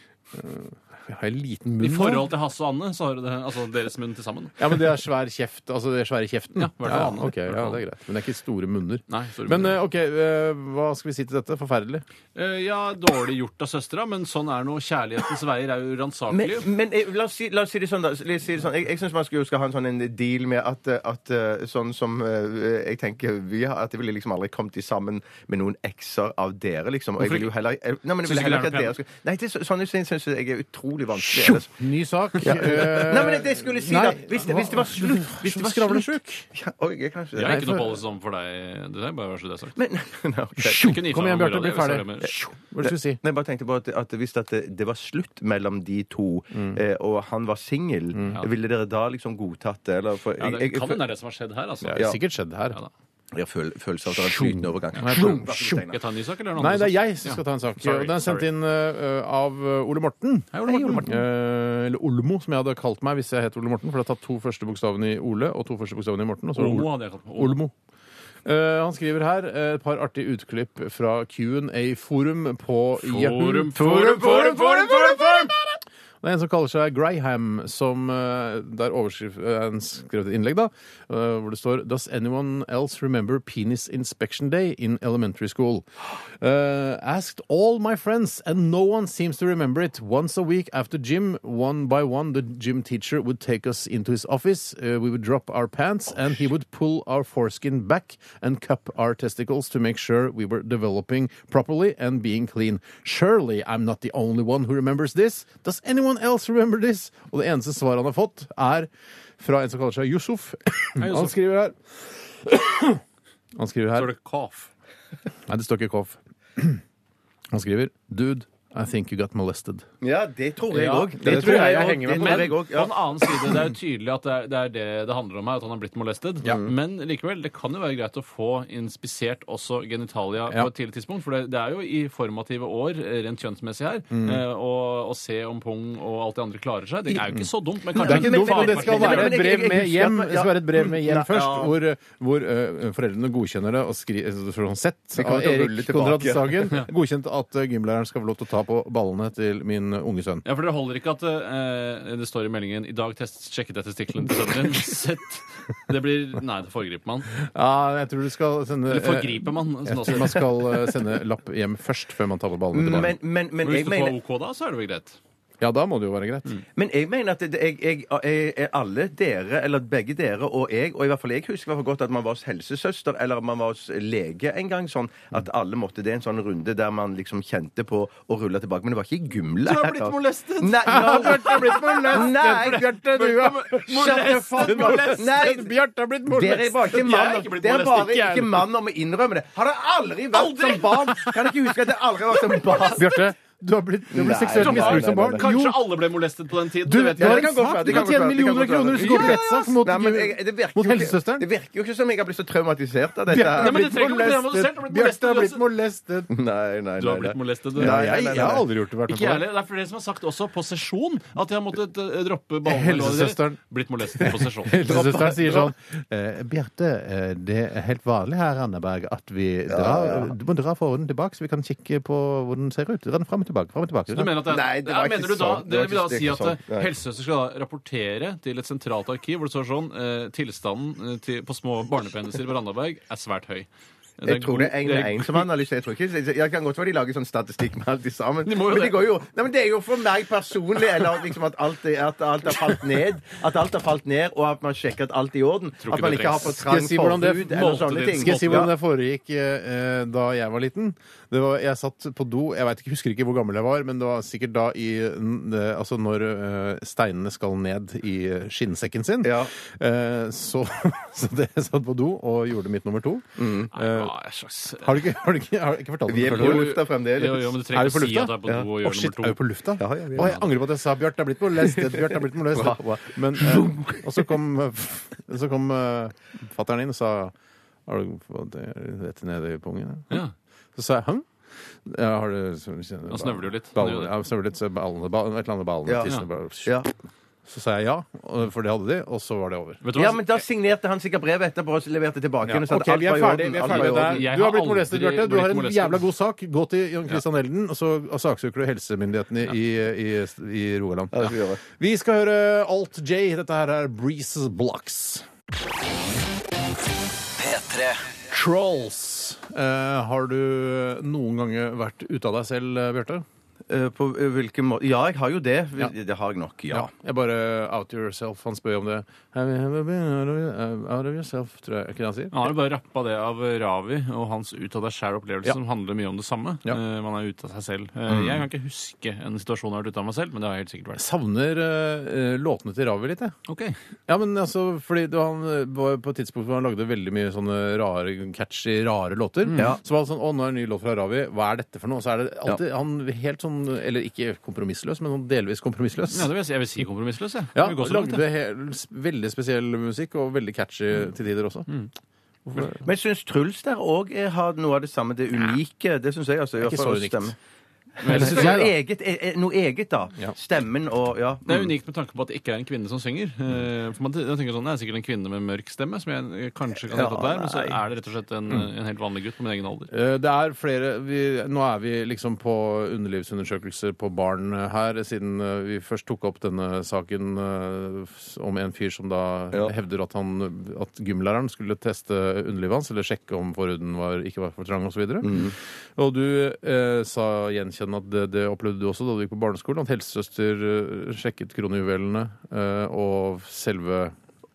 Speaker 5: Jeg har en liten
Speaker 7: I
Speaker 5: munn. nå.
Speaker 7: forhold til Hasse og Anne, så har du det, altså deres munn til sammen.
Speaker 5: Ja, men det er svær kjeft. Altså det er svære kjeften.
Speaker 7: Ja, i hvert fall Anne.
Speaker 5: ok, ja, det er greit. Men det er ikke store munner.
Speaker 7: Nei, sorry.
Speaker 5: Men eh, OK, eh, hva skal vi si til dette? Forferdelig.
Speaker 7: Eh, ja, dårlig gjort av søstera, men sånn er nå kjærlighetens veier er jo
Speaker 6: men,
Speaker 7: ransakelige.
Speaker 6: men eh, la, oss si, la oss si det sånn, da. La oss si det sånn. Jeg, jeg syns man skulle skal ha en sånn en deal med at, eh, at eh, sånn som eh, jeg tenker vi har At jeg ville liksom aldri kommet i sammen med noen ekser av dere, liksom. Og jeg
Speaker 7: Hvorfor
Speaker 6: vil jo
Speaker 7: ikke?
Speaker 6: heller, jeg, nei, men jeg
Speaker 7: Syns
Speaker 6: vil
Speaker 7: du
Speaker 6: heller ikke
Speaker 7: ikke
Speaker 6: at
Speaker 7: det er
Speaker 6: dere skal Nei, det, er så- sånne ting syns jeg er utrolig vanskelig. ellers.
Speaker 5: Ny sak. Eh,
Speaker 6: Nei, men det skulle jeg si, da. Hvis det, hvis det var slutt Hvis det var slutt
Speaker 5: Skravlesjuk.
Speaker 6: ja, Oi, jeg kan ikke
Speaker 7: Jeg
Speaker 6: det.
Speaker 7: er ikke noe policy for deg. Det er bare så det er sagt.
Speaker 6: Men, nei, ok.
Speaker 7: Ikke nytt
Speaker 5: Kom igjen,
Speaker 7: navn,
Speaker 5: Bjarte. Bli ferdig.
Speaker 7: Bjarte, hvis det er det med-
Speaker 5: Hva skal du si?
Speaker 6: Nei, jeg bare tenkte på at, at Hvis at det, det var slutt mellom de to,
Speaker 7: Mm.
Speaker 6: eh, og han var singel, ville dere da liksom godtatt det? Eller, for,
Speaker 7: Ja,
Speaker 6: jeg,
Speaker 7: det
Speaker 6: jeg,
Speaker 7: kan hende det er det som har skjedd her, altså.
Speaker 5: Det er sikkert skjedd her.
Speaker 7: Ja da.
Speaker 6: jeg føl, følelse av at det er en flytende overgang.
Speaker 5: Nei, jeg prøver.
Speaker 7: Skal jeg ta en ny sak, eller er det noen
Speaker 5: Nei, det
Speaker 7: andre
Speaker 5: er jeg
Speaker 7: sak?
Speaker 5: som skal ta en sak.
Speaker 7: Sorry,
Speaker 5: Og Den er sendt
Speaker 7: sorry.
Speaker 5: inn eh, av Ole Morten.
Speaker 7: Hei, Ole Morten.
Speaker 5: Eh, eller Olmo, som jeg hadde kalt meg hvis jeg het Ole Morten. For jeg har tatt to første bokstavene i Ole og to første bokstavene i Morten. Og så
Speaker 7: Olmo hadde jeg kalt meg.
Speaker 5: Olmo. Eh, han skriver her eh, et par artige utklipp fra Q&A-forum på Yahoo.
Speaker 7: Forum, forum, forum, forum, forum, forum!
Speaker 5: Det er en som kaller seg Graham, som eh, der overskrift eh, en skrevet et innlegg, da, eh, hvor det står Does anyone else remember penis inspection day in elementary school? Eh, asked all my friends, and no one seems to remember it. Once a week after gym, one by one, the gym teacher would take us into his office. Uh, we would drop our pants, and he would pull our foreskin back and cup our testicles to make sure we were developing properly and being clean. Surely I'm not the only one who remembers this. Does anyone else remember this? Og det eneste svaret han har fått, er fra en som kaller seg Yusuf. Han skriver her Han skriver her
Speaker 7: Står det cough?
Speaker 5: Nei, det står ikke KOF. Han skriver Dude, I think you got molested.
Speaker 6: Ja, det tror jeg
Speaker 7: Ja,
Speaker 6: òg.
Speaker 7: det tror jeg også.
Speaker 6: henger
Speaker 7: Men
Speaker 6: med på. Jeg
Speaker 7: på
Speaker 6: også, ja.
Speaker 7: den annen side, det er jo tydelig at det er, det er det det handler om her, at han har blitt molestet.
Speaker 5: Mm.
Speaker 7: Men likevel, det kan jo være greit å få inspisert også genitalia
Speaker 5: Ja.
Speaker 7: på et tidlig tidspunkt. For det, det er jo i formative år, eh, rent kjønnsmessig her,
Speaker 5: Mm.
Speaker 7: eh, å, å se om pung og alt det andre klarer seg. Det er jo ikke så dumt, men
Speaker 5: Mm. Det er
Speaker 7: kanskje
Speaker 5: ikke dumt, men det skal
Speaker 6: men-
Speaker 5: være
Speaker 6: men
Speaker 5: et
Speaker 6: jeg- jeg-
Speaker 5: brev
Speaker 6: jeg
Speaker 5: med
Speaker 6: husker
Speaker 5: hjem,
Speaker 6: at-
Speaker 5: det skal være et brev med hjem
Speaker 6: Ja.
Speaker 5: først, hvor, hvor eh, foreldrene godkjenner det og skriver sånn sett
Speaker 6: kommer
Speaker 5: av
Speaker 6: til å
Speaker 5: Erik
Speaker 6: rulle tilbake.
Speaker 5: Konrad Sagen. Godkjent at eh, gymlæreren skal få lov til å ta på ballene til min unge sønn.
Speaker 7: Ja, for Dere holder ikke at eh, det står i meldingen 'I dag test, sjekket jeg testiklene til sønnen din'. Sett. Det blir Nei, det foregriper man.
Speaker 5: Ja, jeg tror du skal sende
Speaker 7: Eller
Speaker 5: eh,
Speaker 7: forgriper man. som
Speaker 5: Jeg
Speaker 7: det også
Speaker 5: tror
Speaker 7: heter.
Speaker 5: man skal eh, sende lapp hjem først, før man tar på ballene til
Speaker 6: Men,
Speaker 5: barnet.
Speaker 6: men, men,
Speaker 7: Men
Speaker 6: jeg
Speaker 7: Hvis du
Speaker 6: mener,
Speaker 7: får OK da, så er det vel greit.
Speaker 5: Ja, da må det jo være greit.
Speaker 6: men jeg mener at det, jeg, jeg, jeg, jeg- alle dere, eller begge dere og jeg, og i hvert fall jeg husker i hvert fall godt at man var hos helsesøster eller man var hos lege en gang, sånn at
Speaker 7: Mm.
Speaker 6: alle måtte det en sånn runde der man liksom kjente på å rulle tilbake. Men det var ikke gymlærer.
Speaker 7: Du har blitt molestet.
Speaker 6: Nei, du har blitt molestet! Nei,
Speaker 5: Bjarte, du har
Speaker 6: Shut the fuck up. Nei,
Speaker 5: Bjarte har blitt
Speaker 6: Dere er bare ikke mann,
Speaker 7: ikke blitt
Speaker 6: dere er bare
Speaker 7: molestet, ikke jeg.
Speaker 6: ikke mann om å innrømme det. Har dere aldri vært som barn? Kan dere ikke huske at dere aldri har vært som barn?
Speaker 5: Bjarte, du har blitt, du har blitt
Speaker 6: Nei,
Speaker 5: seksuelt
Speaker 6: nei, nei,
Speaker 5: misbrukt som
Speaker 6: nei,
Speaker 5: barn.
Speaker 6: nei.
Speaker 7: Kanskje
Speaker 5: Jo,
Speaker 7: alle ble molestet på den tiden.
Speaker 5: du,
Speaker 7: det vet
Speaker 5: du
Speaker 7: jeg
Speaker 5: har
Speaker 6: det kan
Speaker 5: en
Speaker 6: godt
Speaker 5: sak.
Speaker 6: være,
Speaker 5: Du
Speaker 6: det kan
Speaker 5: kan
Speaker 6: godt være, det kan
Speaker 5: tjene millioner av
Speaker 6: godt være.
Speaker 5: kroner hvis du går på
Speaker 6: Ja,
Speaker 5: rettssak mot,
Speaker 6: Nei, men jeg, det, virker jo
Speaker 5: mot
Speaker 6: ikke,
Speaker 5: helsesøsteren.
Speaker 6: det virker jo ikke som jeg har blitt så traumatisert av dette.
Speaker 7: Nei,
Speaker 6: her.
Speaker 7: men det trenger ikke å bli molestet, du har blitt molestet
Speaker 5: Bjarte har blitt
Speaker 7: uansett.
Speaker 5: molestet.
Speaker 6: Nei, nei,
Speaker 7: Du har
Speaker 6: nei,
Speaker 7: blitt
Speaker 6: nei.
Speaker 7: molestet, du.
Speaker 6: Nei,
Speaker 5: Nei, jeg,
Speaker 6: nei, nei,
Speaker 5: jeg har
Speaker 6: nei.
Speaker 5: aldri gjort det. vært med
Speaker 7: Ikke
Speaker 5: på
Speaker 7: jeg
Speaker 5: det.
Speaker 7: heller. Det er flere som har sagt også på sesjon at de har måttet eh, droppe ballene.
Speaker 5: Helsesøsteren.
Speaker 7: Blitt molestet på sesjon.
Speaker 5: Helsesøsteren sier sånn eh, Bjarte, eh, det er helt vanlig her, Anneberg, at vi drar Du må dra forhuden tilbake, så vi kan kikke på hvordan den ser ut. Dra den fram og tilbake. Fram og tilbake.
Speaker 7: Du mener at det,
Speaker 6: Nei, det var
Speaker 7: Ja,
Speaker 6: ikke
Speaker 7: mener du da,
Speaker 6: sånn. Det
Speaker 7: det
Speaker 6: var
Speaker 7: vil da
Speaker 6: ikke- det
Speaker 7: si
Speaker 6: er
Speaker 7: at
Speaker 6: ikke sånn.
Speaker 7: eh,
Speaker 6: Nei.
Speaker 7: helsesøster skal da rapportere til et sentralt arkiv hvor det står sånn eh, tilstanden eh, til, på små barnepeniser på Randaberg er svært høy. Det er
Speaker 6: Jeg tror det er en,
Speaker 7: god-
Speaker 6: en som analyserer. Jeg tror ikke, jeg kan godt være de lager sånn statistikk med alt de sammen.
Speaker 7: må jo
Speaker 6: men det,
Speaker 7: det.
Speaker 6: går jo, nei, men det er jo for meg personlig eller liksom at, alt, er- at alt har falt ned. At alt har falt ned, og at man sjekker at alt er i orden.
Speaker 7: Tror ikke
Speaker 6: At man
Speaker 7: det
Speaker 6: ikke har
Speaker 7: trengs.
Speaker 6: for
Speaker 5: Skal
Speaker 6: trang
Speaker 5: jeg si hvordan
Speaker 6: forhud
Speaker 5: det
Speaker 6: eller sånne ting.
Speaker 5: Skal jeg si hvordan
Speaker 6: Ja.
Speaker 5: det foregikk eh, da jeg var liten? Det var, jeg satt på do, jeg vet ikke, husker ikke hvor gammel jeg var, men det var sikkert da i n- eh, Altså når eh, steinene skal ned i eh, skinnsekken sin.
Speaker 6: Ja.
Speaker 5: Eh, så, så det jeg satt på do og gjorde mitt nummer to. Eh,
Speaker 7: Nei, hva er slags-
Speaker 5: Har du ikke, har du ikke, har du ikke fortalt
Speaker 6: Mm. Vi
Speaker 5: det
Speaker 6: er
Speaker 5: før?
Speaker 6: på lufta fremdeles.
Speaker 7: Jo, jo, men du
Speaker 5: Er
Speaker 7: trenger
Speaker 5: vi på
Speaker 7: ikke å si
Speaker 5: lufta?
Speaker 7: at du er på do og
Speaker 5: Å,
Speaker 7: gjør
Speaker 5: shit, er vi
Speaker 7: nummer to.
Speaker 5: på lufta?
Speaker 6: Ja, ja, vi er
Speaker 5: Å, jeg angrer på at jeg sa Bjarte er blitt molestet. Bjarte er blitt molestet. Men, eh, og så kom, eh, så kom eh, fatteren inn og sa Har du fått det rett ned i pungen? ja?»
Speaker 7: Ja.
Speaker 5: Så sa jeg hm? Ja, har du så,
Speaker 7: Da snøvler du litt.
Speaker 5: Baller, ja, snøvler litt, så ballene, ballene, et eller annet ballene
Speaker 6: Ja.
Speaker 5: tissene bare-
Speaker 6: Ja.
Speaker 5: Så sa jeg ja, og- for det hadde de, og så var det over.
Speaker 7: Vet du hva?
Speaker 6: Ja, men da signerte han sikkert brevet etterpå og leverte tilbake.
Speaker 5: Ja,
Speaker 6: igjen og sa at
Speaker 5: ok,
Speaker 6: alt
Speaker 5: vi er
Speaker 6: var i
Speaker 5: ferdig,
Speaker 6: orden,
Speaker 5: vi er
Speaker 6: alt var i
Speaker 5: ferdig
Speaker 6: orden.
Speaker 5: der.
Speaker 7: Jeg
Speaker 5: Du har
Speaker 7: har
Speaker 5: blitt molestet,
Speaker 7: aldri
Speaker 5: Bjarte. Du har en
Speaker 7: blitt molestet.
Speaker 5: jævla god sak. Gå til Jan Christian Elden, og så og saksøker du helsemyndighetene i, i, i Rogaland.
Speaker 6: det skal vi gjøre.
Speaker 5: Vi skal høre Alt J. Dette her er Breezes Blocks.
Speaker 1: P3
Speaker 5: Trolls. Eh, har du noen ganger vært ute av deg selv, eh, Bjarte?
Speaker 6: Eh, På eh, hvilken måte Ja, jeg har jo det.
Speaker 5: Ja.
Speaker 6: Det har jeg nok, ja.
Speaker 5: Ja. Jeg bare out yourself. Han spør om det. Have you ever been out of, your- eh, out of yourself, tror jeg. Er ikke det han sier?
Speaker 7: Han har jo bare rappa det av Ravi og hans ut av deg sjæl-opplevelse,
Speaker 5: Ja.
Speaker 7: som handler mye om det samme.
Speaker 5: Ja.
Speaker 7: Eh, man er ute av seg selv. Eh,
Speaker 6: Mm.
Speaker 7: Jeg kan ikke huske en situasjon jeg har vært ute av meg selv, men det har jeg helt sikkert vært.
Speaker 5: Savner eh, eh, låtene til Ravi litt, jeg. Ja, men altså, fordi det var han eh, var på et tidspunkt hvor han lagde veldig mye sånne rare, catchy, rare låter. Så var det sånn Å, nå er det en ny låt fra Ravi. Hva er dette for noe? Så er det alltid han helt sånn Eller ikke kompromissløs, men sånn delvis kompromissløs.
Speaker 7: Ja, det vil jeg, si. jeg vil si kompromissløs, jeg.
Speaker 5: Ja,
Speaker 7: Jeg vil gå så langt, jeg.
Speaker 5: lagde he- s- veldig spesiell musikk, og veldig catchy til tider også.
Speaker 6: Men jeg syns Truls der òg har noe av det samme. Det unike. Det syns jeg, altså. i
Speaker 5: Ikke
Speaker 6: hvert fall
Speaker 5: så unikt.
Speaker 6: stemmen.
Speaker 5: Men det synes
Speaker 6: Ja,
Speaker 5: jeg, da.
Speaker 6: eget, e- e- noe eget, da.
Speaker 5: Ja.
Speaker 6: Stemmen og Ja.
Speaker 7: Det er
Speaker 6: mm.
Speaker 7: unikt med tanke på at det ikke er en kvinne som synger. Eh, For man jeg tenker sånn, Det er sikkert en kvinne med mørk stemme, som jeg eh, kanskje kan
Speaker 6: Ja,
Speaker 7: hete at det er, men så
Speaker 6: nei. Mm.
Speaker 7: er det rett og slett en, en helt vanlig gutt på min egen alder.
Speaker 5: Eh, Det er flere vi, Nå er vi liksom på underlivsundersøkelse på barn her, siden eh, vi først tok opp denne saken eh, s- om en fyr som da hevder at, han, at gymlæreren skulle teste underlivet hans, eller sjekke om forhuden var, ikke var for trang osv. videre Og du eh, sa gjenkjennende at det, det opplevde du også da du gikk på barneskolen, at helsesøster eh, sjekket kronjuvelene eh, og selve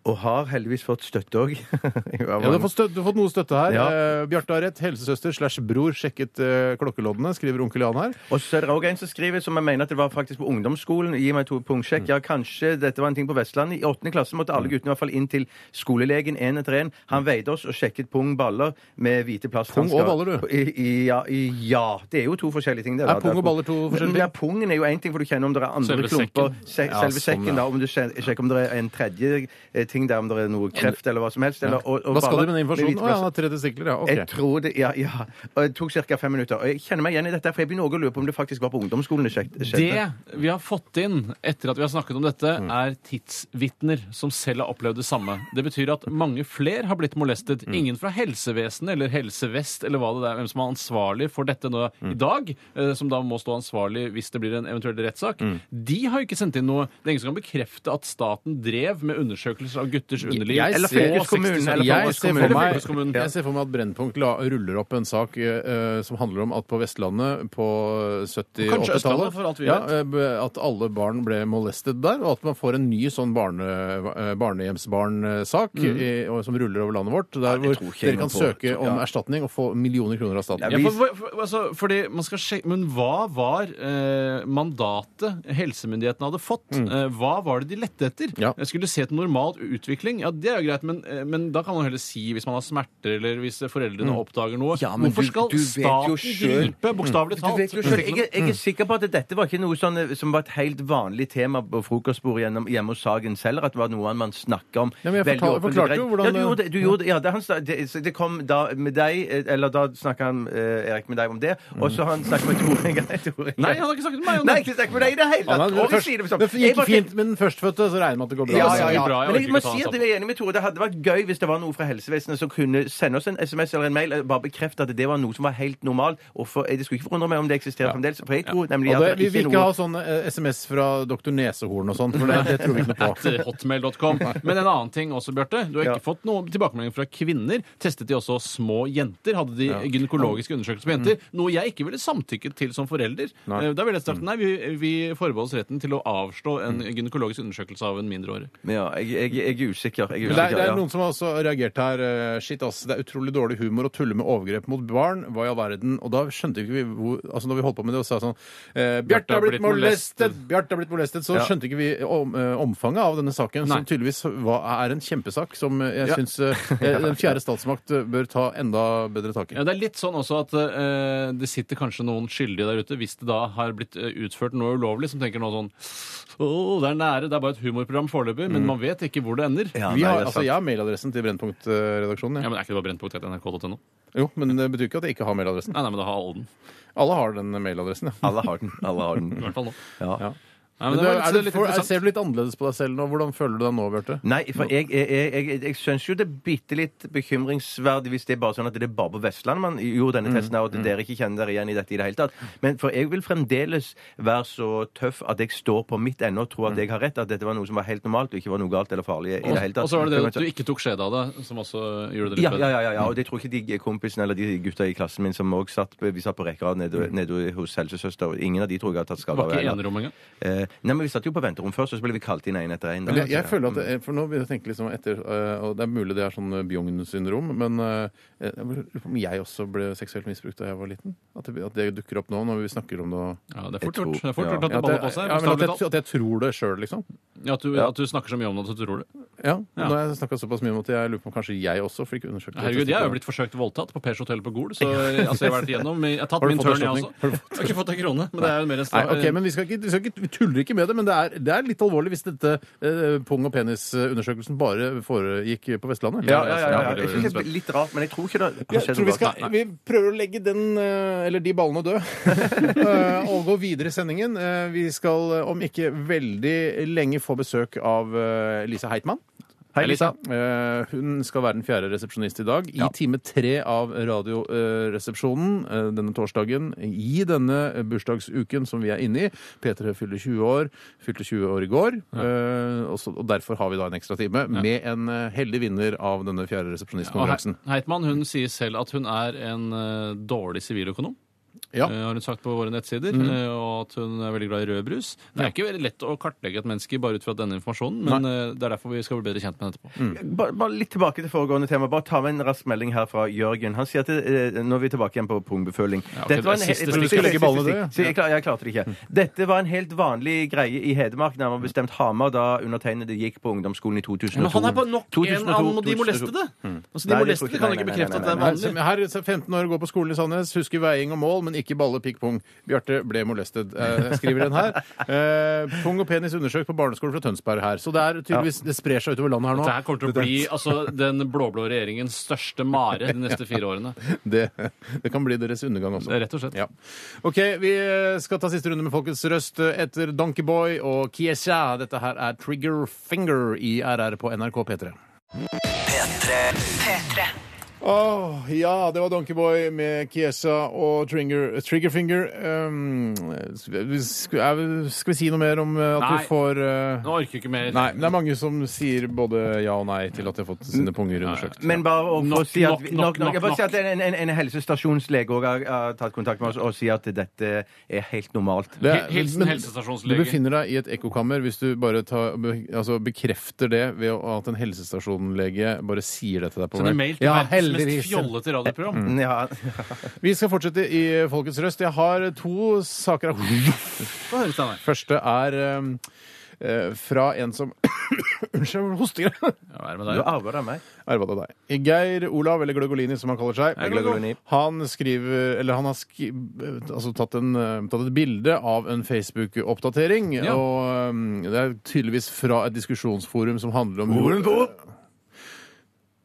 Speaker 6: Og har heldigvis fått støtte òg.
Speaker 5: ja, du, har fått støtte, du har fått noe støtte her.
Speaker 6: Ja.
Speaker 5: Eh, Bjarte har rett. Helsesøster slash bror sjekket eh, klokkeloddene, skriver onkel Jan her.
Speaker 6: Og så er det også en som skriver, som jeg mener at det var faktisk på ungdomsskolen. Gi meg to
Speaker 5: Mm.
Speaker 6: punktsjekk. Ja, kanskje dette var en ting på Vestlandet. I åttende klasse måtte alle guttene i hvert fall inn til skolelegen en etter en. Han veide oss og sjekket pung, baller med hvite plasthansker.
Speaker 5: Mm. Pung og baller, du?
Speaker 6: I, i, ja, i, ja. Det er jo to forskjellige ting. Det,
Speaker 5: Er
Speaker 6: da.
Speaker 5: pung
Speaker 6: Det
Speaker 5: og baller to forskjellige ting?
Speaker 6: Ja, pungen er jo én ting, for du kjenner om det er andre
Speaker 7: Selve
Speaker 6: klumper.
Speaker 7: sekken.
Speaker 6: Se,
Speaker 5: Ja,
Speaker 6: selve
Speaker 5: sånn,
Speaker 6: sekken,
Speaker 5: ja.
Speaker 6: da. Om du sjen- sjekker om det er en tredje eh, ting der, om det er noe kreft eller hva som helst. Eller, og, og
Speaker 5: Hva skal
Speaker 6: baller
Speaker 5: du med den
Speaker 6: hvite
Speaker 5: informasjonen? Å, ja,
Speaker 6: plast-
Speaker 5: han har tre testikler, ja.
Speaker 6: jeg
Speaker 5: Ok.
Speaker 6: tror det, ja, ja. Og det tok ca. fem minutter. Og jeg kjenner meg igjen i dette, for jeg begynner også å lure på om det faktisk var på ungdomsskolen det skjed- skjedde.
Speaker 7: Det vi har fått inn etter at vi har snakket om dette,
Speaker 6: Mm.
Speaker 7: er tidsvitner som selv har opplevd det samme. Det betyr at mange flere har blitt molestet.
Speaker 6: Mm.
Speaker 7: Ingen fra helsevesenet eller Helse Vest eller hva det er, hvem som er ansvarlig for dette nå
Speaker 6: Mm.
Speaker 7: i dag, eh, som da må stå ansvarlig hvis det blir en eventuell rettssak,
Speaker 6: Mm.
Speaker 7: de har jo ikke sendt inn noe. Det er ingen som kan bekrefte at staten drev med undersøkelser av gutters underliv.
Speaker 5: jeg
Speaker 6: Eller
Speaker 5: ser-
Speaker 6: fylkeskommunen. Eller
Speaker 5: Jeg ser, for
Speaker 6: fylkeskommunen.
Speaker 5: meg, jeg ser for meg at Brennpunkt la, ruller opp en sak eh, som handler om at på Vestlandet på
Speaker 7: Kanskje Østlandet, for alt
Speaker 5: 70-80-tallet
Speaker 7: vi
Speaker 5: ja,
Speaker 7: vet.
Speaker 5: eh, b- At alle barn ble molestet der, og at man får en ny sånn barne, eh, barnehjemsbarnsak i- og- som ruller over landet vårt. Der hvor
Speaker 6: tror ikke jeg
Speaker 5: dere kan
Speaker 6: noe på.
Speaker 5: søke om erstatning og få millioner kroner av staten.
Speaker 6: Ja,
Speaker 7: Ja,
Speaker 6: vi-
Speaker 7: for, for, for, altså, fordi man skal sjekke, men hva var eh, mandatet helsemyndighetene hadde fått?
Speaker 6: Mm.
Speaker 7: Eh, hva var det de lette etter?
Speaker 5: Ja.
Speaker 7: Jeg skulle se til normal utvikling. Ja, det er jo greit, men, eh, men da kan man heller si hvis man har smerter, eller hvis foreldrene oppdager noe.
Speaker 6: Mm. Ja, men
Speaker 7: Hvorfor
Speaker 6: du-
Speaker 7: skal
Speaker 6: du vet jo
Speaker 7: staten
Speaker 6: selv- Mm.
Speaker 7: gripe, bokstavelig
Speaker 6: Du
Speaker 7: talt?
Speaker 6: vet jo selv, jeg, er- jeg er sikker på at dette var ikke noe sånn, eh, som var et helt vanlig tema på frokostbordet gjennom- hjemme hos Sagen selv, at det var noe man snakket om.
Speaker 5: Ja, men
Speaker 6: veldig
Speaker 5: jeg fortal-
Speaker 6: åpent og
Speaker 5: forklarte
Speaker 6: greit.
Speaker 5: jo hvordan
Speaker 6: Ja,
Speaker 5: det-
Speaker 6: du gjorde det. Du gjorde, det. ja, det, han, sa- det, så det kom da med deg, eh, eller da snakket han, eh, Erik med deg om det, og så har han snakket med Tore en gang. Tore en
Speaker 7: Nei,
Speaker 6: gang.
Speaker 7: han har ikke snakket med meg om
Speaker 6: Nei,
Speaker 7: det!
Speaker 6: ikke snakket med deg i det hele
Speaker 5: Ja,
Speaker 6: tatt.
Speaker 5: men
Speaker 6: Og vi
Speaker 5: først-
Speaker 6: sier det sånn.
Speaker 5: det
Speaker 6: Jeg
Speaker 5: gikk
Speaker 6: bare-
Speaker 5: fint med den førstfødte, så regner jeg med at det går bra.
Speaker 6: Ja,
Speaker 7: det
Speaker 6: ja,
Speaker 7: er
Speaker 6: ja.
Speaker 7: mye bra,
Speaker 6: Men
Speaker 7: jeg orker
Speaker 6: jeg
Speaker 7: ikke
Speaker 6: må
Speaker 7: ta
Speaker 6: si
Speaker 7: den
Speaker 6: at jeg er enig med Tore. Det hadde vært gøy hvis det var noe fra helsevesenet som kunne sende oss en SMS eller en mail og bare bekrefte at det var noe som var helt normalt. Og for, jeg skulle ikke forundre meg om det eksisterer fremdeles. For jeg tror nemlig
Speaker 5: Og
Speaker 6: at
Speaker 5: det, vi
Speaker 6: det
Speaker 5: vil
Speaker 6: ikke er
Speaker 5: ikke ha
Speaker 6: noe
Speaker 5: sånn eh, SMS fra doktor Nesehorn og sånn, for det, det tror vi ikke noe på.
Speaker 7: at eh, hotmail.com. Men en annen ting også, Bjarte. Du har ikke fått noen tilbakemeldinger fra kvinner. Testet de også små jenter? Hadde de gynekologiske undersøkelser på jenter? Noe jeg ikke ville samtykket til som forelder. Eh, Da ville jeg sagt nei, vi, vi forbeholder oss retten til å avslå en gynekologisk undersøkelse av en mindreårig.
Speaker 6: Ja, jeg, jeg, jeg er usikker. Jeg er
Speaker 5: Men Det er,
Speaker 6: usikker
Speaker 5: det er
Speaker 6: ja.
Speaker 5: noen som har også reagert her. eh, Shit, ass. Det er utrolig dårlig humor å tulle med overgrep mot barn. Hva i all verden? Og da skjønte ikke vi hvor Altså, når vi holdt på med det og sa sånn eh, Bjarte har blitt molestet! Bjarte har blitt molestet! Så skjønte ikke vi om, eh, omfanget av denne saken, som tydeligvis var, er en kjempesak som eh, jeg syns eh, den fjerde statsmakt eh, bør ta enda bedre tak i.
Speaker 7: Ja, det er litt sånn også at eh, det sitter kanskje noen skyldige der ute, hvis det da har blitt eh, utført noe ulovlig, som tenker nå sånn Åh, det er nære, det er bare et humorprogram foreløpig, men man vet ikke hvor det ender.
Speaker 6: Ja,
Speaker 5: Vi
Speaker 6: nei,
Speaker 5: har,
Speaker 6: det er
Speaker 5: altså,
Speaker 6: sant.
Speaker 5: jeg har mailadressen til Brennpunkt-redaksjonen.
Speaker 7: Ja,
Speaker 5: Ja.
Speaker 7: men Er ikke det bare brennpunkt.nrk.no?
Speaker 5: Jo, men det betyr ikke at jeg ikke har mailadressen.
Speaker 7: Nei, nei, men da har alle den.
Speaker 5: Alle har den mailadressen. ja.
Speaker 6: Alle har den. Alle har den.
Speaker 7: I hvert fall nå.
Speaker 6: Ja.
Speaker 7: Nei,
Speaker 5: Men
Speaker 7: men
Speaker 5: du,
Speaker 7: det var
Speaker 5: er
Speaker 7: litt,
Speaker 5: du,
Speaker 7: litt
Speaker 5: for, er,
Speaker 7: interessant.
Speaker 5: ser du litt annerledes på deg selv nå? Hvordan føler du deg nå, Bjarte?
Speaker 6: Nei, for jeg, jeg, jeg, jeg, jeg syns jo det er bitte litt bekymringsverdig hvis det er bare sånn at det er bare på Vestlandet man gjorde
Speaker 7: Mm,
Speaker 6: denne testen, her, og at dere ikke kjenner dere igjen i dette i det hele tatt. Men for jeg vil fremdeles være så tøff at jeg står på mitt ennå og
Speaker 7: Mm.
Speaker 6: tror at jeg har rett, at dette var noe som var helt normalt og ikke var noe galt eller farlig i det hele
Speaker 7: Og
Speaker 6: tatt.
Speaker 7: og så var det det at du ikke tok skjed av deg, som også gjorde det
Speaker 6: ja,
Speaker 7: litt
Speaker 6: ja, ja, ja, ja, og det tror ikke de kompisene eller de gutta i klassen min som også satt på- Vi satt på rekke rad nede, nede hos helsesøster, og ingen av de tror jeg har tatt skade
Speaker 7: Det Mm. var
Speaker 6: av
Speaker 7: ikke
Speaker 6: heller.
Speaker 7: enerom engang.
Speaker 6: Eh, nei, men vi satt jo på venterom først, og så ble vi kalt inn én etter én.
Speaker 5: Jeg, jeg føler at, det- for nå begynner jeg å tenke liksom etter, eh, og Det er mulig det er sånn eh, Bjugn-syndrom, men eh, jeg lurer på om jeg også ble seksuelt misbrukt da jeg var liten? At det, at det dukker opp nå når vi snakker om det? og-
Speaker 7: Ja, det er
Speaker 6: Jeg
Speaker 7: fort gjort.
Speaker 6: tror-
Speaker 7: Det er fort
Speaker 6: ja.
Speaker 7: gjort at
Speaker 5: Ja,
Speaker 7: det
Speaker 5: at, jeg,
Speaker 7: baller på seg.
Speaker 5: ja, men at,
Speaker 7: bokstavelig
Speaker 5: jeg, at jeg tror det sjøl, liksom.
Speaker 7: talt. Ja, at, du, at du snakker så mye om det at du tror det.
Speaker 5: Ja,
Speaker 7: Ja.
Speaker 5: Nå har jeg snakka såpass mye om at jeg lurer på om kanskje jeg også fikk undersøkt det.
Speaker 7: Herregud, jeg er jo blitt forsøkt voldtatt på Pers hotell på Gol, så altså, jeg har vært igjennom. Jeg har tatt
Speaker 5: Har du
Speaker 7: min
Speaker 5: fått
Speaker 7: tørn, jeg
Speaker 5: erstatning?
Speaker 7: også. Jeg har ikke fått en krone, men det er jo mer en
Speaker 5: Nei,
Speaker 7: sta-
Speaker 5: ok, men vi, skal ikke, vi, skal ikke, vi tuller ikke med det, men det er, det er litt alvorlig hvis dette eh, pung- og penisundersøkelsen bare foregikk på Vestlandet.
Speaker 6: Ja, ja, ja, ja. Jeg synes det er litt rart, men jeg tror ikke det har
Speaker 5: Jeg
Speaker 6: skjedd
Speaker 5: tror
Speaker 6: noe
Speaker 5: vi, skal,
Speaker 6: galt.
Speaker 5: vi prøver å legge den, eh, eller de ballene død Eh, og gå videre i sendingen. Eh, Vi skal eh, om ikke veldig lenge få besøk av eh, Lisa Heitmann.
Speaker 6: Hei, Lisa.
Speaker 5: Eh, Hun skal være den fjerde resepsjonist i dag. I time tre av Radioresepsjonen eh, denne torsdagen i denne bursdagsuken som vi er inne i. P3 fyller 20 år. Fylte 20 år i går. Eh, og så- og derfor har vi da en ekstra time med en eh, heldig vinner av denne fjerde
Speaker 7: Og
Speaker 5: resepsjonistkonkurransen.
Speaker 7: He- Heitmann hun sier selv at hun er en eh, dårlig siviløkonom.
Speaker 5: Ja.
Speaker 7: eh, har hun sagt på våre nettsider,
Speaker 6: Mm.
Speaker 7: eh, og at hun er veldig glad i rød brus. Det er ikke veldig lett å kartlegge et menneske bare ut fra denne informasjonen, men eh, det er derfor vi skal bli bedre kjent med henne etterpå.
Speaker 6: Bare, bare litt tilbake til foregående tema. Bare ta med en rask melding her fra Jørgen. Han sier at eh, Nå er vi tilbake igjen på pungbeføling.
Speaker 7: ok, det er siste
Speaker 6: jeg-
Speaker 7: stikk.
Speaker 6: jeg- jeg-
Speaker 5: Legge ballen i det,
Speaker 6: siste stikk. Så jeg, klar, jeg klarte det ikke. Dette var en helt vanlig greie i Hedmark, nærmere bestemt Hamar, da undertegnede gikk på ungdomsskolen i 2002.
Speaker 7: Men han er på nok
Speaker 6: 2002,
Speaker 7: en av
Speaker 6: 2002.
Speaker 7: de molestede!
Speaker 6: Mm.
Speaker 7: Altså,
Speaker 6: Nei,
Speaker 7: de
Speaker 6: det tror jeg
Speaker 7: molestede
Speaker 6: ikke.
Speaker 7: kan
Speaker 6: Nei,
Speaker 7: ikke
Speaker 6: nei, nei,
Speaker 7: bekrefte at det er
Speaker 6: nei,
Speaker 5: Her,
Speaker 7: vanlig.
Speaker 5: her er 15 år, går på skolen i Sandnes, husker veiing og mål, men ikke balle, pikk, pung. Bjarte ble molestet, eh, skriver den her. Eh, pung og penis undersøkt på barneskolen fra Tønsberg her. Så det er tydeligvis, det sprer seg utover landet her nå.
Speaker 7: Dette her kommer til å bli altså, den blå-blå regjeringens største mare de neste fire årene.
Speaker 5: Det, det kan bli deres undergang også.
Speaker 7: Det er rett og slett.
Speaker 5: Ja. OK, vi eh, skal ta siste runde med Folkets røst eh, etter Donkeyboy og Kiesha. Dette her er Trigger Finger i RR på NRK P3.
Speaker 11: P3.
Speaker 5: Åh, ja, det var Donkeyboy med Kiesa og Trigger, Triggerfinger. Um, skal, vi- skal vi si noe mer om eh, at
Speaker 7: Nei.
Speaker 5: vi får eh,
Speaker 7: Nå orker jeg ikke mer.
Speaker 5: Nei, men det er mange som sier både ja og nei til at de har fått sine punger undersøkt.
Speaker 6: Men bare å- for å
Speaker 7: Nok,
Speaker 6: si at,
Speaker 7: nok,
Speaker 6: vi-
Speaker 7: nok,
Speaker 6: nok, nok, jeg
Speaker 7: nok,
Speaker 6: bare si at en, en, en helsestasjonslege også har, har tatt kontakt med oss og sier at dette er helt normalt.
Speaker 5: Det er-
Speaker 7: Hilsen
Speaker 5: men Du
Speaker 7: helsestasjonslege.
Speaker 5: befinner deg i et ekkokammer hvis du bare tar, be, altså bekrefter det ved å- at en helsestasjonlege bare sier det til deg på
Speaker 7: Send en mail til
Speaker 5: Ja,
Speaker 7: verdens mest
Speaker 5: heldigvis.
Speaker 7: fjollete radioprogram.
Speaker 6: Ja.
Speaker 5: Vi skal fortsette i Folkets Røst. Jeg har to saker av
Speaker 7: Få høre, Steinar.
Speaker 5: Første er um, eh, fra en som Unnskyld, hoster jeg.
Speaker 7: Ja, hva er det med
Speaker 6: Du
Speaker 7: deg?
Speaker 6: arver det av meg.
Speaker 5: Erva det deg. Geir Olav, eller Gløgolini som han kaller seg,
Speaker 6: Jeg er Gløgolini.
Speaker 5: han skriver Eller han har skri, altså, tatt, en, eh, tatt et bilde av en Facebook-oppdatering.
Speaker 7: Ja.
Speaker 5: Og um, det er tydeligvis fra et diskusjonsforum som handler om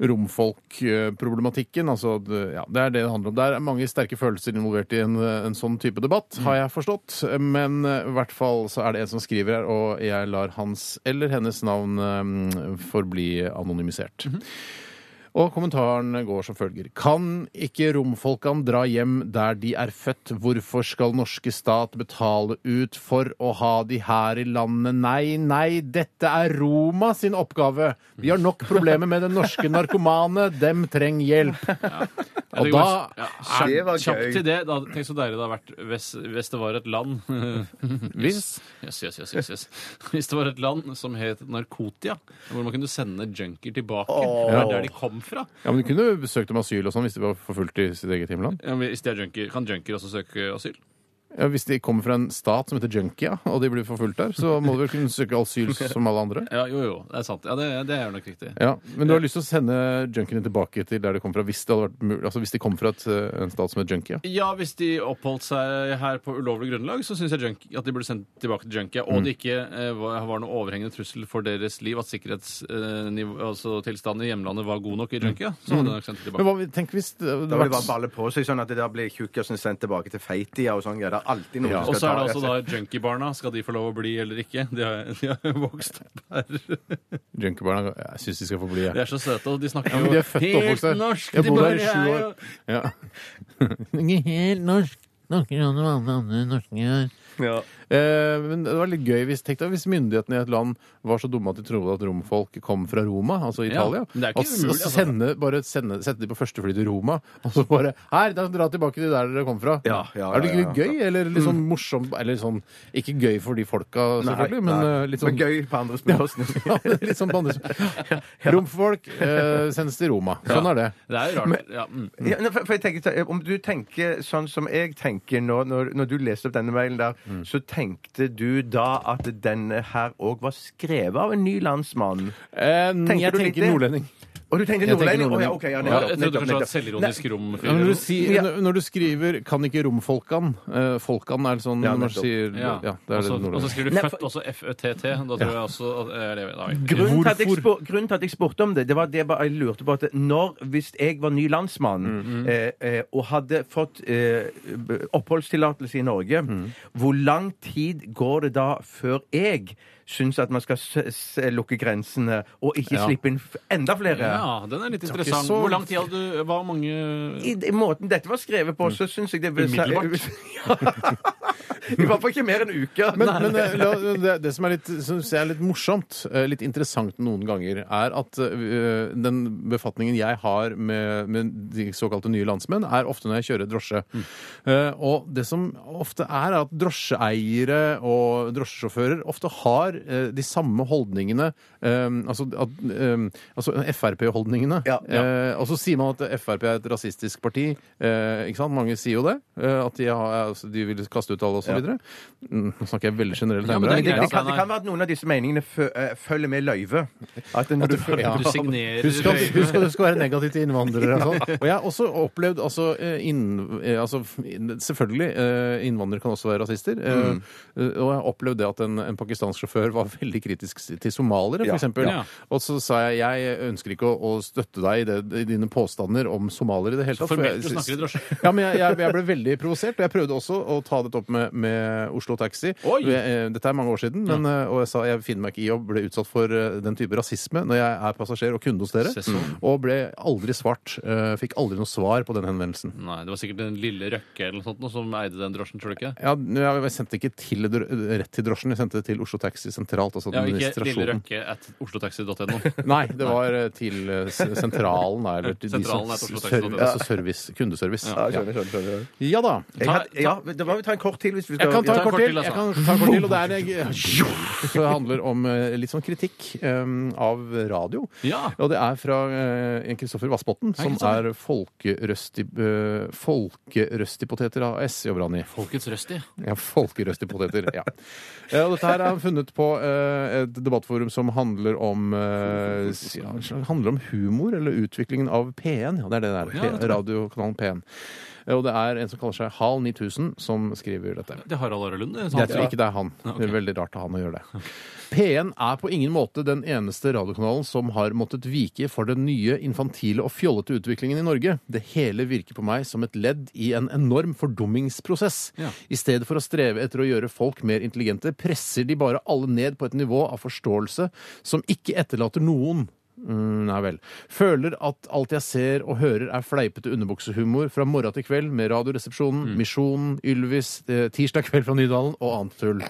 Speaker 5: romfolkproblematikken. Altså, at, ja, det er det det handler om. Det er mange sterke følelser involvert i en, en sånn type debatt, har jeg forstått. Men eh, i hvert fall så er det en som skriver her, og jeg lar hans eller hennes navn eh, forbli anonymisert. Og kommentaren går som følger. Kan ikke romfolkene dra hjem der de er født? Hvorfor skal norske stat betale ut for å ha de her i landet? Nei, nei, dette er Roma sin oppgave. De har nok problemer med den norske narkomane. Dem trenger hjelp.
Speaker 7: Jeg
Speaker 5: Og
Speaker 7: tenker
Speaker 5: da
Speaker 7: bare- ja,
Speaker 6: Det var
Speaker 7: kjapt
Speaker 6: gøy.
Speaker 7: til det. Da, tenk så deilig det hadde vært hvis, hvis det var et land
Speaker 5: Hvis
Speaker 7: yes, yes, yes, yes, yes. Hvis det var et land som het Narkotia, hvor man kunne sende junkier tilbake. Det var der de kom fra.
Speaker 5: Ja, men du kunne jo søkt om asyl og sånn hvis de var forfulgt i sitt eget hjemland.
Speaker 7: Ja, men hvis de er junkier, kan junkier også søke asyl?
Speaker 5: Ja, hvis de kommer fra en stat som heter Junkia, og de blir forfulgt der, så må de vel kunne søke asyl som alle andre?
Speaker 7: Ja, jo, jo. Det er sant. Ja, det, det er nok riktig.
Speaker 5: Ja, Men du har lyst til å sende junkiene tilbake til der de kom fra, hvis, det hadde vært mulig, altså hvis de kom fra et, eh, en stat som het Junkia?
Speaker 7: Ja, hvis de oppholdt seg her på ulovlig grunnlag, så syns jeg junk, at de burde sendt tilbake til junkie,
Speaker 5: Mm.
Speaker 7: og det ikke eh, var, var noe overhengende trussel for deres liv at sikkerhetstilstanden eh, niv- altså tilstanden i hjemlandet var god nok i junkie, så hadde de nok sendt det
Speaker 5: Mm. Men
Speaker 7: tilbake.
Speaker 5: hva, tenk hvis det,
Speaker 6: Da vil det bare balle på seg, sånn at det da blir tjukkasen sendt tilbake til Feitia og sånn greier. er alltid noen
Speaker 5: Ja,
Speaker 6: som
Speaker 7: Og så
Speaker 6: skal
Speaker 7: er det
Speaker 6: ta
Speaker 7: altså da junkiebarna. Skal de få lov å bli eller ikke? De har, de har vokst opp her.
Speaker 5: Junkerbarna Jeg syns de skal få bli, jeg.
Speaker 7: De er så søte, og de snakker
Speaker 5: Ja,
Speaker 7: jo
Speaker 5: men de er født og oppvokst her.
Speaker 7: helt norsk.
Speaker 5: Jeg
Speaker 7: De
Speaker 5: bodde her
Speaker 7: bare
Speaker 5: i
Speaker 7: er
Speaker 5: sju
Speaker 7: jo-
Speaker 5: år. Ja. Ikke helt norsk. Snakker om alle andre norske her. Eh, men det var litt gøy hvis, tenk deg, hvis myndighetene i et land var så dumme at de trodde at romfolk kom fra Roma, altså
Speaker 7: Ja,
Speaker 5: Italia.
Speaker 7: men det er ikke
Speaker 5: og s-
Speaker 7: umulig,
Speaker 5: og
Speaker 7: altså.
Speaker 5: sende, bare sende, sette de på første fly til Roma, og så bare Her, da, dra tilbake til der dere kom fra.
Speaker 6: Ja, ja,
Speaker 5: er det
Speaker 6: ja, ja, ja.
Speaker 5: gøy, eller litt sånn morsomt Eller sånn Ikke gøy for de folka, selvfølgelig, men eh, litt sånn
Speaker 6: Men gøy på andres bekostning.
Speaker 5: Ja, men litt sånn på andre- Romfolk eh, sendes til Roma. Sånn er det.
Speaker 7: Det er jo rart. Ja, mm.
Speaker 6: Ja, nei, for, for jeg tenker, Om du tenker sånn som jeg tenker nå, når, når du leste opp denne mailen der,
Speaker 5: Mm.
Speaker 6: så tenkte du da at denne her òg var skrevet av en ny landsmann?
Speaker 5: Eh, jeg
Speaker 6: du litt
Speaker 5: tenker
Speaker 6: det?
Speaker 5: nordlending.
Speaker 6: Og du tenkte
Speaker 5: Jeg tenker
Speaker 6: nordlending? Å ja,
Speaker 5: nordlending.
Speaker 6: ok, ja,
Speaker 7: Ja,
Speaker 6: nettopp,
Speaker 7: jeg trodde
Speaker 6: nettopp,
Speaker 7: kanskje det var et
Speaker 6: nettopp.
Speaker 7: selvironisk rom.
Speaker 5: Ja, men når, du
Speaker 7: fyr.
Speaker 5: sier, når- når du skriver 'kan ikke romfolkan', eh, folkan er sånn
Speaker 6: Ja,
Speaker 5: når du
Speaker 6: nettopp.
Speaker 5: sier
Speaker 7: Ja. Altså-
Speaker 5: Ja, det er
Speaker 7: og så-
Speaker 5: det
Speaker 7: og så
Speaker 5: nordlending.
Speaker 7: skriver du født også FØTT. Da tror jeg også at jeg lever da, egentlig.
Speaker 6: Grunnen til, at jeg
Speaker 5: Hvorfor?
Speaker 6: spur, grunnen til at jeg spurte om det, det var det jeg bare- jeg lurte på at når, hvis jeg var ny landsmann eh, eh, og hadde fått eh, b- oppholdstillatelse i Norge, hvor lang tid går det da før jeg syns at man skal s s lukke grensene og ikke
Speaker 5: Ja.
Speaker 6: slippe inn f- enda flere?
Speaker 7: Ja, den er litt interessant.
Speaker 5: så-
Speaker 7: Hvor lang tid hadde du Hva mange
Speaker 6: I, I måten dette var skrevet på, så syns jeg det
Speaker 7: Umiddelbart.
Speaker 6: I hvert fall ikke mer enn en uke.
Speaker 5: Men, men eh, la, det, det som er litt, synes jeg er litt morsomt, eh, litt interessant noen ganger, er at eh, den befatningen jeg har med, med de såkalte nye landsmenn, er ofte når jeg kjører drosje.
Speaker 6: Mm.
Speaker 5: Eh, og det som ofte er, er at drosjeeiere og drosjesjåfører ofte har eh, de samme holdningene, eh, altså, at, eh, altså Frp-holdningene.
Speaker 6: Ja, ja.
Speaker 5: Eh, og så sier man at Frp er et rasistisk parti. Eh, ikke sant? Mange sier jo det. Eh, at de, har, altså, de vil kaste ut alle osv. videre Mm, nå snakker jeg veldig generelt.
Speaker 7: Ja, men
Speaker 5: Heimbra.
Speaker 7: det er
Speaker 6: Det,
Speaker 7: greit.
Speaker 6: det, kan, det kan være at noen av disse meningene fø, eh, følger med løyve. At når du,
Speaker 5: følger- ja.
Speaker 7: Du signerer
Speaker 5: Husk at,
Speaker 7: løyve.
Speaker 5: husk at du skal være negativ til innvandrere. Og, sånn. og jeg har også opplevd altså, eh, inn, eh, altså f- inn- Selvfølgelig, eh, innvandrere kan også være rasister. eh,
Speaker 7: Mm.
Speaker 5: eh, Og jeg har opplevd det at en, en pakistansk sjåfør var veldig kritisk s- til somalere, f.eks. eksempel
Speaker 7: Ja.
Speaker 5: Og så sa jeg jeg ønsker ikke å, å støtte deg i, det, i dine påstander om somalere i det hele tatt. for jeg
Speaker 7: formelt du
Speaker 5: synes-
Speaker 7: snakker i drosje.
Speaker 5: Ja, men jeg, jeg, jeg ble veldig provosert, og jeg prøvde også å ta dette opp med, med Oslo Taxi.
Speaker 7: Oi!
Speaker 5: Jeg, eh, Dette er mange år siden, men, eh, og jeg sa jeg finner meg ikke i å bli utsatt for eh, den type rasisme når jeg er passasjer og kunde hos dere.
Speaker 7: Se sånn.
Speaker 5: Og ble aldri svart. eh, Fikk aldri noe svar på den henvendelsen.
Speaker 7: Nei, det var sikkert den lille Røkke eller noe sånt noe som eide den drosjen, tror du ikke?
Speaker 5: Ja, jeg jeg sendte ikke til, rett til drosjen, jeg sendte det til Oslo Taxi sentralt. altså
Speaker 7: Ja, ikke
Speaker 5: administrasjonen.
Speaker 7: lille Røkke at oslotaxi.no.
Speaker 5: Nei, det var eh, til eh, s- sentralen, da. Eller til de som
Speaker 7: Sentralen er til Oslo Taxi.
Speaker 5: serv- altså service, kundeservice.
Speaker 7: Ja,
Speaker 5: Ja. ja da.
Speaker 6: jeg hadde, ja, da må vi ta en kort til. Hvis vi skal,
Speaker 5: Jeg kan ta
Speaker 7: ta
Speaker 5: en kort
Speaker 7: kort
Speaker 5: til.
Speaker 7: til,
Speaker 5: Jeg
Speaker 7: altså.
Speaker 5: kan ta en kort til, og det er en- Så det handler om eh, litt sånn kritikk eh, av radio.
Speaker 7: Ja.
Speaker 5: Og det er fra eh, en Kristoffer Vassbotn, som
Speaker 7: Kristoffer.
Speaker 5: er folkerøsti, eh, Folkerøstipoteter AS, jobber han i.
Speaker 7: Folkets røst, ja.
Speaker 5: Ja, Folkerøstipoteter. ja. Eh, Og dette her har han funnet på eh, et debattforum som handler om eh, s- ja, handler om humor, eller utviklingen av P1. Ja, det er det der.
Speaker 7: Ja, nettopp.
Speaker 5: Radiokanalen P1. Eh, Og det er en som kaller seg Hal 9000, som skriver dette.
Speaker 7: Det er Harald Are Lund. det er sant.
Speaker 5: Jeg tror ikke det er han. Det er veldig rart av han å gjøre det. P1 er på ingen måte den eneste radiokanalen som har måttet vike for den nye infantile og fjollete utviklingen i Norge. Det hele virker på meg som et ledd i en enorm fordummingsprosess.
Speaker 7: Ja.
Speaker 5: I stedet for å streve etter å gjøre folk mer intelligente, presser de bare alle ned på et nivå av forståelse som ikke etterlater noen Mm, nei vel. Føler at alt jeg ser og hører er fleipete underbuksehumor fra morgen til kveld med Radioresepsjonen, Misjonen, Ylvis, eh, Tirsdag kveld fra Nydalen og annet tull.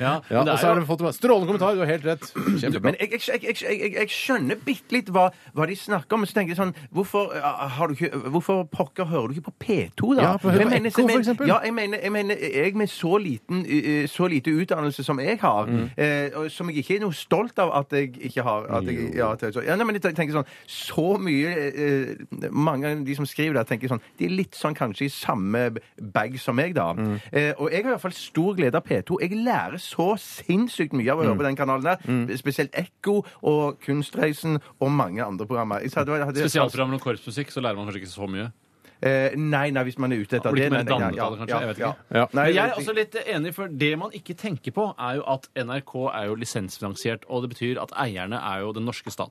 Speaker 7: Ja,
Speaker 5: Ja,
Speaker 7: men det
Speaker 5: og
Speaker 7: er
Speaker 5: så
Speaker 7: jo-
Speaker 5: har de fått Strålende kommentar, du har helt rett. Kjempebra.
Speaker 6: Men jeg, jeg, jeg, jeg, jeg, jeg skjønner bitte litt hva, hva de snakker om. Men så tenker jeg sånn Hvorfor, eh, har du ikke, hvorfor pokker hører du ikke på P2, da?
Speaker 5: Ja, på- hør på
Speaker 6: Jeg mener-
Speaker 5: Ekko, for
Speaker 6: jeg mener-
Speaker 5: eksempel.
Speaker 6: Ja, jeg mener, jeg mener jeg med så, liten, eh, så lite utdannelse som jeg har,
Speaker 7: Mm.
Speaker 6: eh, og som jeg ikke er noe stolt av at jeg ikke har at jeg, ja, at jeg, så- ja, nei, men jeg tenker sånn Så mye eh, Mange av de som skriver det, tenker sånn De er litt sånn kanskje i samme bag som meg, da.
Speaker 7: Mm.
Speaker 6: Eh, og jeg har i hvert fall stor glede av P2. Jeg lærer så sinnssykt mye av å høre
Speaker 7: Mm.
Speaker 6: på den kanalen der. Spesielt Ekko og Kunstreisen og mange andre programmer. Jeg sa det var- jeg hadde-
Speaker 7: Spesialprogrammer om korpsmusikk, så lærer man kanskje ikke så mye.
Speaker 6: Eh, nei, nei, hvis man er ute etter
Speaker 7: Blir
Speaker 6: det.
Speaker 7: ikke
Speaker 6: nei,
Speaker 7: mer
Speaker 6: nei,
Speaker 7: dannet
Speaker 6: ja,
Speaker 7: av det, kanskje?
Speaker 6: ja,
Speaker 7: Jeg vet
Speaker 6: ja.
Speaker 7: ikke.
Speaker 5: Ja.
Speaker 6: Nei,
Speaker 7: Men jeg er også litt enig, for det man ikke tenker på, er jo at NRK er jo lisensfinansiert, og det betyr at eierne er jo den norske stat.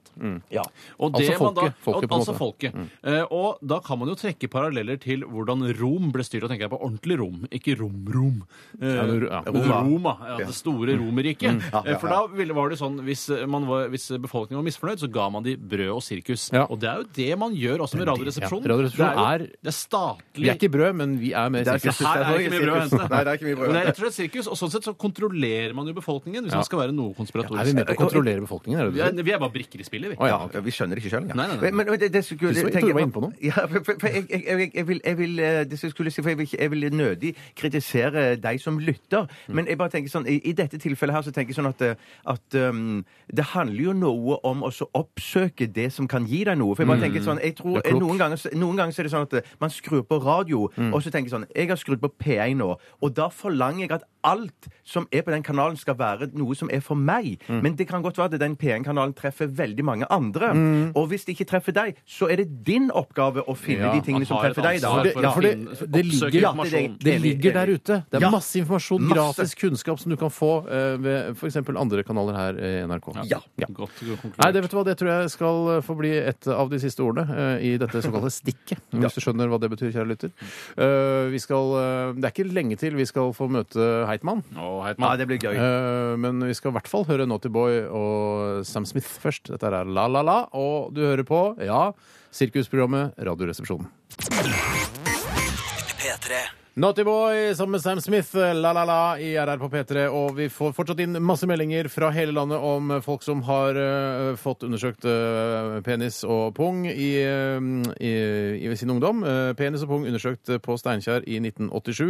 Speaker 7: Og det
Speaker 5: Altså
Speaker 7: man da-
Speaker 5: folket. Folket, på en
Speaker 7: altså
Speaker 5: måte. Mm.
Speaker 7: folket. Eh, og da kan man jo trekke paralleller til hvordan Rom ble styrt, og tenker jeg på ordentlig Rom, ikke Rom-Rom. Eh,
Speaker 5: Ja, men Ro- ja. Mm.
Speaker 7: Roma. ja, det store Romerriket. Eh, For da ville, var det sånn, hvis, man var, hvis befolkningen var misfornøyd, så ga man de brød og sirkus.
Speaker 5: Ja.
Speaker 7: Og det er jo det man gjør også med Radioresepsjonen.
Speaker 5: Ja, Radioresepsjonen
Speaker 7: det er, jo,
Speaker 5: er-
Speaker 7: det er
Speaker 5: Vi
Speaker 7: statlig
Speaker 5: er ikke brød, men vi er med i sirkus.
Speaker 7: her er det ikke mye brød å hente.
Speaker 6: Nei, det er ikke mye brød å
Speaker 7: Men det er rett og slett sirkus, og sånn sett så kontrollerer man jo befolkningen hvis
Speaker 5: Ja.
Speaker 7: man skal være noe
Speaker 5: Er vi
Speaker 7: konspiratorisk. Eh,
Speaker 5: med på å kontrollere befolkningen? Er det
Speaker 7: vi,
Speaker 5: det du
Speaker 7: er,
Speaker 5: sier?
Speaker 7: vi er bare brikker i spillet, vi.
Speaker 5: Å, ja,
Speaker 6: Ja,
Speaker 5: ok.
Speaker 6: ja, vi skjønner ikke sjøl engang.
Speaker 7: Nei, nei, nei.
Speaker 6: Men, men det, det skulle,
Speaker 5: Du så- jeg
Speaker 6: tenker
Speaker 5: tror du var
Speaker 6: jeg-
Speaker 5: inne på noe.
Speaker 6: Ja, for, for, for jeg, jeg, jeg, jeg vil, jeg vil eh, Det som jeg skulle si, for jeg vil, ikke- jeg vil nødig kritisere deg som lytter,
Speaker 5: Mm.
Speaker 6: men jeg bare tenker sånn, i, i dette tilfellet her så tenker jeg sånn at, eh, at um, det handler jo noe om å så oppsøke det som kan gi deg noe. For jeg bare tenker sånn, jeg tror
Speaker 5: Mm. Det er klokt.
Speaker 6: noen ganger, så- noen ganger så er det sånn at eh, man skrur på radio,
Speaker 7: Mm.
Speaker 6: og så tenker jeg sånn Jeg har skrudd på P1 nå, og da forlanger jeg at alt som er på den kanalen, skal være noe som er for meg.
Speaker 7: Mm.
Speaker 6: Men det kan godt være at den P1-kanalen treffer veldig mange andre.
Speaker 7: Mm.
Speaker 6: Og hvis det ikke treffer deg, så er det din oppgave å finne
Speaker 5: Ja,
Speaker 6: de tingene som
Speaker 7: har et
Speaker 6: treffer deg, da.
Speaker 7: ansvar
Speaker 5: Det,
Speaker 7: for å
Speaker 5: for det,
Speaker 7: finne-
Speaker 5: det
Speaker 7: oppsøke
Speaker 5: ligger,
Speaker 6: informasjon.
Speaker 5: ja, det, det ligger der ute. Det er
Speaker 6: Ja.
Speaker 5: masse informasjon,
Speaker 6: Masse.
Speaker 5: gratis kunnskap som du kan få eh, ved f.eks. andre kanaler her eh, i NRK.
Speaker 6: Ja.
Speaker 7: Godt
Speaker 5: Nei,
Speaker 7: konkludert.
Speaker 5: det vet du hva, det tror jeg skal eh, få bli et av de siste ordene eh, i dette såkalte stikket. Hvis du skjønner hva det betyr, kjære lytter. Eh, vi skal, eh, det er ikke lenge til vi skal få møte Heitmann.
Speaker 7: Å,
Speaker 6: Ja,
Speaker 7: Heitmann.
Speaker 6: det blir gøy.
Speaker 5: Eh, men vi skal i hvert fall høre Naughty Boy og Sam Smith først. Dette er La La La, og du hører på, ja, sirkusprogrammet Radioresepsjonen.
Speaker 1: P3.
Speaker 5: Naughty Boy sammen med Sam Smith, la la la, i RR på P3. Og vi får fortsatt inn masse meldinger fra hele landet om folk som har eh, fått undersøkt eh, penis og pung i, eh, i, i sin ungdom. Eh, penis og pung undersøkt eh, på Steinkjer i 1987.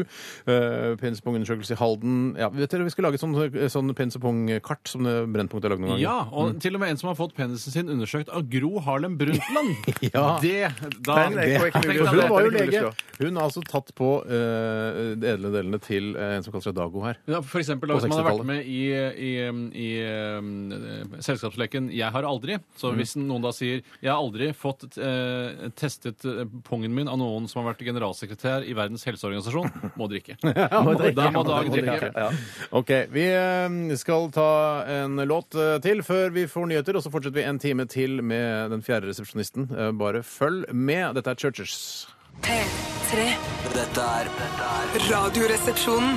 Speaker 5: Eh, penis og pungundersøkelse i Halden. Ja, vet dere, Vi skal lage sånn, sånn penis og pung-kart som det Brennpunkt har lagd noen ganger.
Speaker 7: Ja, og til og med en som har fått penisen sin undersøkt av Gro Harlem Brundtland.
Speaker 5: Ja.
Speaker 7: Det, da,
Speaker 6: Nei, nei, jeg får ikke
Speaker 7: Tenk
Speaker 6: mulig
Speaker 7: deg
Speaker 6: å
Speaker 5: Hun
Speaker 6: se.
Speaker 7: det.
Speaker 5: var jo
Speaker 6: Det er ikke
Speaker 5: lege.
Speaker 6: mulig å
Speaker 5: Hun har altså tatt på eh, de edle delene til eh, en som kaller seg Dago her.
Speaker 7: Ja, for eksempel, da,
Speaker 5: På
Speaker 7: hvis man har vært
Speaker 5: 60-tallet.
Speaker 7: med i, i, i, um, eh, selskapsleken 'Jeg har aldri', så hvis noen da sier 'Jeg har aldri fått eh, testet eh, pungen min av noen som har vært generalsekretær i Verdens helseorganisasjon', må drikke. Da må Dag drikke.
Speaker 5: Ok, vi eh, skal ta en låt eh, til før vi får nyheter, og så fortsetter vi en time til med den fjerde resepsjonisten. Eh, Bare følg med. Dette er Churches.
Speaker 11: P3.
Speaker 1: Dette er dette er
Speaker 11: Radioresepsjonen.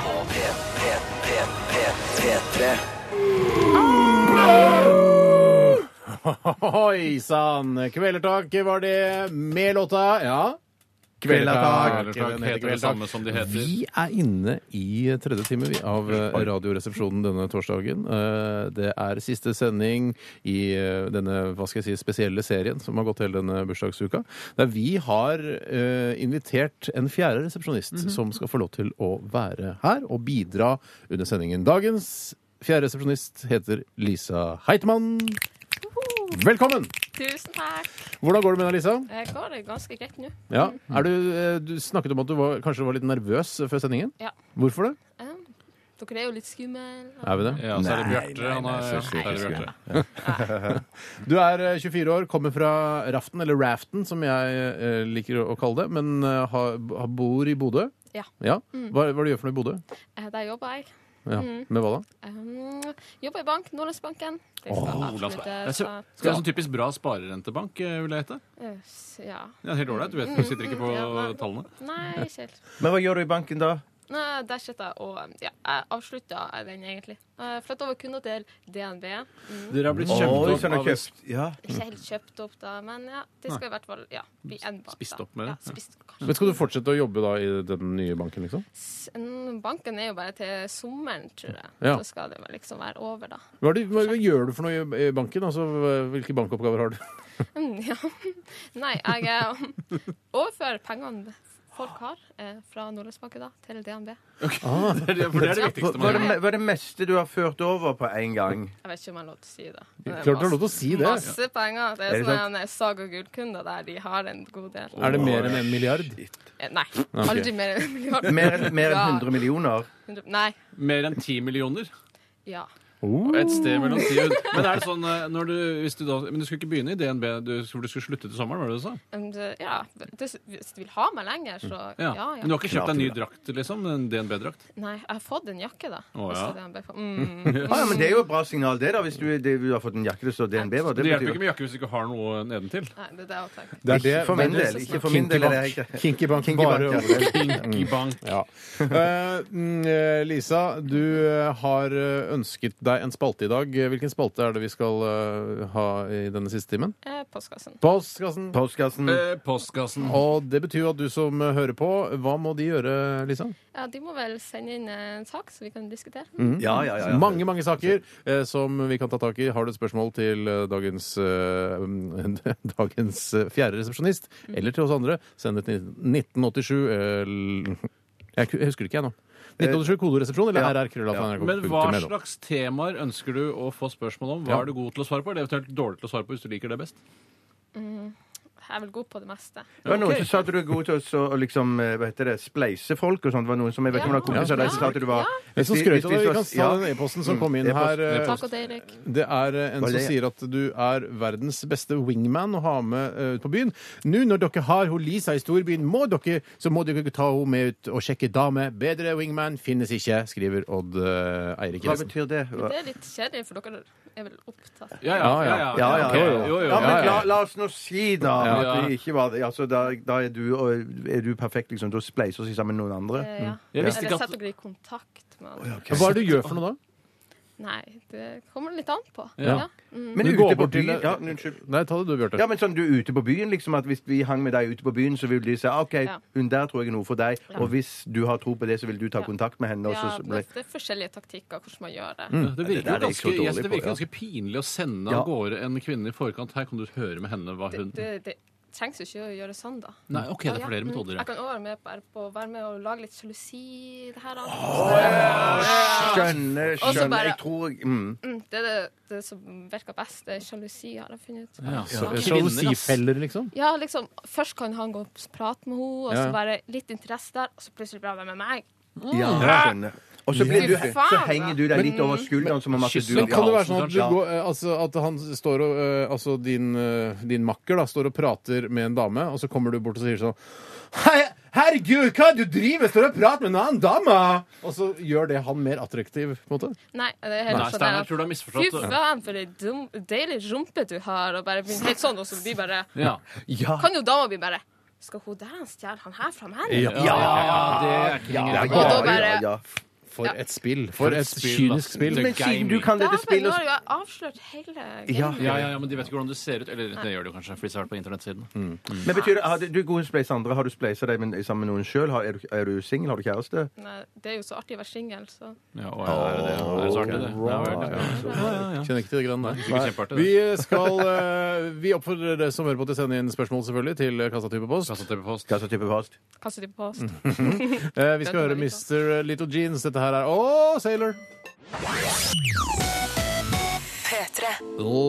Speaker 1: på P, P, P, P, P3.
Speaker 5: Oi sann! Kvelertak var det med låta. Ja.
Speaker 7: Kvelertak.
Speaker 5: Den heter
Speaker 7: Heter det
Speaker 5: Kvelertak.
Speaker 7: samme som de heter.
Speaker 5: Vi er inne i tredje time vi, av eh, Radioresepsjonen denne torsdagen. Eh, Det er siste sending i eh, denne hva skal jeg si, spesielle serien som har gått hele denne bursdagsuka. Der vi har eh, invitert en fjerde resepsjonist
Speaker 7: Mhm.
Speaker 5: som skal få lov til å være her og bidra under sendingen. Dagens fjerde resepsjonist heter Lisa Heitmann. Velkommen!
Speaker 12: Tusen takk.
Speaker 5: Hvordan går det med deg, Lisa?
Speaker 12: Det går det ganske greit nå.
Speaker 5: Ja. Er du, eh, du snakket om at du var, kanskje var litt nervøs før sendingen.
Speaker 12: Ja.
Speaker 5: Hvorfor det?
Speaker 12: Eh, Dere er jo litt skumle.
Speaker 5: Er vi det?
Speaker 7: Ja, så er det
Speaker 6: Nei,
Speaker 7: Bjarte.
Speaker 6: nei,
Speaker 7: Han
Speaker 6: nei,
Speaker 7: er,
Speaker 6: så
Speaker 7: ja,
Speaker 6: sjukt,
Speaker 7: der er
Speaker 6: så
Speaker 7: Bjarte.
Speaker 5: Du er eh, 24 år, kommer fra Raften, eller Raften som jeg eh, liker å- å kalle det, men eh, har, har- bor i Bodø.
Speaker 12: Ja.
Speaker 5: Hva, hva er det du gjør for noe i Bodø?
Speaker 12: Eh, Der jobber jeg.
Speaker 5: Ja.
Speaker 12: Mm.
Speaker 5: Med hva da?
Speaker 12: Um, jobber i bank, Nordlandsbanken. Det skal
Speaker 7: Nordlandsbanken.
Speaker 12: avsluttes,
Speaker 7: Jeg ser- Skal
Speaker 12: og-
Speaker 7: det være sånn typisk bra sparerentebank, eh, vil jeg hete?
Speaker 12: eh, s- Ja.
Speaker 7: Ja, helt ålreit. Du vet, du sitter ikke på
Speaker 12: Mm. Ja, nei.
Speaker 7: tallene.
Speaker 12: Nei, ikke helt.
Speaker 6: Men hva gjør du i banken da?
Speaker 12: Nei, der sitter jeg og um, ja, Jeg avslutta den egentlig. Eh, Flytta over kunder til DNB. Mm.
Speaker 7: Dere har blitt
Speaker 6: Oi,
Speaker 7: kjøpt
Speaker 6: sånn
Speaker 7: opp
Speaker 6: har
Speaker 7: av
Speaker 6: kjøpt. Ja.
Speaker 12: Ikke helt kjøpt opp, da, men ja, det skal i hvert fall ja, bli en bank. da.
Speaker 7: Spist opp med det,
Speaker 12: Ja,
Speaker 7: ja.
Speaker 12: spist, kanskje.
Speaker 5: Men skal du fortsette å jobbe da i den nye banken, liksom?
Speaker 12: S- mm, Banken er jo bare til sommeren, tror jeg.
Speaker 5: Ja.
Speaker 12: Så skal det vel liksom være over, da.
Speaker 5: Hva, er det, hva, hva gjør du for noe i, i banken? Altså, hva- hvilke bankoppgaver har du?
Speaker 12: Mm, Ja. Nei, jeg eh, overfører pengene folk har eh, fra Nordlandsbanken da, til DNB.
Speaker 7: Det er det- For det er det
Speaker 6: Hva,
Speaker 7: viktigste
Speaker 6: hva,
Speaker 7: man
Speaker 6: er det,
Speaker 7: gjør.
Speaker 6: me- hva er det meste du har ført over på en gang?
Speaker 12: Jeg vet ikke om jeg har lov til å si det.
Speaker 5: Klart du har lov til å si det.
Speaker 12: Masse penger. Det
Speaker 6: Er
Speaker 12: er sånn eh,
Speaker 6: det sant?
Speaker 12: sånne Saga Gull-kunder der de har en god del.
Speaker 5: Er det mer enn en milliard?
Speaker 12: Eh, Nei, aldri mer enn en milliard.
Speaker 6: Mer, enn- mer enn
Speaker 12: Ja,
Speaker 6: 100 millioner?
Speaker 12: 100 Nei.
Speaker 7: Mer enn ti millioner?
Speaker 12: Ja.
Speaker 7: Et sted mellom ti og Men er det sånn eh, når du, hvis du da, Men du skulle ikke begynne i DNB, du, for du skulle slutte til sommeren, var det det du sa?
Speaker 12: Um, det- Ja, det, hvis du vil ha meg lenger, så
Speaker 7: Mm. Ja.
Speaker 12: ja, ja.
Speaker 7: Men du har ikke kjøpt deg en ny drakt, liksom? En DNB-drakt?
Speaker 12: Nei, jeg har fått en jakke, da.
Speaker 7: Å, ja.
Speaker 12: Hvis det er en BFA. Mm.
Speaker 6: Ah, ja, men Det er jo et bra signal, det, da. Hvis du, det, du har fått en jakke det står DNB på.
Speaker 7: Det hjelper
Speaker 6: betyr-
Speaker 7: ikke med jakke hvis du ikke har noe nedentil.
Speaker 12: Nei, det er det jeg har tenkt.
Speaker 5: Det er det-
Speaker 6: Ikke for min
Speaker 5: det er
Speaker 6: del.
Speaker 5: det-
Speaker 6: Ikke for min del er det ikke.
Speaker 5: Kinky bank,
Speaker 6: Kinky
Speaker 5: bare
Speaker 6: bank, ja.
Speaker 5: overlevd.
Speaker 7: Pinky
Speaker 6: Mm.
Speaker 7: bank.
Speaker 5: Ja. Eh, mm, eh, Lisa, du eh, har eh, ønsket deg en spalte i dag. Hvilken spalte er det vi skal eh, ha i denne siste timen?
Speaker 12: Eh, Postkassen.
Speaker 5: Postkassen.
Speaker 6: Postkassen.
Speaker 7: Eh, Postkassen.
Speaker 5: Og det betyr jo at du som eh, hører på, hva må de gjøre, Lisa?
Speaker 12: Ja, de må vel sende inn eh, en sak, så vi kan diskutere.
Speaker 6: Ja, ja, ja. ja.
Speaker 5: Mange mange saker eh, som vi kan ta tak i. Har du et spørsmål til eh, dagens, eh, mm, dagens eh, fjerde resepsjonist,
Speaker 6: Mm.
Speaker 5: eller til oss andre, send det til 1987 eller jeg, ku- jeg husker det ikke, jeg nå. 1987 kodoresepsjon eller
Speaker 6: Ja.
Speaker 5: rr.krøllalfa.nrk.no.
Speaker 7: Men hva slags temaer ønsker du å få spørsmål om? Hva
Speaker 5: Ja.
Speaker 7: er du god til å svare på, eller eventuelt dårlig til å svare på hvis du liker det best?
Speaker 12: Jeg er vel god på det meste.
Speaker 6: Det var noen som sa at du er god til å så- å liksom, eh, hva heter det, spleise folk og sånt. Det var noen som, jeg vet ikke om det var kompiser av deg som sa at du var
Speaker 5: Vi som
Speaker 6: Hvis de-
Speaker 5: skrøt
Speaker 6: hvis
Speaker 5: av
Speaker 6: de
Speaker 5: det, vi
Speaker 6: så-
Speaker 5: kan ta
Speaker 6: ja.
Speaker 5: den e-posten som kom inn
Speaker 6: Mm,
Speaker 5: her. eh,
Speaker 12: Takk og Eirik.
Speaker 5: Det er eh, en
Speaker 6: Var
Speaker 5: som
Speaker 6: det-
Speaker 5: sier at du er verdens beste wingman å ha med eh, ut på byen. Nå når dere har hun Lisa i storbyen, må dere, så må dere ta henne med ut og sjekke dame. Bedre wingman finnes ikke, skriver Odd eh, Eirik
Speaker 6: Hva
Speaker 5: Eriksen.
Speaker 6: betyr det?
Speaker 12: Det er litt kjedelig, for dere er vel opptatt.
Speaker 7: Ja,
Speaker 5: Ja, ja.
Speaker 6: Ja, ja,
Speaker 7: ok.
Speaker 6: ja.
Speaker 7: Jo,
Speaker 6: ja,
Speaker 7: jo, ja,
Speaker 6: men
Speaker 7: ja.
Speaker 6: la, la oss nå si, da,
Speaker 7: Ja.
Speaker 6: at vi ikke var det. Altså, da, da er, du, og- er du perfekt, liksom. Da spleiser vi sammen med noen andre.
Speaker 12: Eh, ja.
Speaker 7: Mm. Jeg visste
Speaker 12: Eller
Speaker 7: ikke at
Speaker 12: sett dere i kontakt med andre.
Speaker 5: Hva er det du gjør for noe da?
Speaker 12: Nei, det kommer litt an på.
Speaker 7: Ja.
Speaker 12: Ja. Mm.
Speaker 6: Men
Speaker 5: Du går
Speaker 6: ute på
Speaker 5: bort til
Speaker 6: byen
Speaker 5: det-
Speaker 6: ja, Unnskyld.
Speaker 5: Nei, ta det du, Bjarte.
Speaker 6: Ja, men sånn, du er ute på byen, liksom, at hvis vi hang med deg ute på byen, så vil de si "Ah, OK,
Speaker 12: Ja.
Speaker 6: hun der tror jeg er noe for deg, og hvis du har tro på det, så vil du ta
Speaker 12: Ja.
Speaker 6: kontakt med henne, og
Speaker 12: Ja,
Speaker 6: så så ble
Speaker 12: det, det er forskjellige taktikker hvordan man gjør det.
Speaker 7: Det
Speaker 6: det der
Speaker 7: virker,
Speaker 6: er jeg
Speaker 7: jo
Speaker 6: så
Speaker 7: ganske, jeg synes
Speaker 6: dårlig
Speaker 7: det
Speaker 6: på,
Speaker 7: virker
Speaker 6: ja.
Speaker 7: ganske pinlig å sende av
Speaker 6: Ja.
Speaker 7: gårde en kvinne i forkant. Her kan du høre med henne hva
Speaker 12: Det,
Speaker 7: hun
Speaker 12: det, det trengs jo ikke å gjøre sånn, da.
Speaker 7: Nei, OK, det er flere
Speaker 12: Ja, mm.
Speaker 7: metoder.
Speaker 12: Jeg
Speaker 7: Ja.
Speaker 12: kan også være med på, på å være med og lage litt sjalusi i det her. da.
Speaker 6: Skjønner,
Speaker 12: Og så
Speaker 6: skjønner.
Speaker 12: bare-
Speaker 6: Jeg tror jeg- mm.
Speaker 12: Mm, Det er det, det som virker best. Det er sjalusi, har jeg funnet ut.
Speaker 7: Ja.
Speaker 12: Ja.
Speaker 5: Sjalusifeller, Sånn liksom?
Speaker 12: Ja, liksom, Først kan han gå og prate med henne, og
Speaker 5: Ja.
Speaker 12: så bare litt interesse der, og så plutselig blir han med meg.
Speaker 6: Ja, jeg skjønner. Og så, blir du, så
Speaker 12: Fy faen,
Speaker 6: henger
Speaker 12: da.
Speaker 6: du deg litt over skulderen som om at du
Speaker 7: Kysser.
Speaker 5: Men kan det være sånn at, du
Speaker 6: Ja.
Speaker 5: går, eh, altså, at han står og eh, Altså din, eh, din makker da står og prater med en dame, og så kommer du bort og sier sånn Hei, herregud, hva er det du driver med? Står og prater med en annen dame? Og så gjør det han mer attraktiv, på en måte.
Speaker 12: Nei, det er helt
Speaker 7: Nei,
Speaker 12: sånn
Speaker 7: Steinar,
Speaker 12: der,
Speaker 7: tror du har
Speaker 12: Fy
Speaker 7: misforstått.
Speaker 12: faen, for ei dum- deilig rumpe du har, og bare begynner helt sånn, og så blir bare
Speaker 7: Ja.
Speaker 6: Ja.
Speaker 12: Kan jo dama bli bare Skal hun der stjele han her fra meg?
Speaker 7: Ja, Ah, ja, det er ikke
Speaker 6: Ja,
Speaker 7: ingen
Speaker 6: ja,
Speaker 12: da bare-
Speaker 6: ja, ja.
Speaker 5: For
Speaker 12: Ja.
Speaker 5: et spill. For,
Speaker 7: et
Speaker 5: et,
Speaker 7: spill, da.
Speaker 5: kynisk spill.
Speaker 7: Det-
Speaker 6: Men siden du kan
Speaker 12: Da
Speaker 6: dette
Speaker 12: har
Speaker 6: spillet
Speaker 12: jeg jo avslørt hele gamet.
Speaker 6: Ja.
Speaker 7: Ja, ja, ja, men de vet ikke hvordan du ser ut. Eller det gjør du kanskje, fordi de har vært på internettsiden.
Speaker 6: Men betyr det, har du, du er god til å spleise andre. Har du spleisa deg med, sammen med noen sjøl? Er du, er du singel? Har du kjæreste?
Speaker 12: Nei, Det er jo så artig å være singel, så
Speaker 7: Ja, å, ja, er det det? Er det så artig, det? Ja, vel, ja.
Speaker 5: Kjenner ikke til det greiene der.
Speaker 7: Det er kjempeartig,
Speaker 5: Vi
Speaker 7: det.
Speaker 5: skal eh, Vi oppfordrer dere som hører på til å sende inn spørsmål, selvfølgelig, til Kassatypepost.
Speaker 7: Kastet det på post.
Speaker 6: Hva slags type post?
Speaker 12: kaster de på oss.
Speaker 7: Mm.
Speaker 5: Eh, vi skal
Speaker 12: Den
Speaker 5: høre
Speaker 12: tar vi ikke.
Speaker 5: Mr. Little Jeans. Dette her er Åh, Sailor!
Speaker 11: P3.
Speaker 5: Little-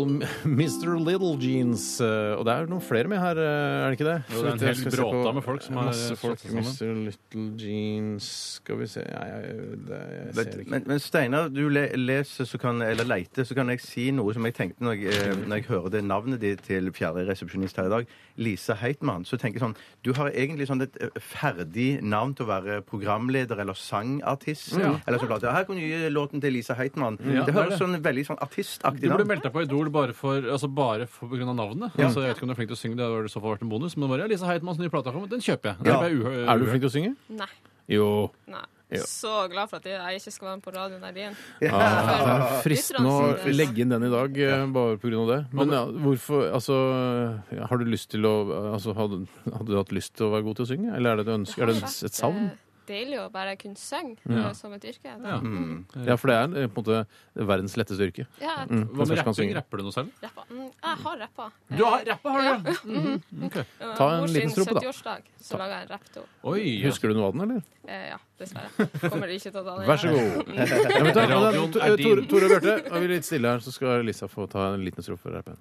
Speaker 5: Mr. Little Jeans. eh, Og det er noen flere med her, eh, er det ikke det?
Speaker 7: Jo, det er en
Speaker 5: Så jeg
Speaker 7: hel
Speaker 5: skal se på-
Speaker 7: bråta med folk som har
Speaker 5: Masse folk.
Speaker 7: slått seg sammen.
Speaker 5: Mr. Little Jeans Skal vi se Nei, jeg, det, jeg ser ikke.
Speaker 6: Men, men Steinar, du le, leser så kan, eller leiter, så kan jeg si noe som jeg tenkte når jeg, eh, når jeg hører det navnet ditt til fjerde resepsjonist her i dag, Lisa Heitmann. Så tenker jeg sånn Du har egentlig sånn et eh, ferdig navn til å være programleder eller sangartist. Eller så bladet, Her kan du gi låten til Lisa Heitmann.
Speaker 7: Ja,
Speaker 6: det
Speaker 7: det er
Speaker 6: høres
Speaker 7: det.
Speaker 6: sånn veldig sånn artistaktig
Speaker 7: Du burde
Speaker 6: navn.
Speaker 7: meldt deg på Idol bare for, altså bare for på grunn av navnet. Altså, jeg vet ikke om du er flink til å synge, det hadde i så fall vært en bonus. Men det var ja, Lisa Heitmanns nye plate har kommet, den kjøper jeg. Den
Speaker 6: Ja.
Speaker 7: kjøper jeg uhø-
Speaker 5: Er du flink til å synge?
Speaker 12: Nei.
Speaker 5: Jo.
Speaker 12: nei.
Speaker 5: Ja.
Speaker 12: Så glad for at jeg ikke skal være med på radioen her igjen.
Speaker 5: Det
Speaker 12: For-
Speaker 5: er fristende å legge inn den i dag, eh, bare på grunn av det. Men ja, hvorfor Altså, ja, har du lyst til å altså, hadde, hadde du hatt lyst til å være god til å synge? Eller er det et ønske? Er det et, et savn?
Speaker 12: eh, Deilig å bare kunne synge
Speaker 7: Ja.
Speaker 12: eh, som et yrke.
Speaker 7: Ja.
Speaker 12: Da.
Speaker 5: Ja, for det er eh, på en måte verdens letteste yrke.
Speaker 12: Ja, jeg
Speaker 7: Mm.
Speaker 5: Kanskje
Speaker 7: Hva med
Speaker 5: kan
Speaker 7: rapping?
Speaker 5: synge.
Speaker 7: Rapper du noe selv?
Speaker 12: rappa. Mm, jeg har rappa. Eh,
Speaker 7: Du har rappa, har du?
Speaker 12: eh,
Speaker 5: Ta en
Speaker 12: mor
Speaker 5: liten
Speaker 12: sin
Speaker 5: strope, da.
Speaker 12: 70-årsdag, så laga jeg en rapp til henne.
Speaker 7: Oi, ja.
Speaker 5: Husker du noe av den, eller?
Speaker 12: Eh, ja, dessverre. Kommer ikke til å ta den.
Speaker 5: Vær så god. Ja, men ta,
Speaker 7: Radioen
Speaker 5: Tore-
Speaker 7: er din.
Speaker 5: Tore- Tore og Bjarte, og vi er litt stille her, så skal Lisa få ta en liten strofe. her på en.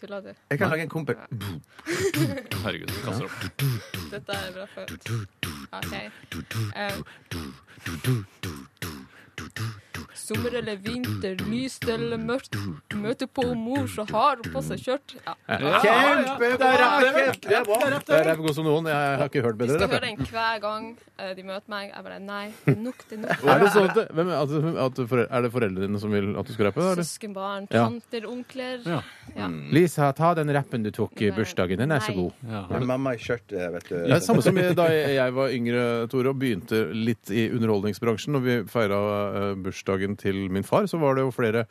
Speaker 12: Tulla du.
Speaker 6: Jeg kan lage en kompis.
Speaker 7: Herregud, du kaster opp.
Speaker 12: Dette er bra for OK. Eh, Sommer eller vinter, lyst eller mørkt. Møter på mor så har hun på seg skjørt. Ja.
Speaker 8: Kjempebra! Kjempebra!
Speaker 5: Det er rapp god som noen. Jeg har ikke hørt
Speaker 12: Vi
Speaker 5: bedre
Speaker 12: skal
Speaker 5: rapp.
Speaker 12: høre
Speaker 5: jeg.
Speaker 12: den hver gang eh, de møter meg. Jeg bare nei, det er nok, det er nok.
Speaker 5: Er det, sånn at, det- hvem, at, at for, er det foreldrene dine som vil at du skal rappe? da, eller?
Speaker 12: Søskenbarn,
Speaker 5: Ja.
Speaker 12: tanter, onkler.
Speaker 7: Ja.
Speaker 12: Ja.
Speaker 5: Lisa, ta den rappen du tok i bursdagen. Den er så
Speaker 12: Nei.
Speaker 5: god.
Speaker 7: Ja.
Speaker 6: Mamma i skjørt, eh, vet du.
Speaker 5: Det er samme som i- da jeg var yngre Tore, og begynte litt i underholdningsbransjen. Når vi feira bursdagen til min far, så var det jo flere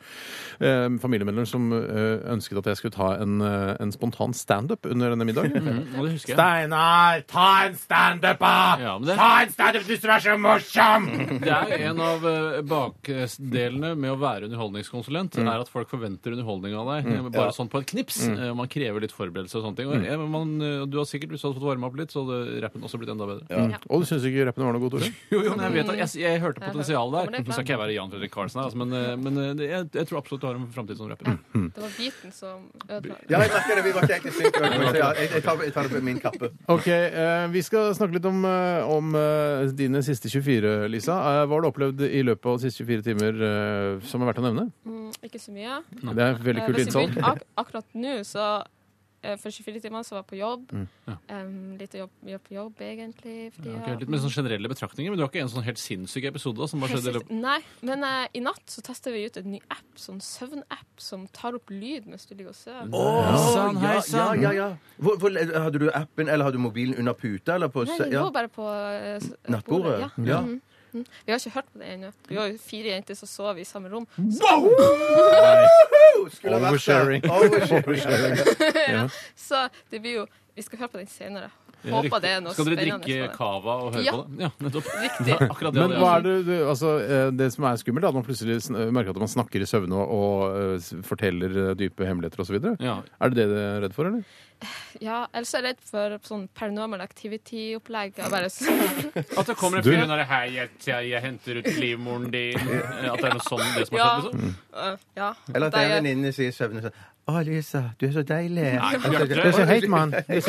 Speaker 5: eh, familiemedlemmer som eh, ønsket at jeg skulle ta en, eh, en spontan standup under denne middagen.
Speaker 7: Mm, og det husker jeg.
Speaker 5: Steinar, ta en standup, da!
Speaker 7: Ja, men det-
Speaker 5: Ta en standup, du som er så morsom!
Speaker 7: Det er jo en av eh, bakdelene med å være underholdningskonsulent,
Speaker 5: Mm.
Speaker 7: er at folk forventer underholdning av deg. eh, Bare sånn på et knips. Eh, Man krever litt forberedelse og
Speaker 5: Mm.
Speaker 7: sånne ting. Og eh, man, eh, du har sikkert, hvis du hadde fått varme opp litt, så hadde rappen også blitt enda bedre.
Speaker 5: Og du syns ikke rappen var noe god, Tore?
Speaker 7: Jo, jo, men jeg vet at jeg, jeg hørte
Speaker 12: Jeg
Speaker 7: potensial
Speaker 12: hører-
Speaker 7: der.
Speaker 12: kommer det
Speaker 7: Nå skal
Speaker 12: fram?
Speaker 7: ikke jeg være Jan Fredrik Karlsen her, altså, men, eh, men eh, det- jeg, jeg tror absolutt du har en framtid som rapper.
Speaker 12: Det var biten som ødela.
Speaker 6: Hmm. Ja, jeg merker det. Vi var ikke helt i synk. Ja, jeg, jeg, tar, jeg tar det på min kappe.
Speaker 5: Ok, eh, Vi skal snakke litt om, eh, om eh, dine siste 24, Lisa. Eh, hva har du opplevd i løpet av de siste 24 timer eh, som er verdt å nevne?
Speaker 12: Mm, ikke så mye.
Speaker 5: Det er veldig
Speaker 12: Eh,
Speaker 5: kult
Speaker 12: hvis vi
Speaker 5: innsalg.
Speaker 12: begynner Ak akkurat nå, så eh, For 24 timer så var jeg på jobb.
Speaker 6: Hmm.
Speaker 7: Ja.
Speaker 12: Em, litt jobb, mye på jobb, egentlig. Fordi
Speaker 7: Ja, ok,
Speaker 12: jeg-
Speaker 7: litt mer sånn generelle betraktninger, men du har ikke en sånn helt sinnssyk episode da, som bare skjedde i løpet
Speaker 12: Nei, men eh, i natt så tester vi ut en ny app, sånn søvnapp, som tar opp lyd mens du ligger og sover.
Speaker 7: Heisan,
Speaker 6: Ja, ja,
Speaker 7: heisan.
Speaker 6: ja, ja. Hvor, hvor, hadde du appen, eller hadde du mobilen under puta? Eller på,
Speaker 12: Nei,
Speaker 6: se-
Speaker 12: den
Speaker 6: ja.
Speaker 12: lå bare på eh, s-
Speaker 6: Nattbordet?
Speaker 12: bordet, Mm. Mhm.
Speaker 6: Ja.
Speaker 12: Vi har ikke hørt på det ennå. Vi var jo fire jenter som sov i samme rom.
Speaker 6: Hmm. Skulle ha vært der.
Speaker 5: Oversharing.
Speaker 6: Oversharing.
Speaker 12: Så det blir jo Vi skal høre på den senere.
Speaker 7: Ja,
Speaker 12: Håper
Speaker 7: riktig.
Speaker 12: det er noe
Speaker 7: Skal dere
Speaker 12: spennende
Speaker 7: drikke
Speaker 12: for
Speaker 7: cava og høre
Speaker 12: Ja.
Speaker 7: på det? Ja, nettopp.
Speaker 12: deg. Riktig.
Speaker 7: Akkurat det
Speaker 5: Men
Speaker 7: hadde jeg
Speaker 5: hva
Speaker 7: også.
Speaker 5: er det, du, altså, eh, det som er skummelt, er at man plutselig sn- eh, merker at man snakker i søvne og, og eh, s- forteller eh, dype hemmeligheter osv.
Speaker 7: Ja.
Speaker 5: Er det det du er redd for, eller?
Speaker 12: Ja, ellers er jeg redd for sånn paranormal activity-opplegg. og Bare s-
Speaker 7: At det kommer en
Speaker 5: Du-
Speaker 7: fyr inn og sier 'hei, jeg, jeg, jeg henter ut livmoren din'. eh, At det er noe sånn det som har
Speaker 12: Ja.
Speaker 7: skjedd? Liksom.
Speaker 12: Øh, ja.
Speaker 6: Eller at det er en
Speaker 12: jeg-
Speaker 6: venninne sier i søvne sånn Å, Lisa, du er så deilig.
Speaker 12: altså,
Speaker 7: Bjarte
Speaker 5: heit mann.
Speaker 7: sier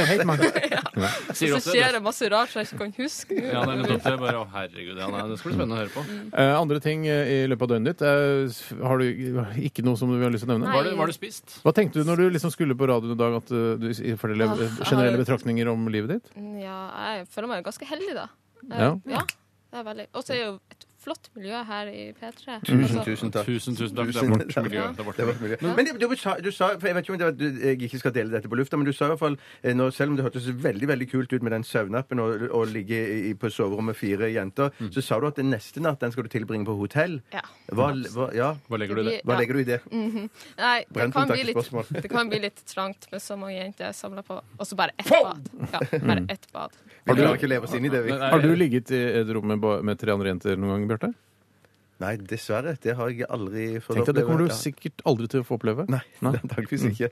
Speaker 12: Så
Speaker 7: også
Speaker 12: skjer
Speaker 7: det.
Speaker 12: det masse rart som jeg ikke kan huske nå.
Speaker 7: Ja, det er nettopp det. Bare, å, herregud, ja, nei, det skal bli spennende å høre på.
Speaker 5: Eh, andre ting eh, i løpet av døgnet ditt. eh, s- har du ikke noe som du har lyst til å nevne?
Speaker 7: Hva
Speaker 12: Nei.
Speaker 7: har du- hva har du spist?
Speaker 5: Hva tenkte du når du liksom skulle på radioen i dag, at eh, du s- forteller eh,
Speaker 12: Ah,
Speaker 5: generelle
Speaker 12: ah.
Speaker 5: betraktninger om livet ditt?
Speaker 12: mm, Ja, jeg føler meg jo ganske heldig, da.
Speaker 5: Ja.
Speaker 12: Eh, ja det er veldig Og så er det jo et flott miljø her i P3.
Speaker 6: Tusen,
Speaker 12: Altså,
Speaker 6: tusen takk.
Speaker 7: Tusen, tusen takk. Det er
Speaker 6: Tusen
Speaker 7: vårt
Speaker 6: takk.
Speaker 7: miljø. Det er vårt
Speaker 6: Det var
Speaker 7: miljø.
Speaker 6: mulig. Men det- du, sa, du sa, for jeg vet ikke om det var, du, jeg ikke skal dele dette på lufta, men du sa i hvert fall, eh, nå, selv om det hørtes veldig veldig kult ut med den søvnappen og, og ligge i, på soverommet med fire jenter, så sa du at den neste natt den skal du tilbringe på hotell.
Speaker 12: Ja.
Speaker 6: Hva, hva, ja.
Speaker 7: Hva legger du i det?
Speaker 12: Ja.
Speaker 6: hva legger du i det?
Speaker 12: Nei, det kan,
Speaker 6: Brennpunkt er
Speaker 12: bli
Speaker 6: ikke
Speaker 12: litt,
Speaker 6: spørsmål.
Speaker 12: det kan bli litt trangt med så mange jenter samla på, og så bare ett bad. Ja, bare ett bad.
Speaker 6: Vi klarer ikke å leve oss inn i det. Vi.
Speaker 7: Men er-
Speaker 5: Har du ligget i et rom med, ba- med tre andre jenter noen gang, Bjarte?
Speaker 6: Nei, dessverre. Det har jeg aldri fått
Speaker 5: Tenk deg, Det kommer du
Speaker 6: Ja.
Speaker 5: sikkert Mm. aldri til å få oppleve.
Speaker 6: Nei, antakeligvis ikke.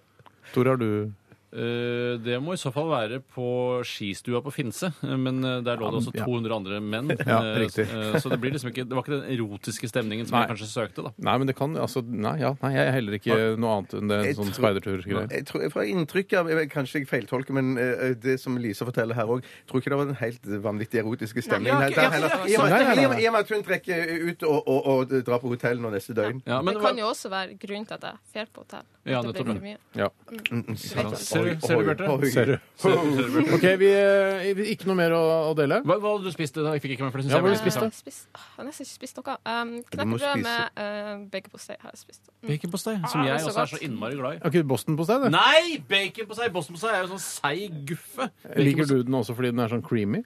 Speaker 5: Tore, har du
Speaker 7: Eh, Det må i så fall være på skistua på Finse, eh, men eh, der lå det også
Speaker 5: Ja.
Speaker 7: 200 andre menn.
Speaker 5: Ja,
Speaker 7: eh,
Speaker 5: riktig.
Speaker 7: eh, Så det blir liksom ikke Det var ikke den erotiske stemningen som jeg kanskje søkte, da.
Speaker 5: Nei, men det kan altså Nei, ja, nei jeg er heller ikke noe annet enn det
Speaker 6: Jeg
Speaker 5: en sånn
Speaker 6: tror-
Speaker 5: speiderturgreie.
Speaker 6: Jeg tror, fra inntrykk av, jeg- Kanskje jeg feiltolker, men eh, det som Lisa forteller her òg Tror ikke det var den helt vanvittig erotiske stemningen.
Speaker 12: Nei,
Speaker 6: helt
Speaker 12: jeg
Speaker 6: der
Speaker 12: har
Speaker 6: heller.
Speaker 12: ikke-
Speaker 6: I og med-
Speaker 5: Nei, nei, nei.
Speaker 6: i og med- i og med at hun trekker ut og, og, og drar på hotell nå neste døgn.
Speaker 7: Ja, men
Speaker 12: det
Speaker 7: hva-
Speaker 12: kan jo også være grunnen til at jeg drar på hotell.
Speaker 7: Ja,
Speaker 12: At det blir
Speaker 7: nettopp.
Speaker 12: for mye.
Speaker 5: Ja.
Speaker 7: Ser du, ser du Bjarte?
Speaker 6: Oi.
Speaker 5: Ser du. OK, vi eh, vi- Ikke noe mer å, å dele?
Speaker 7: Hva, hva hadde du spist? i dag? Jeg fikk ikke med, for det synes
Speaker 5: Ja,
Speaker 7: jeg
Speaker 5: hva har du
Speaker 7: var litt
Speaker 5: spist, da?
Speaker 7: interessant.
Speaker 12: Jeg spist- Åh, jeg har nesten ikke spist noe. Um,
Speaker 6: må
Speaker 12: Knekkebrød
Speaker 6: spise.
Speaker 12: med uh, baconpostei har jeg spist. Mm.
Speaker 7: Baconpostei, som
Speaker 12: Ah,
Speaker 7: jeg
Speaker 12: det er så
Speaker 7: også er
Speaker 12: godt.
Speaker 7: så innmari glad i.
Speaker 5: Har ikke du Boston på seg? det?
Speaker 7: Nei! Baconpostei Bostonpostei er jo sånn seig guffe.
Speaker 5: Liker du den også fordi den er sånn creamy?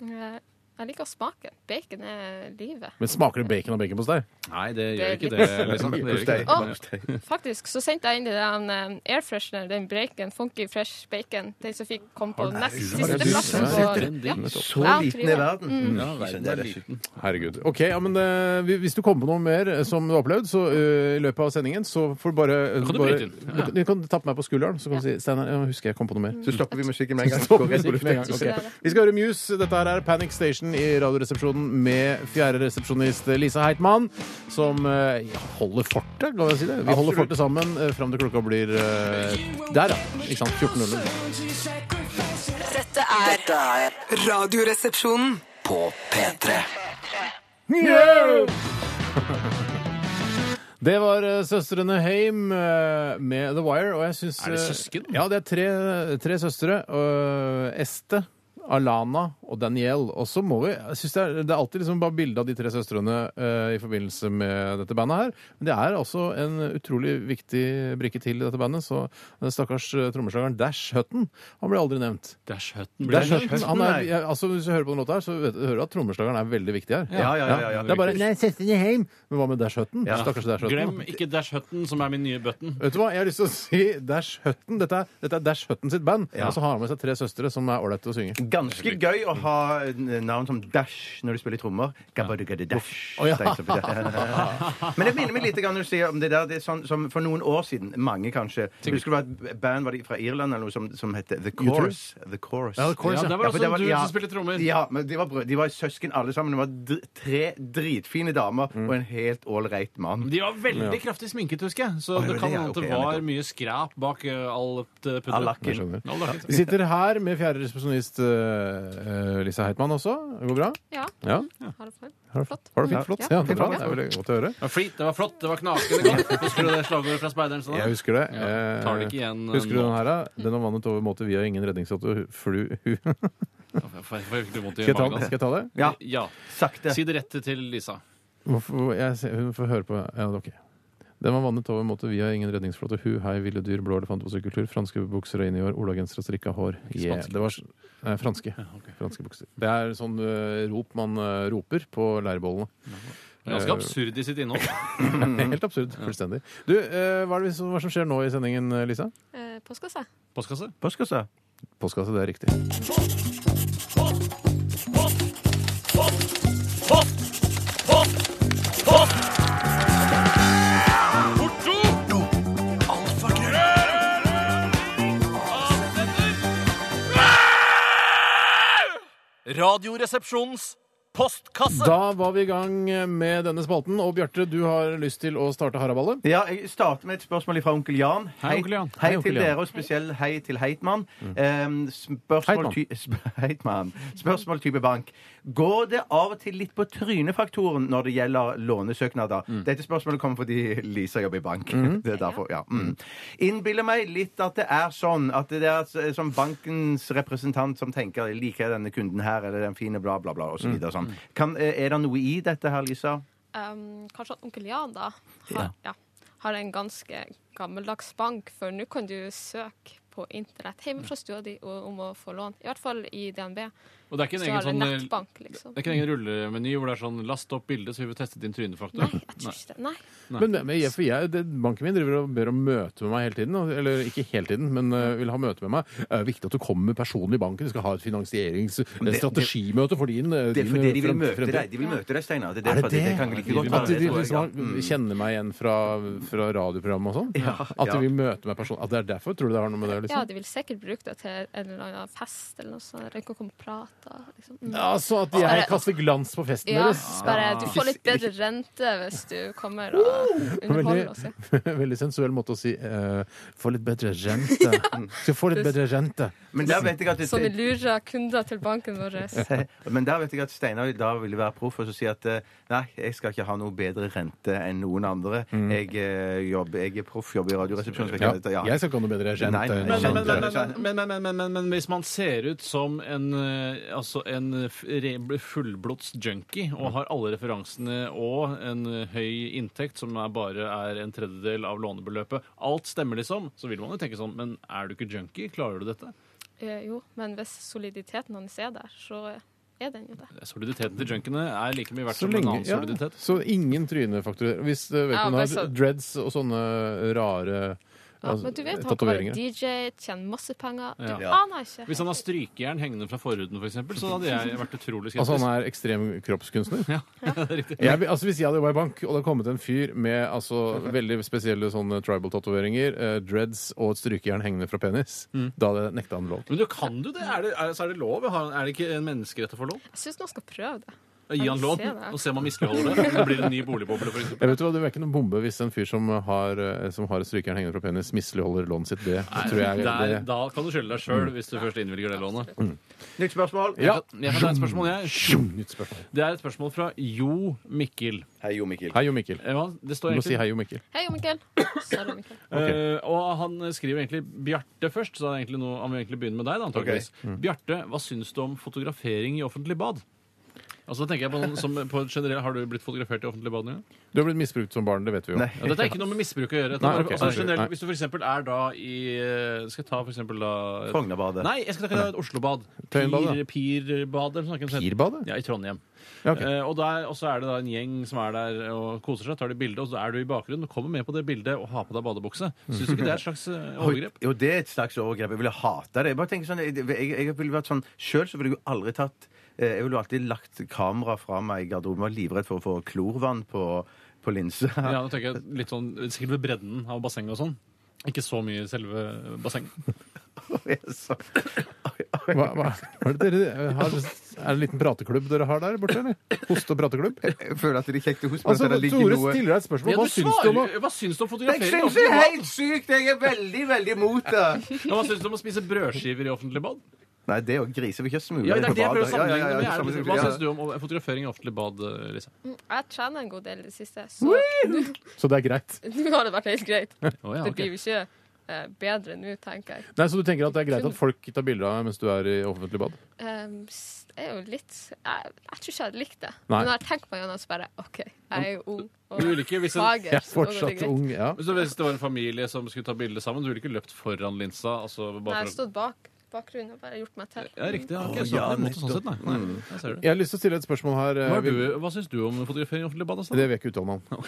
Speaker 12: Eh, Jeg liker smaken. Bacon er livet.
Speaker 5: Men smaker det bacon av baconpostei?
Speaker 7: Nei, det gjør
Speaker 12: Det er
Speaker 7: ikke det. Liksom. det, gjør ikke det.
Speaker 12: Å, faktisk så sendte jeg inn i den um, air freshener, den bacon, funky fresh bacon, den som fikk komme på nest siste
Speaker 5: du
Speaker 12: plass.
Speaker 5: sett
Speaker 12: på-
Speaker 7: den?
Speaker 12: Ja. Mm.
Speaker 5: Nettopp.
Speaker 6: Så
Speaker 12: Ja,
Speaker 6: liten er
Speaker 12: trives.
Speaker 6: verden.
Speaker 7: Ja, verden er liten.
Speaker 5: Herregud. OK, ja, men eh, vi- hvis du kommer på noe mer eh, som du har opplevd så, eh, i løpet av sendingen, så får du bare eh,
Speaker 7: Kan du
Speaker 5: bare,
Speaker 7: bryte inn? Ja.
Speaker 5: du, du kan tappe meg på skulderen, så kan du si 'Steinar, jeg husker jeg kom på noe mer'.
Speaker 6: Så stopper vi musikken med en gang.
Speaker 5: Stopper
Speaker 6: Går rett på
Speaker 5: musikken med en gang.
Speaker 6: lufta.
Speaker 5: Ok. Vi skal høre Muse. Dette her er Panic Station i Radioresepsjonen med fjerde resepsjonist eh, Lisa Heitmann, som eh, holder fortet, kan jeg si det. Vi holder fortet sammen eh, fram til klokka blir eh, der, ja. Ikke sant? 14.00.
Speaker 11: Dette er
Speaker 1: Dette er
Speaker 11: Radioresepsjonen.
Speaker 1: på P3.
Speaker 5: Det var eh, Søstrene Heim eh, med The Wire, og jeg syns
Speaker 7: Er det
Speaker 5: eh,
Speaker 7: søsken?
Speaker 5: Ja, det er tre, tre søstre. og Este. Alana og Danielle. Og så må vi, jeg synes det, er, det er alltid liksom bare bilde av de tre søstrene eh, i forbindelse med dette bandet her. Men det er også en utrolig viktig brikke til i dette bandet. Så den stakkars eh, trommeslageren Dash Hutton, han blir aldri nevnt.
Speaker 7: Dash Hutton blir
Speaker 5: Dash
Speaker 7: det
Speaker 5: Hutton, han er, ja, altså Hvis du hører på den låta her, så vet, hører du at trommeslageren er veldig viktig her.
Speaker 7: Ja, ja, ja, ja,
Speaker 5: Det er bare Nei, søstrene Heim! Men hva med Dash Hutton?
Speaker 6: Ja.
Speaker 5: Stakkars Dash Hutton.
Speaker 7: Glem ikke Dash Hutton, som er min nye button.
Speaker 5: Vet du hva, Jeg har lyst til å si Dash Hutton. Dette er, dette er Dash Hutton sitt band. Og så har han med seg tre søstre som er ålreite til å synge.
Speaker 6: Ganske gøy å ha navn som Dash når du spiller trommer. Gabadugadash.
Speaker 5: Å, ja.
Speaker 6: Det er ikke så bra. Men det minner meg litt grann når du sier om det der. Det er sånn som for noen år siden, mange kanskje Husker du hva et band var det fra Irland eller noe som, som het The Chorus? The Chorus.
Speaker 5: Ja, The Chorus,
Speaker 7: Ja,
Speaker 5: ja.
Speaker 7: det var
Speaker 6: Ja, for
Speaker 7: også
Speaker 6: det var-
Speaker 7: du
Speaker 6: ja.
Speaker 7: som spilte trommer.
Speaker 6: Ja, men de var, brød- de var søsken alle sammen. Det var dr tre dritfine damer
Speaker 5: Mm.
Speaker 6: og en helt ålreit mann.
Speaker 7: De var veldig kraftig sminket, husker jeg. Så
Speaker 6: Oi,
Speaker 7: det
Speaker 6: det
Speaker 7: kan
Speaker 6: er-
Speaker 7: hende at
Speaker 6: ok,
Speaker 7: det
Speaker 6: ja,
Speaker 7: var
Speaker 6: nettopp.
Speaker 7: mye skrap bak eh, alt eh,
Speaker 6: All
Speaker 7: pudderet.
Speaker 6: lakken.
Speaker 5: skjønner.
Speaker 7: All lakken.
Speaker 5: Vi sitter her med fjerde resepsjonist eh, eh, Lisa Heitmann også. Det går bra?
Speaker 12: Ja,
Speaker 5: Ja.
Speaker 12: har det fint.
Speaker 5: Har du-
Speaker 12: Flott.
Speaker 5: Har du fint flott?
Speaker 12: Ja,
Speaker 5: Ja, det er bra.
Speaker 12: flott.
Speaker 5: Det er veldig godt å høre.
Speaker 7: Det var flit, det var flott, det var knakende godt. Husker du det slagordet fra speideren? Sånn?
Speaker 5: Jeg husker det.
Speaker 7: Ja, tar det ikke
Speaker 5: Eh,
Speaker 7: igjen, eh,
Speaker 5: Husker du
Speaker 7: nå.
Speaker 5: den her, da? Den har vannet over måte via ingen redningsåte. Flu... hu-
Speaker 7: Jeg får- jeg får virkelig vondt i
Speaker 5: Skal jeg ta
Speaker 7: magen.
Speaker 5: den?
Speaker 7: altså.
Speaker 5: Skal jeg ta det?
Speaker 6: Ja,
Speaker 7: Ja.
Speaker 6: sakte.
Speaker 7: Si det rett til Lisa.
Speaker 5: Hvorfor, jeg, ser- hun får høre på Ja, OK. Den var vannet over måte via ingen redningsflåte. Hu, hei, ville dyr, blå elefant på sykkeltur. Franske bukser og innihår, olagensere og strikka hår. Yeah.
Speaker 7: spanske.
Speaker 5: Det var s- nei, franske. Franske bukser. Det er sånn eh, rop man eh, roper på leirbålene.
Speaker 7: Det
Speaker 5: Eh.
Speaker 7: er Ganske absurd i sitt innhold.
Speaker 5: Helt absurd. Fullstendig. Du, eh, hva er det som, hva som skjer nå i sendingen, eh, Lisa?
Speaker 12: Eh, Postkasse.
Speaker 7: Postkasse?
Speaker 6: Postkasse.
Speaker 5: Postkasse, det er riktig.
Speaker 13: Radioresepsjonens postkasse.
Speaker 5: Da var vi i gang med denne spalten, og Bjarte, du har lyst til å starte haraballet?
Speaker 6: Ja, jeg starter med et spørsmål fra onkel Jan.
Speaker 7: Hei, onkel Jan.
Speaker 6: Hei,
Speaker 5: Hei, onkel
Speaker 6: til
Speaker 5: Jan.
Speaker 6: dere, og spesiell hei til Heitmann. Ehm, spørsmål,
Speaker 5: Heitmann.
Speaker 6: ty sp- Heitmann. spørsmål type bank. Går det av og til litt på trynefaktoren når det gjelder lånesøknader? Dette spørsmålet kommer fordi Lisa jobber i bank. Det er derfor, ja. Mm. Innbiller meg litt at det er sånn at det er s- som bankens representant som tenker liker jeg denne kunden her, eller den fine bla, bla, bla, osv. Sånn. Kan- Er det noe i dette her, Lisa?
Speaker 12: Um, kanskje at onkel Jan da har, ja. har en ganske gammeldags bank, for nå kan du søke på internett hjemme fra stua di og- om å få lån. I hvert fall i DNB.
Speaker 7: Og det er ikke en
Speaker 12: Så
Speaker 7: egen
Speaker 12: har du
Speaker 7: sånn eh,
Speaker 12: nettbank, liksom.
Speaker 7: det er ikke en egen rullemeny hvor det er sånn 'last opp bildet', så vi får testet din trynefaktor.
Speaker 12: Nei, jeg tror ikke det. Nei.
Speaker 5: Men, men jeg, for jeg, det, banken min driver og ber om møte med meg hele tiden. og- Eller ikke hele tiden, men eh, vil ha møte med meg. Det er viktig at du kommer personlig i banken. Du skal ha et finansieringsstrategimøte for din eh,
Speaker 6: Det er
Speaker 5: din,
Speaker 6: fordi
Speaker 5: eh,
Speaker 6: de vil
Speaker 5: frem-
Speaker 6: møte
Speaker 5: fremtid.
Speaker 6: deg, de vil møte deg, Steinar. Det er
Speaker 5: Er
Speaker 6: derfor
Speaker 5: det det?
Speaker 6: det kan like godt
Speaker 5: At
Speaker 6: være
Speaker 5: de,
Speaker 6: det. tror jeg,
Speaker 5: liksom
Speaker 6: ja.
Speaker 5: har- kjenner meg igjen fra, fra radioprogram og sånn? At
Speaker 6: ja.
Speaker 5: de vil møte meg personlig? At det er derfor? Tror du det har noe med det å
Speaker 12: Ja,
Speaker 5: liksom?
Speaker 12: de vil sikkert bruke det til en eller annen fest eller noe sånt. Eller ikke å komme og prate. Liksom. Mm.
Speaker 5: Altså at jeg kaster glans på festen
Speaker 12: Ja,
Speaker 5: deres?
Speaker 12: bare du får litt bedre rente hvis du kommer og underholder oss. Ja.
Speaker 5: Veldig sensuell måte å si eh, få litt bedre rente. Skal få litt bedre rente.
Speaker 6: Men der vet jeg at
Speaker 12: Så vi lurer kunder til banken vår.
Speaker 6: men der vet jeg at Steinar da ville være proff og så si at eh, nei, jeg skal ikke ha noe bedre rente enn noen andre. Jeg, eh, jobb, jeg er proff, jobber i Radioresepsjonen. så jeg
Speaker 5: Mm. Ja.
Speaker 6: kan- ja.
Speaker 5: Jeg skal ikke ha noe bedre rente.
Speaker 6: Nei, nei,
Speaker 5: enn
Speaker 6: nei,
Speaker 7: Men,
Speaker 5: alle
Speaker 7: men,
Speaker 5: andre.
Speaker 7: men, men, men, men, men, men, men, men hvis man ser ut som en, eh, altså en f- re- fullblods junkie og har alle referansene og en eh, høy inntekt som er bare er en tredjedel av lånebeløpet, alt stemmer liksom, så vil man jo tenke sånn Men er du ikke junkie? Klarer du dette?
Speaker 12: Eh, jo, men hvis soliditeten hans er der, så er den jo der.
Speaker 7: Soliditeten til junkiene er like mye verdt
Speaker 5: Så,
Speaker 7: som en
Speaker 5: lenge,
Speaker 7: annen
Speaker 5: ja,
Speaker 7: soliditet.
Speaker 5: så ingen trynefaktorer. Hvis eh,
Speaker 12: Ja,
Speaker 5: vedkommende
Speaker 12: men
Speaker 5: har
Speaker 12: så-
Speaker 5: dreads og sånne rare
Speaker 12: Ja,
Speaker 5: altså,
Speaker 12: men du vet, han kan være
Speaker 5: tatoveringer
Speaker 12: DJ, tjene masse penger. Du
Speaker 7: Ja.
Speaker 12: aner ikke.
Speaker 7: Hvis han har strykejern hengende fra forhuden, f.eks., eksempel, så hadde jeg vært utrolig skeptisk.
Speaker 5: Altså han er ekstrem kroppskunstner?
Speaker 7: Det er riktig.
Speaker 5: Jeg, vil- altså Hvis jeg hadde jobba i bank, og det hadde kommet en fyr med altså, veldig spesielle sånne tribal-tatoveringer, eh, dreads og et strykejern hengende fra penis,
Speaker 7: Mm.
Speaker 5: da hadde jeg nekta han lov.
Speaker 7: Men du kan du det? Er det, er, så er det lov? Har- Er det ikke en menneskerett å få lov?
Speaker 12: Jeg syns han skal prøve det.
Speaker 7: Gi han
Speaker 12: Jeg
Speaker 7: lån,
Speaker 12: ser det.
Speaker 7: og se om han misligholder det. Det blir en ny boligboble, for eksempel.
Speaker 5: Jeg vet du hva, Det er ikke noen bombe hvis en fyr som har, eh, som har et strykejern hengende fra penis, misligholder lånet sitt. Det tror jeg
Speaker 7: Der,
Speaker 5: det, Mm.
Speaker 7: da kan du skylde deg sjøl, hvis du først innvilger det lånet.
Speaker 6: Nytt spørsmål.
Speaker 5: Ja.
Speaker 7: Jeg kan ta et spørsmål, jeg.
Speaker 5: Nytt spørsmål.
Speaker 7: Det er et spørsmål fra Jo Mikkel.
Speaker 6: Hei, Jo Mikkel.
Speaker 5: Hei, Jo Mikkel.
Speaker 7: Eh, hva- Det
Speaker 5: Du
Speaker 7: står
Speaker 5: må si
Speaker 7: egentlig
Speaker 5: hei, Jo Mikkel.
Speaker 12: Hei, Jo Mikkel. Sorry, Mikkel.
Speaker 7: Eh, og han skriver egentlig Bjarte først, så det er egentlig noe, han vil egentlig begynne med deg. da, antageligvis.
Speaker 5: Mm.
Speaker 7: Bjarte, hva syns du om fotografering i offentlig bad? Altså, da tenker jeg på, noen, som, på generell, Har du blitt fotografert i offentlig bad? Nye?
Speaker 5: Du har blitt misbrukt som barn, det vet vi jo.
Speaker 6: Nei.
Speaker 7: Ja, dette er ikke noe med misbruk å gjøre. Dette
Speaker 5: Nei,
Speaker 7: er bare-
Speaker 5: ok,
Speaker 7: altså,
Speaker 5: sorry.
Speaker 7: generelt,
Speaker 5: Nei.
Speaker 7: hvis du for eksempel er da i eh, Skal jeg ta for eksempel da
Speaker 6: Frognerbadet.
Speaker 7: Nei, jeg skal ta et Oslobad.
Speaker 5: Tøyenbadet.
Speaker 7: Pir- Pirbadet. eller noe sånt.
Speaker 5: Pirbadet?
Speaker 7: Ja, i Trondheim.
Speaker 5: Ja, ok.
Speaker 7: Eh, og, der, og så er det da en gjeng som er der og koser seg, tar de bilde, og så er du i bakgrunnen og kommer med på det bildet og har på deg badebukse. Syns du ikke det er et slags eh, overgrep?
Speaker 6: Jo, det er et slags overgrep. Jeg ville hata det. Jeg bare tenker sånn, jeg, jeg, jeg ville vært sånn, Sjøl så ville jeg jo aldri tatt eh, Jeg ville jo alltid lagt kamera fra meg i garderoben. Var livredd for å få klorvann på, på linsa.
Speaker 7: Ja, nå tenker jeg litt sånn Sikkert ved bredden av bassenget og sånn. Ikke så mye i selve bassenget.
Speaker 6: Så-
Speaker 5: Hva, hva, hva er, det dere, eh, har, er det en liten prateklubb dere har der borte, eller? Hoste- og prateklubb?
Speaker 6: Jeg føler at det er kjekt å huske
Speaker 5: Altså,
Speaker 6: at det ligger
Speaker 5: Tore
Speaker 6: noe
Speaker 5: stiller deg et spørsmål.
Speaker 7: Ja,
Speaker 5: Hva
Speaker 7: du
Speaker 5: syns du om å
Speaker 7: svarer- hva syns du om
Speaker 6: Jeg
Speaker 7: fotografering?
Speaker 6: syns
Speaker 7: i
Speaker 6: det er
Speaker 7: offentlig bad?
Speaker 6: helt sykt! Jeg er veldig, veldig imot det.
Speaker 7: Ja, Hva syns du om å spise brødskiver i offentlig bad?
Speaker 6: Nei, det er jo griser. Vi ikke smuler
Speaker 7: Ja, det er det jeg prøver å
Speaker 6: badet. Ja, ja, ja, ja,
Speaker 7: sammenligne med. Er det-
Speaker 6: sammenligne-
Speaker 7: Hva
Speaker 6: ja.
Speaker 7: syns du om eh, fotografering i offentlig bad, eh, Lise?
Speaker 12: Mm, Jeg trener en god del i det siste, så nå
Speaker 5: Så det er greit.
Speaker 12: nå har det vært helt greit.
Speaker 7: Å, ja,
Speaker 12: Det
Speaker 7: ok.
Speaker 12: blir jo ikke eh, bedre nå, tenker jeg.
Speaker 5: Nei, Så du tenker at det er greit at folk tar bilder av deg mens du er i offentlig bad?
Speaker 12: Ehm, s- jeg er jo litt Jeg, jeg tror ikke jeg hadde likt det.
Speaker 5: Nei.
Speaker 12: Men når jeg tenker meg gjennom, så bare OK, jeg er jo ung og
Speaker 7: Du vil ikke, hvis en-
Speaker 12: fager.
Speaker 5: Jeg er
Speaker 12: så nå går det
Speaker 5: fortsatt
Speaker 12: greit.
Speaker 5: ung, ja.
Speaker 7: Så hvis det var en familie som skulle ta bilde sammen, du ville ikke løpt foran linsa? Altså
Speaker 12: Nei, Jeg
Speaker 7: bare
Speaker 12: har
Speaker 7: for å...
Speaker 12: stått bak bakgrunnen og bare gjort meg til.
Speaker 7: Ja, riktig. Ja, okay,
Speaker 6: Å,
Speaker 7: så
Speaker 6: ja,
Speaker 7: på en måte sånn
Speaker 6: nettopp.
Speaker 7: sett, nei. nei jeg ser det.
Speaker 5: Jeg har lyst til å stille et spørsmål her. eh,
Speaker 7: Hva, er
Speaker 5: vil-
Speaker 7: du, hva syns du om fotografering i offentlig bad? Altså?
Speaker 5: Det vil jeg ikke uttale meg om.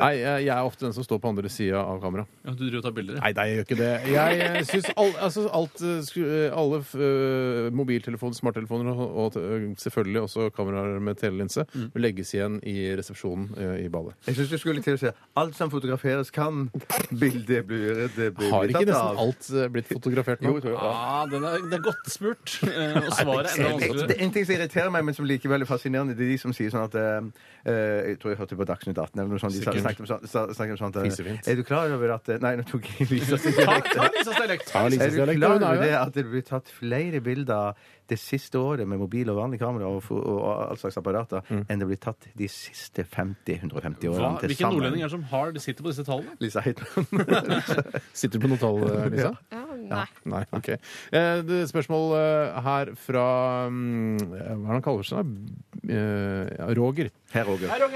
Speaker 5: Nei, jeg jeg er ofte den som står på andre sida av kamera.
Speaker 7: Ja, du driver og tar bilder? ja.
Speaker 5: Nei, nei, jeg gjør ikke det. Jeg eh, syns all, altså, alt eh, sku- eh, Alle eh, mobiltelefoner, smarttelefoner og, og eh, selvfølgelig også kameraer med telelinse
Speaker 6: Mm.
Speaker 5: legges igjen i resepsjonen eh, i badet.
Speaker 6: Jeg syns du skulle til å si alt som fotograferes kan. Bildet blir, det blir
Speaker 5: Har ikke
Speaker 6: tatt
Speaker 5: nesten
Speaker 6: av. Eh,
Speaker 5: alt eh, blitt fotografert nå?
Speaker 6: Jo, jeg tror, ja.
Speaker 7: Ah, den er, det er godt spurt. eh, Og svaret er enda
Speaker 6: Det
Speaker 7: vanskeligere.
Speaker 6: er en ting som irriterer meg, men som likevel er fascinerende, det er de som sier sånn at eh, eh, Jeg tror jeg hørte på Dagsnytt 18 eller noe sånt. De sa-
Speaker 5: Sikkert.
Speaker 6: snakket om, sånn- sa- snakket om sånt
Speaker 5: Fisefint.
Speaker 6: eh, Er du klar over at eh, Nei, nå tok jeg Lisa sin
Speaker 7: Ta, ta Lisas dialekt.
Speaker 5: Ja, Lisas
Speaker 6: Er du
Speaker 5: dialekt,
Speaker 6: klar
Speaker 5: hun er
Speaker 6: over
Speaker 5: jo
Speaker 6: det
Speaker 5: her.
Speaker 6: at det blir tatt flere bilder det siste året med mobil og vanlig kamera og, fo- og, og all slags apparater
Speaker 5: Mm.
Speaker 6: enn det blir tatt de siste 50-150
Speaker 7: Hva,
Speaker 6: årene til
Speaker 7: hvilken
Speaker 6: sammen?
Speaker 7: nordlending er det som har, sitter på disse tallene?
Speaker 6: Lisa Heitmann.
Speaker 5: Sitter du på noe tall, eh, Lisa?
Speaker 12: Ja, nei.
Speaker 5: Nei, ok. Eh, det er spørsmål eh, her fra mm, eh, Hva er det han kaller seg? da? Eh, ja, Roger.
Speaker 6: Her, Roger.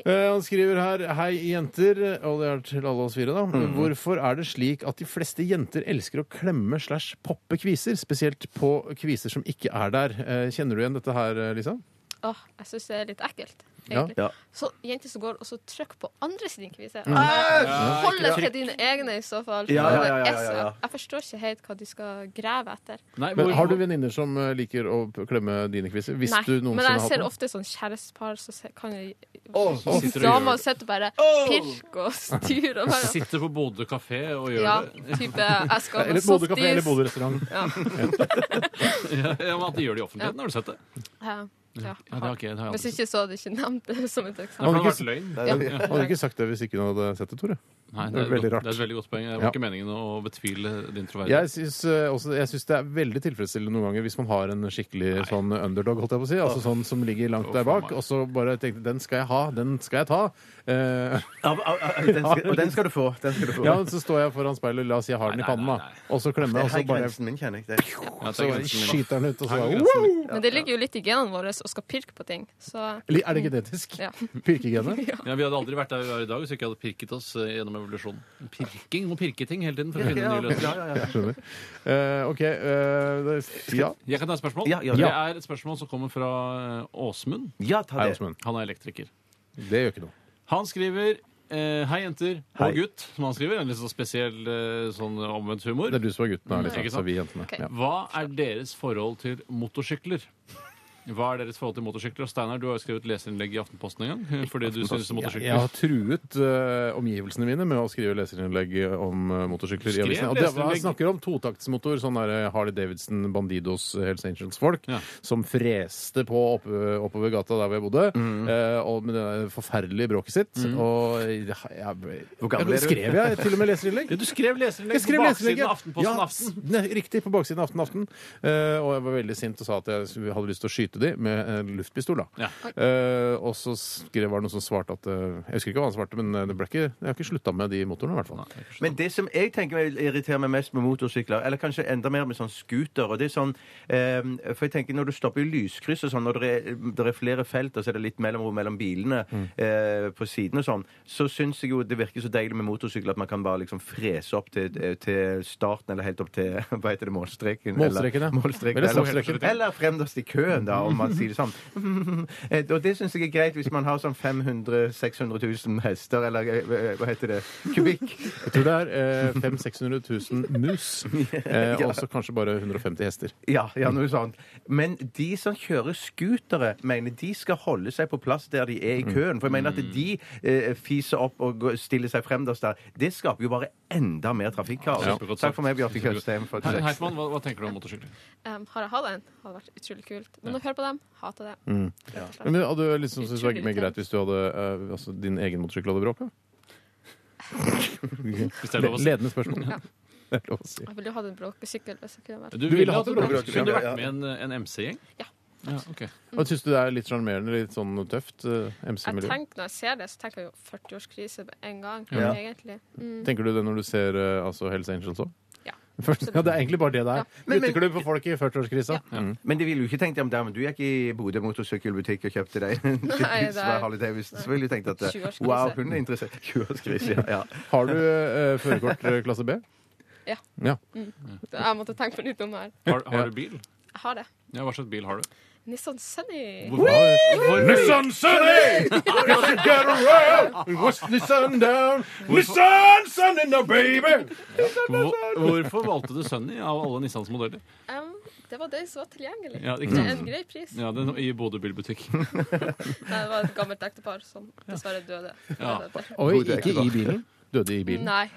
Speaker 5: Eh, han skriver her Hei, jenter. Og det er til alle oss fire, da. Hvorfor er det slik at de fleste jenter elsker å klemme slash poppe kviser? Spesielt på kviser som ikke er der. Eh, kjenner du igjen dette her, eh, Lisa?
Speaker 12: Åh, jeg syns det er litt ekkelt.
Speaker 5: Ja.
Speaker 12: egentlig.
Speaker 6: Ja.
Speaker 12: Så jenter som går og så trykker på andre sine kviser.
Speaker 6: Mm.
Speaker 12: Bare Holder til dine egne i så fall.
Speaker 6: Ja, ja, ja, ja,
Speaker 12: Det er så-
Speaker 6: ja, ja.
Speaker 12: Jeg forstår ikke helt hva de skal grave etter.
Speaker 7: Nei,
Speaker 5: Men
Speaker 7: hvor-
Speaker 5: har du venninner som eh, liker å p- klemme dine kviser? Hvis
Speaker 12: Nei,
Speaker 5: du
Speaker 12: men
Speaker 5: noensinne
Speaker 12: jeg
Speaker 5: har
Speaker 12: ser
Speaker 5: hatt det?
Speaker 12: ofte sånn kjærestepar som se- kan jo
Speaker 5: Åh,
Speaker 7: sitter og gjør
Speaker 12: Damer sitter bare pirk og styr og bare
Speaker 7: Sitter på Bodø kafé og gjør
Speaker 12: Ja,
Speaker 7: det?
Speaker 12: type jeg skal ha
Speaker 5: Eller Bodø kafé eller
Speaker 12: softis.
Speaker 5: Bodø restaurant.
Speaker 12: Ja.
Speaker 7: Ja, men At de gjør det i offentligheten, har du sett det?
Speaker 12: Ja, ja.
Speaker 7: Ja, det har ikke, det har jeg aldri
Speaker 12: Hvis
Speaker 7: sett.
Speaker 12: ikke så hadde jeg ikke nevnt det som et
Speaker 7: Nei, for
Speaker 12: eksempel.
Speaker 7: det har vært løgn.
Speaker 12: Ja.
Speaker 5: Hadde du ikke sagt det hvis ikke hun hadde sett det, Tore?
Speaker 7: Nei,
Speaker 5: Det er
Speaker 7: det, er et
Speaker 5: veldig
Speaker 7: godt-
Speaker 5: rart.
Speaker 7: det er et veldig godt poeng. Det var
Speaker 5: Ja.
Speaker 7: ikke meningen å betvile din troverdighet.
Speaker 5: Jeg syns, eh, også, jeg syns det er veldig tilfredsstillende noen ganger hvis man har en skikkelig sånn underdog, holdt jeg på å si. Altså sånn som ligger langt
Speaker 7: Å,
Speaker 5: der
Speaker 7: faen
Speaker 5: bak.
Speaker 7: meg.
Speaker 5: Og så bare tenkte den skal jeg ha, den skal jeg ta. Eh,
Speaker 6: Av- av- av- Den skal, og den skal du få. Den skal du få.
Speaker 5: ja, så står jeg foran speilet, la oss si jeg har den i
Speaker 7: Nei, nei,
Speaker 5: pannen, da.
Speaker 7: nei, nei.
Speaker 5: Og så
Speaker 6: Det
Speaker 5: klemmer jeg, og
Speaker 6: er
Speaker 5: så bare
Speaker 6: grensen min, kjenner jeg. Det er-
Speaker 7: Ja, det er
Speaker 5: så
Speaker 7: grensen min, altså. da.
Speaker 5: skyter den ut, og så
Speaker 7: Her går
Speaker 5: bare
Speaker 7: grensen min.
Speaker 12: Men det ligger jo litt i genene våre å skal pirke på ting. Så
Speaker 5: Eller Er det genetisk?
Speaker 12: ja.
Speaker 5: Pirkegenet?
Speaker 12: ja.
Speaker 7: Ja, Vi hadde aldri vært der vi var i dag hvis vi ikke hadde pirket oss eh, gjennom evolusjonen. Pirking må pirke ting hele tiden for å finne nye løsninger.
Speaker 6: ja, ja.
Speaker 5: Jeg skjønner. Eh, OK. eh, det- ja.
Speaker 7: Jeg kan ta et spørsmål.
Speaker 6: Ja, ja,
Speaker 7: det
Speaker 6: ja.
Speaker 7: er et spørsmål som kommer fra eh, Åsmund.
Speaker 6: Ja, ta
Speaker 5: Hei,
Speaker 6: det.
Speaker 5: Åsmund.
Speaker 7: Han er elektriker.
Speaker 5: Det gjør ikke noe.
Speaker 7: Han skriver eh, 'Hei, jenter'
Speaker 6: Hei.
Speaker 7: og 'gutt', som han skriver. En litt sånn spesiell eh, sånn omvendt humor.
Speaker 5: Det er du som er gutten her,
Speaker 7: Ikke
Speaker 5: liksom.
Speaker 7: sant?
Speaker 5: Så vi jentene.
Speaker 12: Ok.
Speaker 5: Ja.
Speaker 7: Hva er deres forhold til motorsykler? Hva er deres forhold til motorsykler? Steinar, du har jo skrevet leserinnlegg i Aftenposten en gang. Fordi du synes motorsykler
Speaker 5: Jeg har truet eh, omgivelsene mine med å skrive leserinnlegg om eh, motorsykler. i
Speaker 7: Skrev
Speaker 5: avisen. Og det,
Speaker 7: leserinnlegg?
Speaker 5: jeg snakker om totaktsmotor, sånn der eh, Harley Davidson, Bandidos, eh, Hells Angels-folk,
Speaker 7: Ja.
Speaker 5: som freste på opp, eh, oppover gata der hvor jeg bodde,
Speaker 7: Mm.
Speaker 5: eh, og med det der forferdelige bråket sitt. Og jeg, jeg,
Speaker 6: gammel er du?
Speaker 5: skrev jeg til og med leserinnlegg?
Speaker 7: Ja, du skrev leserinnlegg
Speaker 5: Jeg skrev
Speaker 7: på
Speaker 5: leserinnlegg, ja.
Speaker 7: baksiden av Aftenposten
Speaker 5: ja,
Speaker 7: Aften.
Speaker 5: s- ne, Riktig, på baksiden av Aften Aften. Eh, og jeg var veldig sint og sa at jeg s- hadde lyst til å skyte de med en luftpistol. da.
Speaker 7: Ja.
Speaker 5: Eh, og så skrev, var det noen som svarte at eh, Jeg husker ikke hva han svarte, men det ble ikke, jeg har ikke slutta med de motorene, i hvert fall.
Speaker 6: Men det som jeg tenker irriterer meg mest med motorsykler, eller kanskje enda mer med sånn scooter og det er sånn, eh, For jeg tenker når du stopper i lyskryss og sånn, når det er, det er flere felt og så er det litt mellomrom mellom bilene
Speaker 5: Mm.
Speaker 6: eh, på siden og sånn, så syns jeg jo det virker så deilig med motorsykler at man kan bare liksom frese opp til, til starten eller helt opp til hva heter det, målstreken.
Speaker 5: Målstreken, ja.
Speaker 6: eller, målstreken,
Speaker 5: Eller
Speaker 6: eller,
Speaker 5: startstreken.
Speaker 6: eller fremst i køen, da, om man sier det sånn. Eh, Og det syns jeg er greit hvis man har sånn 500 000-600 000 hester, eller eh, hva heter det, kubikk.
Speaker 5: Jeg tror det er eh, 500 000-600 000 mus, eh, og så kanskje bare 150 hester.
Speaker 6: Ja, ja, noe sånt. Men de som kjører skutere, mener de skal holde seg på plass der de er i
Speaker 7: Mm.
Speaker 6: køen. For jeg mener at de eh, fiser opp og går- stiller seg fremst der. Det skaper jo bare enda mer trafikkaos.
Speaker 7: Ja, supergodt
Speaker 6: Takk for meg, Bjarte
Speaker 7: sagt.
Speaker 6: Tjøstheim. for
Speaker 7: Her-
Speaker 6: tekst.
Speaker 7: Herman, hva, hva tenker du om motorsykler?
Speaker 12: Um, har jeg hatt en, hadde vært utrolig kult. Men å høre på dem, hater det.
Speaker 7: Mm.
Speaker 12: Rett og slett.
Speaker 5: Men det hadde jeg liksom syntes det var mer greit hvis du hadde eh, altså, din egen motorsykkel hadde bråka?
Speaker 7: Hvis det er lov å si.
Speaker 5: Ledende spørsmål. Det er lov å si.
Speaker 12: Jeg ville jo hatt en bråkesykkel hvis jeg kunne vært
Speaker 7: Du
Speaker 5: ville
Speaker 7: ville
Speaker 5: hatt
Speaker 7: hatt
Speaker 5: en
Speaker 7: en
Speaker 5: bråkesykkel,
Speaker 7: bråkesykkel. Kunne du vært med i en, en MC-gjeng?
Speaker 12: Ja.
Speaker 7: ja ok.
Speaker 5: Og Syns du det er litt sjarmerende, litt sånn tøft? eh,
Speaker 12: Mm. Jeg
Speaker 5: MC-miljø?
Speaker 12: tenker, Når jeg ser det, så tenker jeg jo 40-årskrise med en gang.
Speaker 6: Ja.
Speaker 12: egentlig. Mm.
Speaker 5: Tenker du det når du ser eh, altså Hells Angels òg?
Speaker 12: Ja.
Speaker 5: ja, det er egentlig bare det det er.
Speaker 6: Men- men-
Speaker 5: Gutteklubb for folk i 40-årskrisa. Mm.
Speaker 6: Men de ville jo ikke tenkt om det, men du gikk i Bodø motorsykkelbutikk og kjøpte deg en
Speaker 12: det er-
Speaker 6: svær Harley Davidson. Så ville du tenkt at eh,
Speaker 12: 20-årskrise.
Speaker 6: wow, hun er interessert. 20-årskrise, ja. ja.
Speaker 5: Har du eh, førerkort eh, klasse B?
Speaker 12: Ja.
Speaker 5: Ja.
Speaker 12: Jeg måtte tenke på nytt om det her.
Speaker 7: Har, har
Speaker 5: Ja.
Speaker 7: du bil?
Speaker 12: Jeg har det.
Speaker 7: Ja, Hva slags bil har du?
Speaker 12: Nissan Sunny.
Speaker 7: Hvor, hvor, hvor,
Speaker 5: Sånn Sunday! Guess you got around! What's the sun down? Nissan Sunday now, baby!
Speaker 7: hvor, hvorfor valgte du Sunny av alle Nissans modeller?
Speaker 12: Um, det var det som var tilgjengelig.
Speaker 7: Ja, ikke
Speaker 12: Det er
Speaker 7: sant?
Speaker 12: en grei pris.
Speaker 7: Ja, den, I Bodø bilbutikk.
Speaker 12: Nei, det var et gammelt ektepar som dessverre døde.
Speaker 7: Ja.
Speaker 12: Døde.
Speaker 5: Oi, ikke i bilen? Døde i bilen?
Speaker 12: Nei.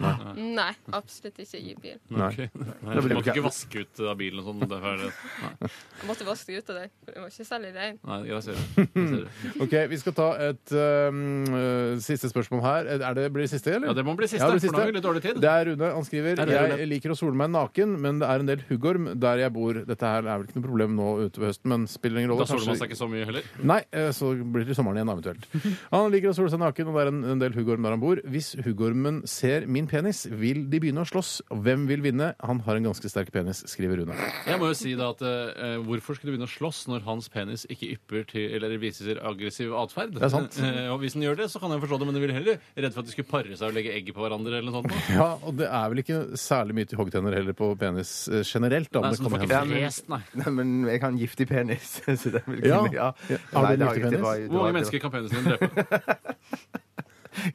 Speaker 12: Nei, absolutt ikke i bil.
Speaker 5: Nei.
Speaker 7: Ok. Nei,
Speaker 6: blir
Speaker 7: du
Speaker 6: det
Speaker 7: måtte
Speaker 6: ikke-
Speaker 7: ikke vaske ut av bilen og sånn? derfor er det-
Speaker 12: Jeg måtte vaske ut av den, for den var ikke særlig ren.
Speaker 7: Nei, jeg ser det. Jeg ser det.
Speaker 5: Ok, Vi skal ta et um, eh, siste spørsmål her. Er det, blir det siste, eller?
Speaker 7: Ja, det må bli siste,
Speaker 5: Ja, det blir
Speaker 7: for nå har vi litt dårlig tid.
Speaker 5: Det er Rune. Han skriver
Speaker 7: det Rune?
Speaker 5: Jeg liker å sole meg naken, men det er en del huggorm der jeg bor. Dette her er vel ikke noe problem nå utover høsten, men spiller ingen rolle.
Speaker 7: Da soler man
Speaker 5: Kanskje-
Speaker 7: seg ikke så mye heller.
Speaker 5: Nei, eh, så blir det sommeren igjen da, eventuelt. Han liker å sole seg naken, og det er en, en del huggorm der han bor. Hvis huggormen ser min penis, vil de begynne å slåss. Hvem vil vinne? Han har en ganske sterk penis, skriver Rune.
Speaker 7: Jeg må jo si da at eh, Hvorfor skulle du begynne å slåss når hans penis ikke ypper til eller viser aggressiv atferd?
Speaker 5: er sant.
Speaker 7: Eh, og Hvis den gjør det, så kan jeg forstå det, men de ville heller redd for at de skulle pare seg og legge egg på hverandre. eller noe sånt.
Speaker 5: Ja, og det er vel ikke særlig mye til hoggtenner heller på penis eh, generelt. Da, men
Speaker 7: Nei,
Speaker 5: det
Speaker 7: så du
Speaker 5: kan
Speaker 7: får
Speaker 5: hende.
Speaker 7: ikke frest, nei.
Speaker 6: Nei, men jeg har en giftig penis. Så den vil
Speaker 5: Ja.
Speaker 6: kunne, ja.
Speaker 5: Ja.
Speaker 6: Nei,
Speaker 5: Har du en
Speaker 6: det har
Speaker 5: giftig
Speaker 6: jeg- det var- det var-
Speaker 7: Hvor mange
Speaker 6: det var-
Speaker 7: mennesker kan penisen din drepe?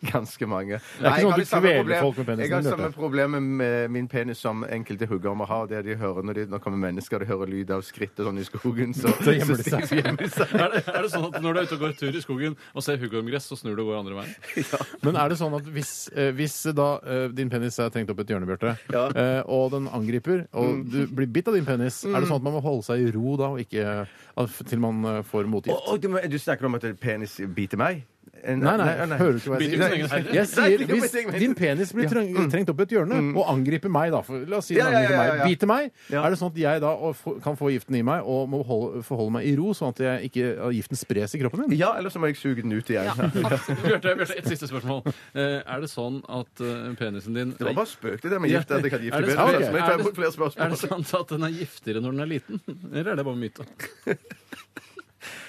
Speaker 6: Ganske mange.
Speaker 5: Det er
Speaker 6: Nei, jeg har
Speaker 5: ikke sånn at du
Speaker 6: det samme
Speaker 5: kveler
Speaker 6: problem-
Speaker 5: folk med penisen
Speaker 6: Jeg har
Speaker 5: din,
Speaker 6: samme
Speaker 5: vet
Speaker 6: problemet med min penis som enkelte huggormer har. Det de hører når de når det kommer mennesker, de hører lyd av skritt og sånn i skogen. Så,
Speaker 5: Så gjemmer de seg.
Speaker 6: så gjemmer de seg.
Speaker 7: Er det, er det sånn at når du er ute og går tur i skogen og ser huggormgress, så snur du og går andre veien?
Speaker 5: Men er det sånn at hvis, eh, hvis da eh, din penis er trengt opp et hjørne, Bjarte, eh, og den angriper, og
Speaker 6: Mm.
Speaker 5: du blir bitt av din penis, er det sånn at man må holde seg i ro da, og ikke eh, til man eh, får
Speaker 6: Å,
Speaker 5: motgift?
Speaker 6: å, du, må- du snakker om at penis biter meg? Eh,
Speaker 5: Nei, nei, hører du ikke hva jeg
Speaker 7: Biter du sin egen
Speaker 5: sier?
Speaker 7: herre?
Speaker 5: Jeg sier
Speaker 6: Nei, det er
Speaker 5: hvis
Speaker 6: mitt eget-
Speaker 5: din penis blir treng, trengt opp et hjørne og angriper meg, da for, La oss si den
Speaker 6: Mm. Ja, ja, ja,
Speaker 5: angriper
Speaker 6: ja,
Speaker 5: meg,
Speaker 6: ja.
Speaker 5: biter meg.
Speaker 6: Ja.
Speaker 5: Er det sånn at jeg da og få- kan få giften i meg og må holde, forholde meg i ro, sånn at jeg ikke, at giften spres i kroppen min?
Speaker 6: Ja, eller så må jeg suge den ut igjen.
Speaker 12: Ja, absolutt.
Speaker 7: Bjarte, Bjarte, et siste spørmål. Eh, Er det sånn at eh, penisen din
Speaker 6: Det var bare spøk, det der med gift. At jeg kan gifte
Speaker 7: Er
Speaker 6: penis.
Speaker 7: det sant?
Speaker 6: Men jeg
Speaker 7: Er
Speaker 6: tar
Speaker 7: det-
Speaker 6: imot flere
Speaker 7: Er
Speaker 6: spørsmål.
Speaker 7: det sant at den er giftigere når den er liten? Eller er det bare myte?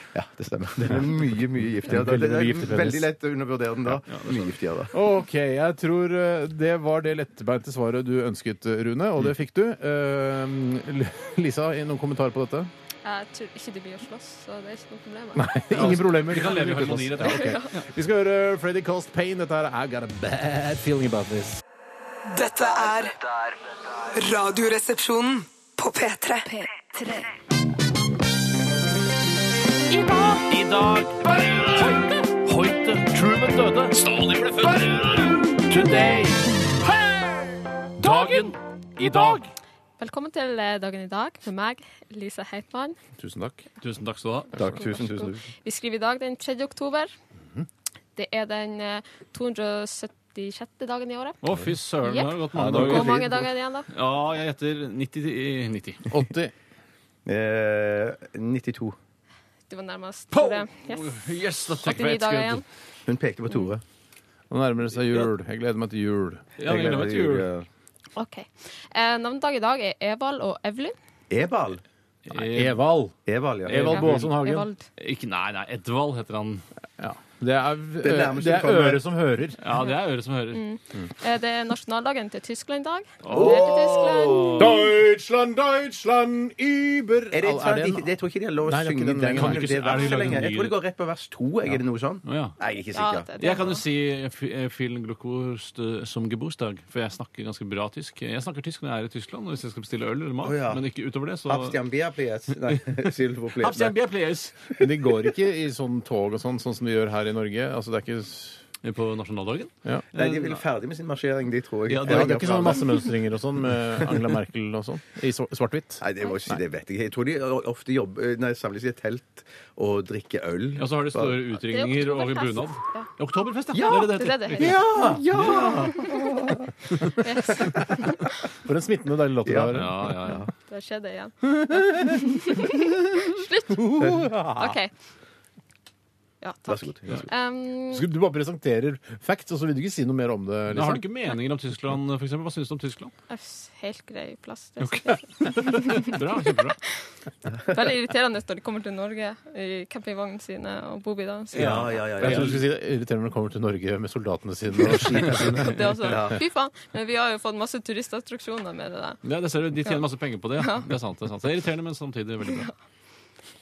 Speaker 6: Ja, det stemmer. Den er mye, mye giftigere. da.
Speaker 5: Veldig,
Speaker 6: Det
Speaker 5: veldig giftig
Speaker 6: er
Speaker 5: penis.
Speaker 6: veldig lett å undervurdere den da. Mye giftigere da.
Speaker 5: OK. Jeg tror eh, det var det lettbeinte svaret du ønsket, Rune, og det fikk du. Eh, Lisa, noen kommentarer på dette?
Speaker 12: Jeg tror ikke de blir å slåss, så det er ikke noe problem.
Speaker 5: Ingen problemer.
Speaker 7: Vi kan leve i harmoni, rett og slett.
Speaker 5: Vi skal høre Freddy Cost Payne. Dette her er I Got a Bad Feeling About This.
Speaker 11: Dette er Radioresepsjonen på P3.
Speaker 14: I dag. I dag. Hoite. Hoite. Truman døde. Stalin ble født. Today. Dagen. I dag.
Speaker 12: Velkommen til eh, dagen i dag med meg, Lisa Heitmann.
Speaker 5: Tusen takk.
Speaker 7: Tusen takk skal du ha.
Speaker 6: Takk, tusen, tusen, tusen.
Speaker 12: Vi skriver i dag den 3. oktober.
Speaker 7: Mhm.
Speaker 12: Det er den eh, 276. dagen i året.
Speaker 7: Å, fy søren, det har gått
Speaker 6: Ja,
Speaker 7: mange
Speaker 6: det var
Speaker 7: dager.
Speaker 12: Hvor mange dager er det igjen, da?
Speaker 7: Ja, jeg gjetter 90. i- 90.
Speaker 5: 80.
Speaker 6: Eh, 92.
Speaker 12: Du var nærmest.
Speaker 7: Po!
Speaker 12: Tore. Yes.
Speaker 7: Yes, da trekker vi
Speaker 12: 89
Speaker 7: et
Speaker 12: dager
Speaker 7: skudd.
Speaker 12: igjen.
Speaker 6: Hun pekte på Tore.
Speaker 5: Nå nærmer det seg jul. Jeg gleder meg til jul.
Speaker 7: Ja, vi glemmer til jul.
Speaker 12: OK. Eh, Navnedag i dag er Evald og Evelyn.
Speaker 6: Ebal.
Speaker 7: Eh,
Speaker 5: Evald.
Speaker 6: Evald, ja.
Speaker 5: Evald Boasson Hagen.
Speaker 12: Evald.
Speaker 7: Ikke, nei, nei, Edvald heter han.
Speaker 5: Ja. Det er,
Speaker 6: Det
Speaker 5: det
Speaker 6: nærmeste
Speaker 5: det
Speaker 6: vi
Speaker 5: er
Speaker 6: kommer.
Speaker 5: øret som hører.
Speaker 7: Ja, det er øret som hører.
Speaker 12: Eh, det er nasjonaldagen til Tyskland i dag. Gratulerer til Tyskland.
Speaker 5: Deutschland, Deutschland, Über
Speaker 6: Er det,
Speaker 5: Er det en-
Speaker 6: ikke, jeg tror ikke de har lov å
Speaker 5: Nei, det er ikke
Speaker 6: synge
Speaker 5: den
Speaker 6: den gangen.
Speaker 5: lenger.
Speaker 7: Kan
Speaker 6: Det
Speaker 7: ikke- er det
Speaker 6: verset
Speaker 7: laget
Speaker 6: lenger. Jeg
Speaker 7: ny-
Speaker 6: tror det går rett på vers to. Er det noe sånn?
Speaker 7: Å, ja.
Speaker 6: Nei, jeg er ikke
Speaker 12: Ja,
Speaker 6: sikker.
Speaker 12: det- det
Speaker 7: Jeg kan
Speaker 12: er
Speaker 7: jo
Speaker 12: bra.
Speaker 7: si eh, fi- eh, Vielen Glukost eh, som gebursdag, for jeg snakker ganske bra tysk. Jeg snakker tysk når jeg er i Tyskland, og hvis jeg skal bestille øl eller mat,
Speaker 6: Å, ja.
Speaker 7: men ikke utover det, så
Speaker 6: Abstian Bia, please. Nei, Silvo, please.
Speaker 7: Abstian Bia, please!
Speaker 5: Men de går ikke i sånn tog og sånn, sånn som de gjør her i Norge. Altså, det er ikke s-
Speaker 7: På nasjonaldagen?
Speaker 5: ja.
Speaker 6: Nei, de er vel ferdig med sin marsjering, de, tror jeg.
Speaker 7: Ja,
Speaker 5: Det er
Speaker 6: Jeg
Speaker 5: ikke
Speaker 6: har
Speaker 5: sånn masse mønstringer og sånn med Angela Merkel og sånn? I sv- svart-hvitt?
Speaker 6: Nei, det, var ikke, det vet jeg ikke. Jeg tror de ofte jobber Nei, samles i et telt og drikker øl.
Speaker 7: Ja, så har de store utringninger og
Speaker 12: oktoberfest.
Speaker 7: bunad.
Speaker 12: Ja.
Speaker 7: Oktoberfest,
Speaker 6: Ja,
Speaker 7: ja!
Speaker 12: Det er det det heter.
Speaker 6: Ja!
Speaker 12: Yes.
Speaker 5: For en smittende deilig låt det
Speaker 6: Ja.
Speaker 5: var.
Speaker 7: Ja, ja, ja.
Speaker 12: Der skjer det igjen. Slutt! OK. Ja, takk.
Speaker 6: Vær så god. Vær så god.
Speaker 12: Um,
Speaker 5: Skulle Du bare presenterer facts, og så vil du ikke si noe mer om det?
Speaker 7: Men har du
Speaker 5: Liksom.
Speaker 7: ikke meninger om Tyskland, for eksempel? Hva syns du om Tyskland?
Speaker 12: Uff, Helt grei plass. Det er
Speaker 7: Ok.
Speaker 12: sikkert.
Speaker 7: Bra, kjempebra.
Speaker 12: Veldig irriterende når de kommer til Norge i campingvognene sine og bobilene sine.
Speaker 6: Ja, ja, ja.
Speaker 5: Jeg
Speaker 6: ja.
Speaker 5: tror du skulle si det er irriterende når du kommer til Norge med soldatene sine og skipene sine.
Speaker 12: Det er også, Fy faen. Men vi har jo fått masse turistattraksjoner med det der.
Speaker 7: Ja, det ser du, De tjener masse penger på det. ja. Det er sant. det er sant. Det er irriterende, men samtidig veldig bra.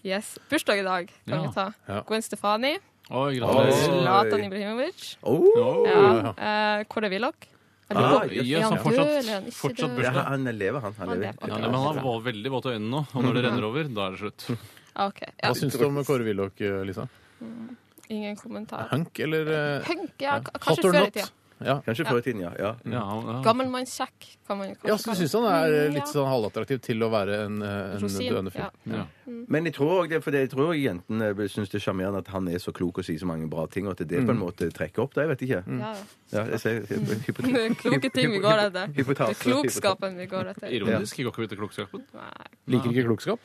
Speaker 12: Yes. Bursdag i dag
Speaker 7: Ja.
Speaker 12: kan vi ta.
Speaker 5: Ja.
Speaker 12: Gwen Stefani.
Speaker 7: Oi, gratulerer.
Speaker 12: Zlatan Ibrahimovic.
Speaker 6: Oh,
Speaker 12: Ja. Eh, Kåre Willoch.
Speaker 6: Ah,
Speaker 12: Eller-
Speaker 7: Ja,
Speaker 12: Ja,
Speaker 7: så
Speaker 12: døl, han,
Speaker 7: fortsatt,
Speaker 12: ikke
Speaker 7: fortsatt
Speaker 12: døl.
Speaker 6: ja,
Speaker 7: bursdag.
Speaker 6: han lever, han. Han
Speaker 12: Han
Speaker 6: lever.
Speaker 12: lever.
Speaker 7: Ja, men han var veldig våt i øynene nå, og når det renner over, da er det slutt.
Speaker 12: Ah, OK. Ja.
Speaker 5: Hva syns du om Kåre Willoch, eh, Lisa?
Speaker 12: Ingen kommentar.
Speaker 5: Hunk eller eh,
Speaker 12: Punk, ja. k-
Speaker 5: hot
Speaker 12: Kanskje
Speaker 5: or
Speaker 12: før i
Speaker 5: not?
Speaker 12: tida.
Speaker 5: Ja.
Speaker 6: Kanskje før i tiden, ja. ja.
Speaker 12: Mm.
Speaker 7: Ja, ja.
Speaker 12: Gammelmannskjekk kan man kanskje
Speaker 5: Ja, så du syns han er eh, litt sånn halvattraktiv til å være en, eh, en
Speaker 12: Rosin,
Speaker 5: døende
Speaker 12: ja.
Speaker 5: fyr.
Speaker 6: Men jeg tror også det, for det- jeg tror også jentene syns det er sjarmerende at han er så klok og sier så mange bra ting, og at det på en måte trekker opp. Da, jeg vet ikke.
Speaker 12: Ja, ja.
Speaker 6: Ja, jeg sier hypo- hypo-
Speaker 12: Mm. Det er kloke ting vi går etter. Det
Speaker 6: hypotase,
Speaker 12: er klokskapen vi går etter.
Speaker 7: Ironisk. Går ikke vi til klokskapen?
Speaker 12: Nei,
Speaker 5: Liker ikke klokskap?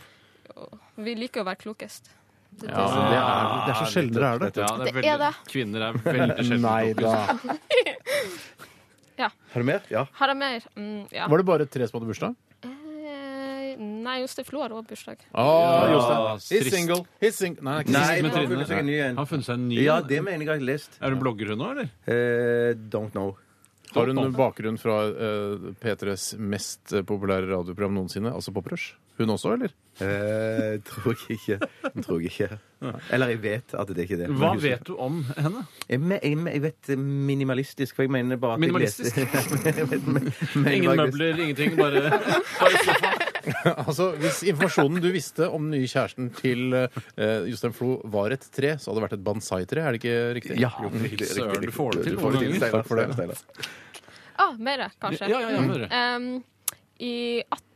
Speaker 12: Vi liker å være klokest. Det,
Speaker 5: Ja, men Altså, det er, det er så sjelden dere er det.
Speaker 7: Ja, det er
Speaker 12: Det er
Speaker 7: veldig,
Speaker 12: det.
Speaker 7: kvinner er veldig
Speaker 5: Nei
Speaker 7: sjelden kloke.
Speaker 5: da.
Speaker 6: Har du mer? Ja.
Speaker 12: Har jeg mer? Mm, ja.
Speaker 5: Var det bare tre som hadde bursdag?
Speaker 12: Eh, Nei, Jostein Flo har òg bursdag.
Speaker 5: Ah,
Speaker 7: Ja,
Speaker 5: Jostein. He's
Speaker 7: trist.
Speaker 5: single. He's single. Nei, ikke
Speaker 6: Nei,
Speaker 7: Med
Speaker 6: han har
Speaker 7: Trine.
Speaker 6: funnet seg en ny en.
Speaker 7: Har funnet seg en ny
Speaker 6: Ja,
Speaker 7: en.
Speaker 6: det mener jeg jeg har lest.
Speaker 7: Er hun blogger hun nå, eller?
Speaker 6: Eh, don't know.
Speaker 5: Har hun bakgrunn fra eh, P3s mest eh, populære radioprogram noensinne, altså Poprush? Hun også, eller?
Speaker 6: Eh, tror jeg ikke. Tror jeg ikke. Eller jeg vet at det er ikke det.
Speaker 7: Hva vet du om henne?
Speaker 6: Jeg, me- jeg, me- jeg vet minimalistisk, for jeg mener bare at
Speaker 7: Minimalistisk?
Speaker 6: jeg leste Jeg vet me-
Speaker 7: Ingen
Speaker 6: minimalistisk.
Speaker 7: møbler, ingenting, bare, bare sofa.
Speaker 5: Altså, Hvis informasjonen du visste om den nye kjæresten til eh, Jostein Flo var et tre, så hadde det vært et bonsai-tre, er det ikke riktig?
Speaker 6: Ja, riktig, riktig,
Speaker 7: Søren,
Speaker 6: riktig.
Speaker 7: du får det til
Speaker 6: Du får det
Speaker 7: noen ganger.
Speaker 6: Steinar,
Speaker 5: Takk for det.
Speaker 6: Steinar, Steinar.
Speaker 12: Ah, mer, kanskje.
Speaker 7: Ja, ja, ja, hør.
Speaker 12: Um, I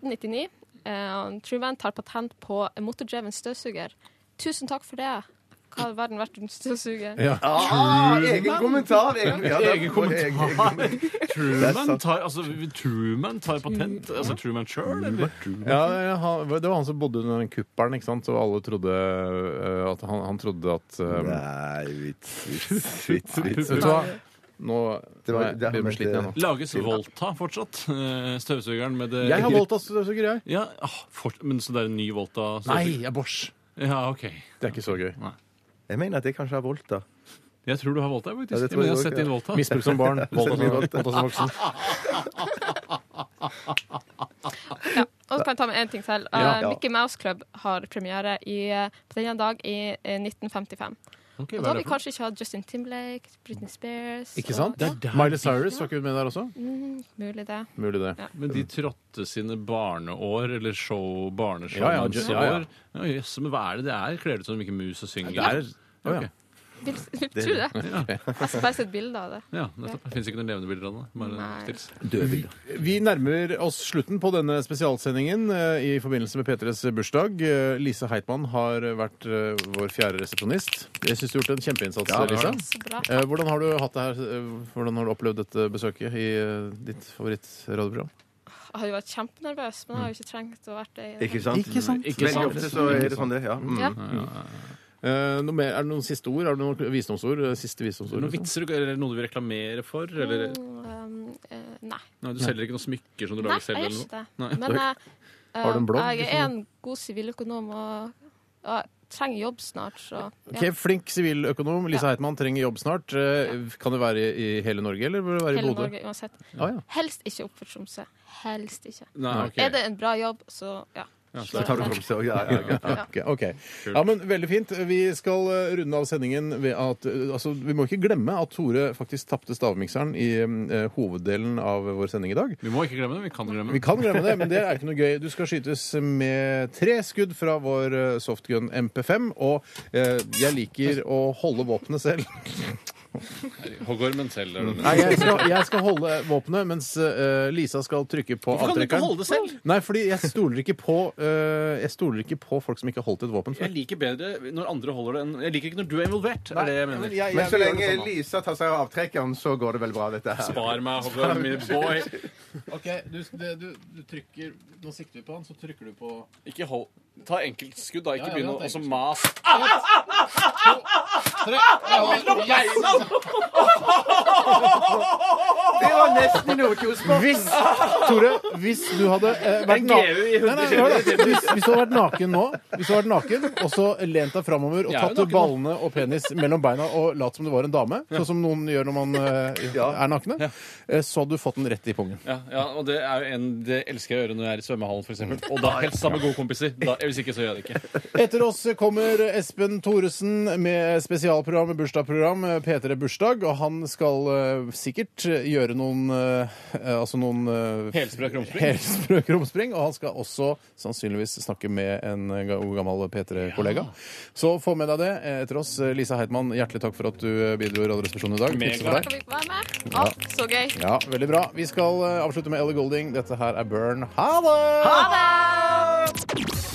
Speaker 12: 1899 eh, Truman tar patent på en motordreven støvsuger. Tusen takk for det. Hva har verden vært uten støvsuger?
Speaker 5: Ja.
Speaker 6: Ah, egen kommentar! Egen, ja, det-
Speaker 7: Egen kommentar. Truman tar, altså, Truman tar patent. Altså Truman sjøl, eller?
Speaker 5: Ja, ja, han- det var han som bodde under den kuppelen, ikke sant? og alle trodde eh, at han, han trodde at eh,
Speaker 6: Nei, vits, vits, vits. vits.
Speaker 5: Vet du hva? Nå
Speaker 6: Det var-
Speaker 5: Nei,
Speaker 6: det
Speaker 5: jeg blir
Speaker 6: mente-
Speaker 5: sliten, jeg nå.
Speaker 7: Lages Volta fortsatt? Eh, Støvsugeren med det
Speaker 5: Jeg har valgt av støvsuger, jeg.
Speaker 7: Ja, ah, fort, Men så det er en ny Volta?
Speaker 5: Nei,
Speaker 7: støvsuger?
Speaker 5: jeg er Bosch.
Speaker 7: Ja, ok.
Speaker 5: Det er ikke så gøy.
Speaker 6: Jeg mener at det kanskje er Volta.
Speaker 7: Jeg tror du har Volta, faktisk.
Speaker 6: Ja, det tror
Speaker 7: men
Speaker 6: jeg
Speaker 7: jeg har
Speaker 6: også,
Speaker 7: sett din
Speaker 6: ja.
Speaker 7: Volta.
Speaker 5: Misbruk som barn, voldta som- voldta som voksen.
Speaker 12: Ja. Og så kan jeg ta med én ting til. Eh,
Speaker 6: Ja.
Speaker 12: Mickey Mouse Club har premiere i, eh, på denne dag i eh, 1955.
Speaker 7: Ok,
Speaker 12: Og
Speaker 7: hva
Speaker 12: da
Speaker 7: er
Speaker 12: har
Speaker 7: det for
Speaker 12: vi
Speaker 7: noe?
Speaker 12: kanskje ikke hatt Justin Timberlake, Britney Spears
Speaker 5: Ikke sant?
Speaker 12: Og, ja.
Speaker 5: Miley Cyrus var ikke hun med der også?
Speaker 12: Mulig det.
Speaker 5: Mulig det.
Speaker 7: Men de trådte sine barneår, eller show,
Speaker 5: Ja, ja,
Speaker 7: barneshowens
Speaker 5: ja, ja.
Speaker 7: år. Ja, jøss, men hva er det det er? Kler du ut som ikke mus og synger?
Speaker 5: Ja, det er- Å, ja.
Speaker 7: Ok.
Speaker 12: Vil, vil tro det. Jeg skal bare se et bilde av det.
Speaker 7: Ja, nettopp. Fins ikke noen levende bilder av det? Bare
Speaker 12: Nei.
Speaker 7: stills.
Speaker 5: Vi nærmer oss slutten på denne spesialsendingen eh, i forbindelse med P3s bursdag. Eh, Lise Heitmann har vært eh, vår fjerde resepsjonist. Jeg syns du har gjort en kjempeinnsats,
Speaker 7: Ja, det har
Speaker 5: Lise.
Speaker 7: jeg.
Speaker 12: Så bra.
Speaker 5: Eh, Hvordan har du hatt det her? eh, Hvordan har du opplevd dette besøket i eh, ditt favorittradioprogram?
Speaker 12: Jeg har jo vært kjempenervøs, men jeg har jo ikke trengt å være det. i det
Speaker 8: Ikke
Speaker 12: hele
Speaker 8: sant?
Speaker 5: Ikke sant?
Speaker 7: Ikke
Speaker 8: Veldig
Speaker 7: sant?
Speaker 8: ofte så er det sånn det. Ja. Mm.
Speaker 12: tatt. Ja.
Speaker 5: Eh, Noe mer, er det noen siste ord? Er det noen visdomsord? Eh, Siste visdomsord?
Speaker 7: Noen
Speaker 5: liksom?
Speaker 7: vitser du- eller noe du vil reklamere for? Eller,
Speaker 12: Mm, um, eh, nei.
Speaker 7: nei, du selger ikke noen smykker som du
Speaker 12: Nei,
Speaker 7: lager selv?
Speaker 12: jeg
Speaker 7: eller
Speaker 12: gjør
Speaker 7: noe?
Speaker 12: ikke det.
Speaker 7: Nei.
Speaker 12: Men jeg,
Speaker 5: Har du en blogg,
Speaker 12: jeg er
Speaker 5: liksom?
Speaker 12: en god siviløkonom og jeg trenger jobb snart, så ja.
Speaker 5: Ok, Flink siviløkonom. Lise
Speaker 12: Ja.
Speaker 5: Heitmann trenger jobb snart. Eh, Kan det være i i hele Norge, eller bør det være i
Speaker 12: Hele
Speaker 5: Bodø?
Speaker 12: Norge uansett.
Speaker 5: Ah, ja.
Speaker 12: Helst ikke opp for Tromsø. Helst ikke.
Speaker 7: Nei, ok.
Speaker 12: Er det en bra jobb, så ja.
Speaker 8: Så tar du Tromsø òg, ja. ja, ja.
Speaker 5: Ok, ok. Ja, men Veldig fint. Vi skal eh, runde av sendingen ved at eh, altså, Vi må ikke glemme at Tore faktisk tapte stavmikseren i eh, hoveddelen av vår sending i dag.
Speaker 7: Vi må ikke glemme det. Vi kan glemme
Speaker 5: Vi
Speaker 7: det.
Speaker 5: kan glemme det, men det er ikke noe gøy. Du skal skytes med tre skudd fra vår eh, softgun MP5, og eh, jeg liker å holde våpenet selv.
Speaker 7: Hoggormen selv. er det.
Speaker 5: Nei, jeg skal, jeg skal holde våpenet, mens eh, Lisa skal trykke på
Speaker 7: Hvorfor kan du ikke
Speaker 5: avtrekkeren.
Speaker 7: holde det selv?
Speaker 5: Nei, fordi jeg stoler ikke på eh, Jeg stoler ikke på folk som ikke har holdt et våpen
Speaker 7: Jeg
Speaker 5: før.
Speaker 7: liker bedre når andre holder det enn Jeg liker ikke når du er involvert, er det jeg mener.
Speaker 8: Men
Speaker 5: jeg- jeg
Speaker 8: så
Speaker 5: vil gjøre det
Speaker 8: lenge
Speaker 5: sånn, da.
Speaker 8: Lisa tar seg av avtrekkeren, så går det vel bra, dette her.
Speaker 7: Spar meg, hoggorm, min boy.
Speaker 5: Ok, du, det, du, du trykker Nå sikter vi på han, så trykker du på
Speaker 7: Ikke hold Ta enkeltskudd, da. Ikke
Speaker 5: Ja, ja,
Speaker 7: begynn å
Speaker 5: det er
Speaker 7: altså, mas.
Speaker 8: Det var nesten i Nordkjosbotn!
Speaker 5: Hvis, Tore, hvis du hadde eh, vært
Speaker 7: Det er
Speaker 5: naken
Speaker 7: GU i
Speaker 5: Nei, nei, hør da. hvis, hvis du hadde vært naken nå, Hvis du hadde vært naken og så lent deg framover og
Speaker 7: Jeg er jo
Speaker 5: tatt
Speaker 7: naken nå.
Speaker 5: ballene og penis mellom beina og latt som det var en dame, sånn som noen gjør når man eh, er nakne, eh, så hadde du fått den rett i pungen.
Speaker 7: Ja, ja, og det er jo en det elsker jeg å gjøre når jeg er i svømmehallen, f.eks. Og da helst sammen med gode kompiser. Da, hvis ikke, så gjør jeg det ikke.
Speaker 5: Etter oss kommer Espen Thoresen med spesialprogram, bursdagsprogram, P3 Bursdag. Og han skal eh, sikkert gjøre noen eh, Altså noen eh,
Speaker 7: Helsprø krumspring.
Speaker 5: Helsprø krumspring. Og han skal også sannsynligvis snakke med en eh, ga- god gammel P3-kollega. Så få med deg det eh, etter oss. Lisa Heitmann, hjertelig takk for at du eh, bidro i Radioresepsjonen i dag.
Speaker 7: Mega.
Speaker 5: Hilsen fra deg.
Speaker 12: Skal vi være med? Å, så gøy.
Speaker 5: Ja, veldig bra. Vi skal eh, avslutte med Ellie Golding. Dette her er Burn. Ha det!